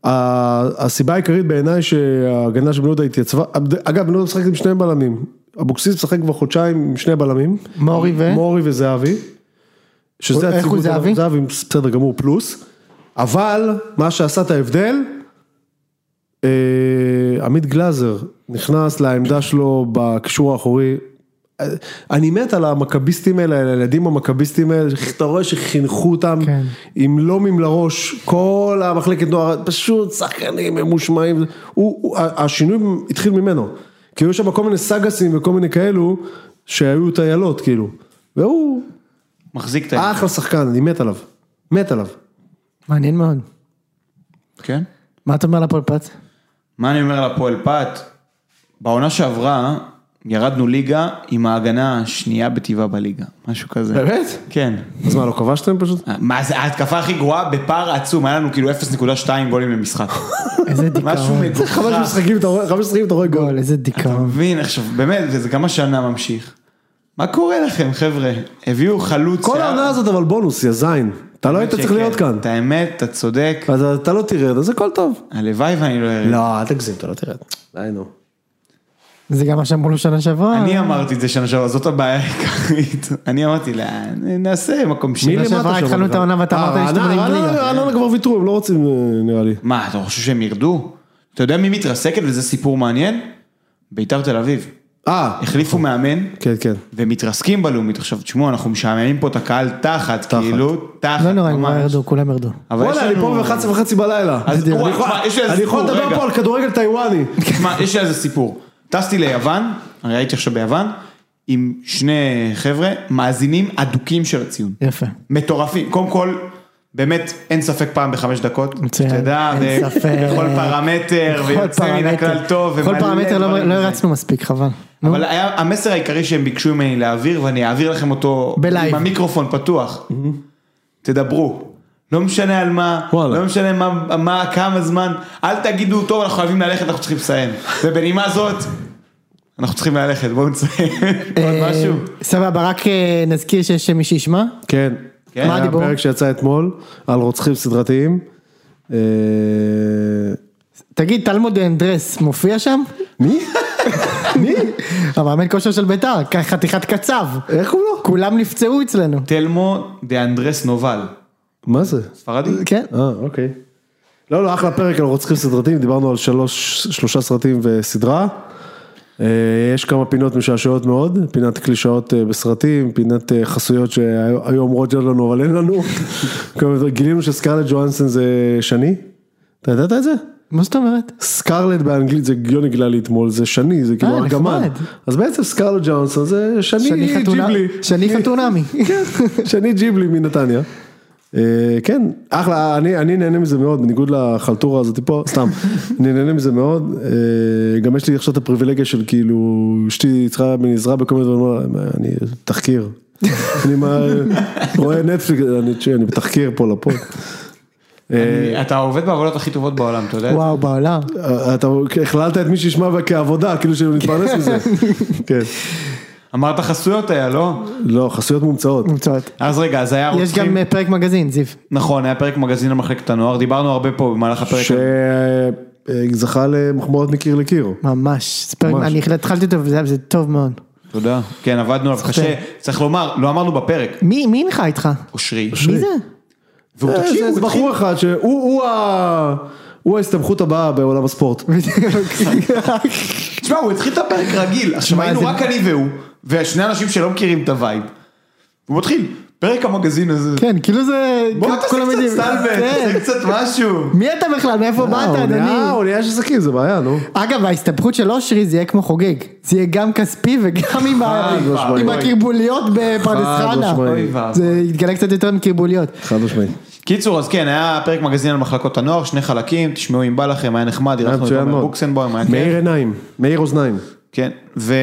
Speaker 3: ה- הסיבה העיקרית בעיניי שההגנה של בני יהודה התייצבה, אגב, בני יהודה משחקת עם שני בלמים. אבוקסיס משחק כבר חודשיים עם שני בלמים.
Speaker 1: מורי ו...
Speaker 3: מורי וזהבי. שזה
Speaker 1: איך הוא
Speaker 3: הציבור,
Speaker 1: זהבי?
Speaker 3: זהבי בסדר גמור פלוס. אבל מה שעשה את ההבדל, אה, עמית גלאזר נכנס לעמדה שלו בקישור האחורי. אה, אני מת על המכביסטים האלה, על הילדים המכביסטים האלה, שאתה רואה שחינכו אותם
Speaker 1: כן.
Speaker 3: עם לומים לראש, כל המחלקת נוער, פשוט שחקנים ממושמעים, הוא, הוא, ה- השינוי התחיל ממנו, כי היו שם כל מיני סגסים וכל מיני כאלו, שהיו טיילות כאילו, והוא
Speaker 2: מחזיק את ה...
Speaker 3: אחלה שחקן, אני מת עליו, מת עליו.
Speaker 1: מעניין מאוד.
Speaker 2: כן?
Speaker 1: מה אתה אומר לפועל פת?
Speaker 2: מה אני אומר לפועל פת? בעונה שעברה, ירדנו ליגה עם ההגנה השנייה בטבעה בליגה, משהו
Speaker 3: [laughs]
Speaker 2: כזה.
Speaker 3: באמת?
Speaker 2: כן.
Speaker 3: אז מה, לא כבשתם פשוט?
Speaker 2: מה זה, ההתקפה הכי גרועה בפער עצום, היה לנו כאילו 0.2 גולים
Speaker 3: [laughs]
Speaker 2: למשחק.
Speaker 1: איזה
Speaker 2: משהו
Speaker 1: דיכאון.
Speaker 2: מגוחך.
Speaker 3: חמש משחקים אתה רואה- חמש משחקים אתה רואה גול.
Speaker 1: גול, איזה
Speaker 2: אתה
Speaker 1: דיכאון.
Speaker 2: מבין, עכשיו, באמת, וזה גם השנה ממשיך. מה קורה לכם, חבר'ה? הביאו חלוץ...
Speaker 3: כל
Speaker 2: שיער-
Speaker 3: העונה הזאת אבל בונוס, יא זין. אתה לא היית צריך
Speaker 2: שכן.
Speaker 3: להיות כאן.
Speaker 2: את האמת, אתה צודק.
Speaker 3: אז אתה לא תרד, אז הכל טוב.
Speaker 2: הלוואי ואני לא אראה.
Speaker 3: לא, אל תגזים, אתה לא תרד. די נו.
Speaker 1: זה גם מה שאמרו לו שנה שעברה.
Speaker 2: אני אמרתי את זה שנה שעברה, זאת הבעיה העיקרית. [laughs] אני אמרתי לה, נעשה מקום
Speaker 3: מי
Speaker 2: שני.
Speaker 1: למטה שעברה
Speaker 3: שם,
Speaker 1: התחלנו
Speaker 3: אבל?
Speaker 1: את העונה ואתה
Speaker 3: אה,
Speaker 1: אמרת לי שאתם
Speaker 3: רעננה-
Speaker 1: עולים ליגה.
Speaker 3: רעננה רעננה כבר ויתרו, הם לא רוצים אה, נראה לי.
Speaker 2: מה, אתה חושב שהם ירדו? אתה יודע מי מתרסקת וזה סיפור מעניין? ביתר תל אביב.
Speaker 3: אה,
Speaker 2: החליפו מאמן.
Speaker 3: כן, כן.
Speaker 2: ומתרסקים בלאומית עכשיו, תשמעו, אנחנו משעממים פה את הקהל תחת, כאילו, תחת,
Speaker 1: לא נורא, הם
Speaker 2: ממש.
Speaker 1: ירדו, כולם ירדו.
Speaker 2: אבל יש
Speaker 3: וואלה, אני
Speaker 2: לנו-
Speaker 3: פה
Speaker 2: [laughs]
Speaker 3: ב-11 וחצי בלילה.
Speaker 2: אז
Speaker 3: אני
Speaker 2: וואי,
Speaker 3: יכול-
Speaker 2: תשמע, יש לי איזה
Speaker 3: אני יכול
Speaker 2: סיפור,
Speaker 3: לדבר
Speaker 2: רגע.
Speaker 3: פה על כדורגל טיוואני.
Speaker 2: תשמע, יש לי על זה סיפור. טסתי ליוון, הרי הייתי עכשיו ביוון, עם שני חבר'ה, מאזינים אדוקים של הציון.
Speaker 1: יפה.
Speaker 2: מטורפים. קודם כל, באמת, אין ספק פעם בחמש דקות.
Speaker 1: מצוין.
Speaker 2: שתדע,
Speaker 1: אין
Speaker 2: ו-
Speaker 1: ספק.
Speaker 2: בכל פרמטר,
Speaker 1: כל
Speaker 2: ויוצא מן
Speaker 1: פרמטר.
Speaker 2: הכלל טוב.
Speaker 1: כל
Speaker 2: ומלא
Speaker 1: פרמטר לא-
Speaker 2: דברים
Speaker 1: לא
Speaker 2: וזה.
Speaker 1: הרצנו מספיק, חבל. נו,
Speaker 2: אבל היה, המסר העיקרי שהם ביקשו ממני להעביר, ואני אעביר לכם אותו
Speaker 1: בלייב.
Speaker 2: עם המיקרופון פתוח. תדברו. לא משנה על מה,
Speaker 3: וואלה.
Speaker 2: לא משנה מה, מה, כמה זמן, אל תגידו, טוב, אנחנו חייבים ללכת, אנחנו צריכים לסיים. ובנימה זאת, אנחנו צריכים ללכת, בואו נסיים. עוד
Speaker 1: אה,
Speaker 2: משהו?
Speaker 1: סבבה, רק אה, נזכיר שיש מי שישמע.
Speaker 3: כן.
Speaker 2: כן,
Speaker 1: מה
Speaker 3: היה
Speaker 1: הדיבור?
Speaker 3: פרק שיצא אתמול על רוצחים סדרתיים. אה,
Speaker 1: תגיד, תלמוד אנדרס מופיע שם? [laughs]
Speaker 3: מי? [laughs] מי?
Speaker 1: המאמן כושר של ביתר, כ- חתיכת קצב.
Speaker 3: איך הוא לא?
Speaker 1: כולם נפצעו אצלנו.
Speaker 2: תלמו דה אנדרס נובל.
Speaker 3: מה זה?
Speaker 2: ספרדי?
Speaker 1: כן.
Speaker 3: אה, אוקיי. לא, לא, אחלה פרק על רוצחים סדרתיים, דיברנו על שלוש, שלושה סרטים וסדרה. אה, יש כמה פינות משעשעות מאוד, פינת קלישאות אה, בסרטים, פינת אה, חסויות שהיו אומרות להיות לנו אבל אין
Speaker 1: [laughs]
Speaker 3: לנו. כלומר, גילינו שסקרלט ג'ואנסון זה שני, אתה ידעת את זה?
Speaker 1: מה זאת אומרת?
Speaker 2: אה,
Speaker 3: סקרלט באנגלית זה יוני גלה לי אתמול, זה שני, זה כאילו
Speaker 1: אה,
Speaker 3: ארגמן.
Speaker 1: נחמד.
Speaker 3: אז בעצם סקרלט ג'ואנסון זה שני
Speaker 2: אה,
Speaker 1: חתונה-
Speaker 3: ג'יבלי.
Speaker 1: שני חתונמי.
Speaker 3: שני ג'יבלי מנתניה. אה, כן, אחלה, אני, אני נהנה מזה מאוד, בניגוד לחלטורה הזאת פה, סתם, אני נהנה מזה מאוד, אה, גם יש לי עכשיו את הפריבילגיה של כאילו, אשתי צריכה ממני עזרה בכל מיני דברים, אני תחקיר, אני מה, רואה נטפליקס, אני, אני בתחקיר פה לפוד.
Speaker 2: אני- אה, אתה עובד בעבודות הכי טובות בעולם, אתה יודע?
Speaker 1: וואו, בעולם.
Speaker 3: אה, אתה הכללת את מי שישמע כעבודה, כאילו שהוא מתפרנס מזה. כן.
Speaker 2: אמרת חסויות היה, לא?
Speaker 3: לא, חסויות מומצאות.
Speaker 1: מומצאות.
Speaker 2: אז רגע, אז היה
Speaker 1: יש
Speaker 2: רוצחים...
Speaker 1: גם אה, פרק מגזין, זיו.
Speaker 2: נכון, היה פרק מגזין על מחלקת הנוער, דיברנו הרבה פה במהלך הפרק.
Speaker 3: שזכה אה, למחמאות מקיר לקיר.
Speaker 1: ממש. זה פרק-
Speaker 3: ממש.
Speaker 1: אני התחלתי אותו וזה זה טוב מאוד.
Speaker 2: תודה. כן, עבדנו עליו קשה. צריך לומר, לא אמרנו בפרק,
Speaker 1: מי מי הנחה איתך?
Speaker 2: אושרי.
Speaker 1: מי זה?
Speaker 2: והוא
Speaker 3: אה,
Speaker 2: תקשיב,
Speaker 3: זה- זה
Speaker 2: הוא התחיל...
Speaker 3: בחור אחד שהוא הוא ה- הוא ההסתמכות הבאה בעולם הספורט.
Speaker 2: תשמע, הוא התחיל את הפרק רגיל. עכשיו
Speaker 1: תשמע,
Speaker 2: היינו
Speaker 1: זה-
Speaker 2: רק אני והוא, ושני אנשים שלא מכירים את הווייב. הוא מתחיל, פרק המגזין הזה.
Speaker 1: כן, כאילו זה...
Speaker 2: בוא
Speaker 1: כל- כל
Speaker 2: תעשה
Speaker 1: המדינים.
Speaker 2: קצת סלבט,
Speaker 1: כן.
Speaker 2: תעשה קצת משהו.
Speaker 1: מי אתה בכלל? מאיפה
Speaker 3: אה,
Speaker 1: באת,
Speaker 3: הוא נהיה-
Speaker 1: אדוני?
Speaker 3: הוא נהיה איש עסקים, זה בעיה, נו.
Speaker 1: אגב, ההסתבכות של אושרי זה יהיה כמו חוגג. זה יהיה גם כספי וגם עם ה-
Speaker 2: חד משמעית.
Speaker 1: עם הקרבוליות בפרדס
Speaker 3: חד
Speaker 1: חנה.
Speaker 3: משמעית.
Speaker 2: אוי ואבוי.
Speaker 1: זה יתגלה קצת יותר מקרבוליות.
Speaker 3: חד משמעית.
Speaker 2: קיצור, אז כן, היה פרק מגזין על מחלקות הנוער, שני חלקים, תשמעו אם בא לכם, היה נחמד,
Speaker 3: היה
Speaker 2: אירחנו את
Speaker 3: מצוין
Speaker 2: תומר
Speaker 3: מאוד.
Speaker 2: בוקסנבוים, היה כיף.
Speaker 3: מאיר עיניים, מאיר אוזניים.
Speaker 2: כן, ו...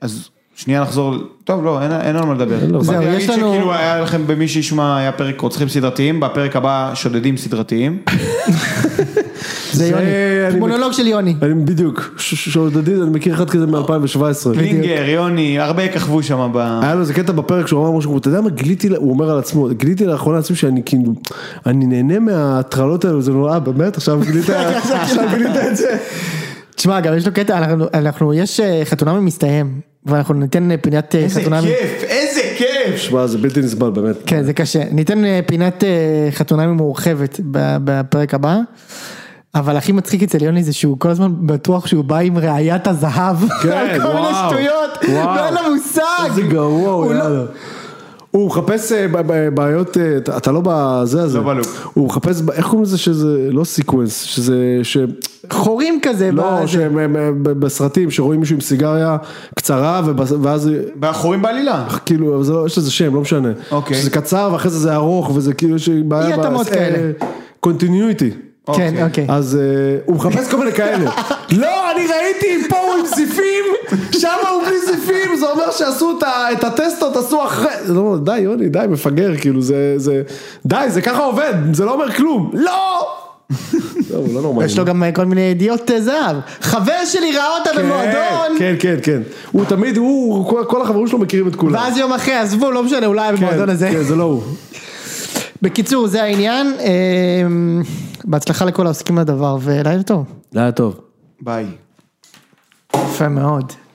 Speaker 2: אז שנייה נחזור, ל- טוב לא, אין, אין על מה לדבר.
Speaker 1: זהו,
Speaker 2: באתי
Speaker 1: יש
Speaker 2: להגיד
Speaker 1: לנו-
Speaker 2: שכאילו היה לכם במי שישמע, היה פרק רוצחים סדרתיים, בפרק הבא שודדים
Speaker 1: [laughs]
Speaker 2: סדרתיים.
Speaker 1: זה
Speaker 3: זה-
Speaker 1: יוני.
Speaker 3: אני-
Speaker 1: מונולוג של יוני.
Speaker 3: אני בדיוק, ש- ש- שודדים, אני מכיר אחד כזה מ-2017.
Speaker 2: קלינגר, יוני, הרבה ככבו שם
Speaker 1: אה,
Speaker 2: ב...
Speaker 3: היה לו איזה קטע בפרק שהוא אמר משהו כמו, אתה יודע מה, גיליתי, לה-" הוא אומר על עצמו, גיליתי לאחרונה לעצמי שאני כאילו, אני נהנה מההטרלות האלו, זה נורא, באמת, עכשיו גילית, עכשיו גילית את זה.
Speaker 1: תשמע, גם יש לו קטע, אנחנו- אנחנו, יש אה, חתונמי מסתיים, ואנחנו ניתן אה, פינת אה,
Speaker 2: איזה
Speaker 1: חתונמי.
Speaker 2: כיף, איזה כיף!
Speaker 3: שמע, זה בלתי נסבל, באמת.
Speaker 1: כן, זה קשה. ניתן אה, פינת אה, חתונמי מורחבת ב- בפרק הבא. אבל הכי מצחיק אצל יוני זה שהוא כל הזמן בטוח שהוא בא עם ראיית הזהב.
Speaker 3: [laughs] כן,
Speaker 1: על כל מיני
Speaker 3: וואו,
Speaker 1: שטויות,
Speaker 3: וואו.
Speaker 1: ואין לו מושג.
Speaker 3: איזה גרוע הוא
Speaker 1: לא-
Speaker 3: יאללה. הוא מחפש אה, ב- ב- בעיות, אה, אתה- אתה לא בזה הזה.
Speaker 2: לא בלופ.
Speaker 3: הוא מחפש, ב- איך קוראים לזה שזה לא סיקוונס, שזה, ש...
Speaker 1: חורים כזה.
Speaker 3: לא,
Speaker 1: בזה.
Speaker 3: שהם הם- הם בסרטים שרואים מישהו עם סיגריה קצרה ובס- ואז
Speaker 2: בחורים בעלילה.
Speaker 3: כאילו, אבל זה לא, יש לזה שם, לא משנה.
Speaker 2: אוקיי.
Speaker 3: שזה קצר ואחרי זה זה ארוך וזה כאילו יש בעיה.
Speaker 1: אי התאמות כאלה.
Speaker 3: קונטיניויטי.
Speaker 1: כן, אוקיי.
Speaker 3: אז אה, הוא מחפש כל מיני [laughs] כאלה. לא, אני ראיתי, פה הוא עם זיפים, שם הוא בלי זיפים, זה אומר שעשו את ה- את הטסטות, עשו אחרי... לא, די, יוני, די, מפגר, כאילו, זה... זה- די, זה ככה עובד, זה לא אומר כלום. לא! [laughs] לא, הוא לא נורמלי.
Speaker 1: יש לו גם אה, כל מיני ידיעות אה, זהב. חבר שלי ראה אותה במועדון.
Speaker 3: כן, כן, כן. הוא תמיד, הוא, כל- כל החברים שלו מכירים את כולם.
Speaker 1: ואז יום אחרי, עזבו, לא משנה, אולי
Speaker 3: כן,
Speaker 1: במועדון הזה.
Speaker 3: כן, זה לא הוא.
Speaker 1: בקיצור, זה העניין. אמ, בהצלחה לכל העוסקים לדבר, ולילה טוב.
Speaker 3: זה היה טוב.
Speaker 2: ביי.
Speaker 1: יפה מאוד.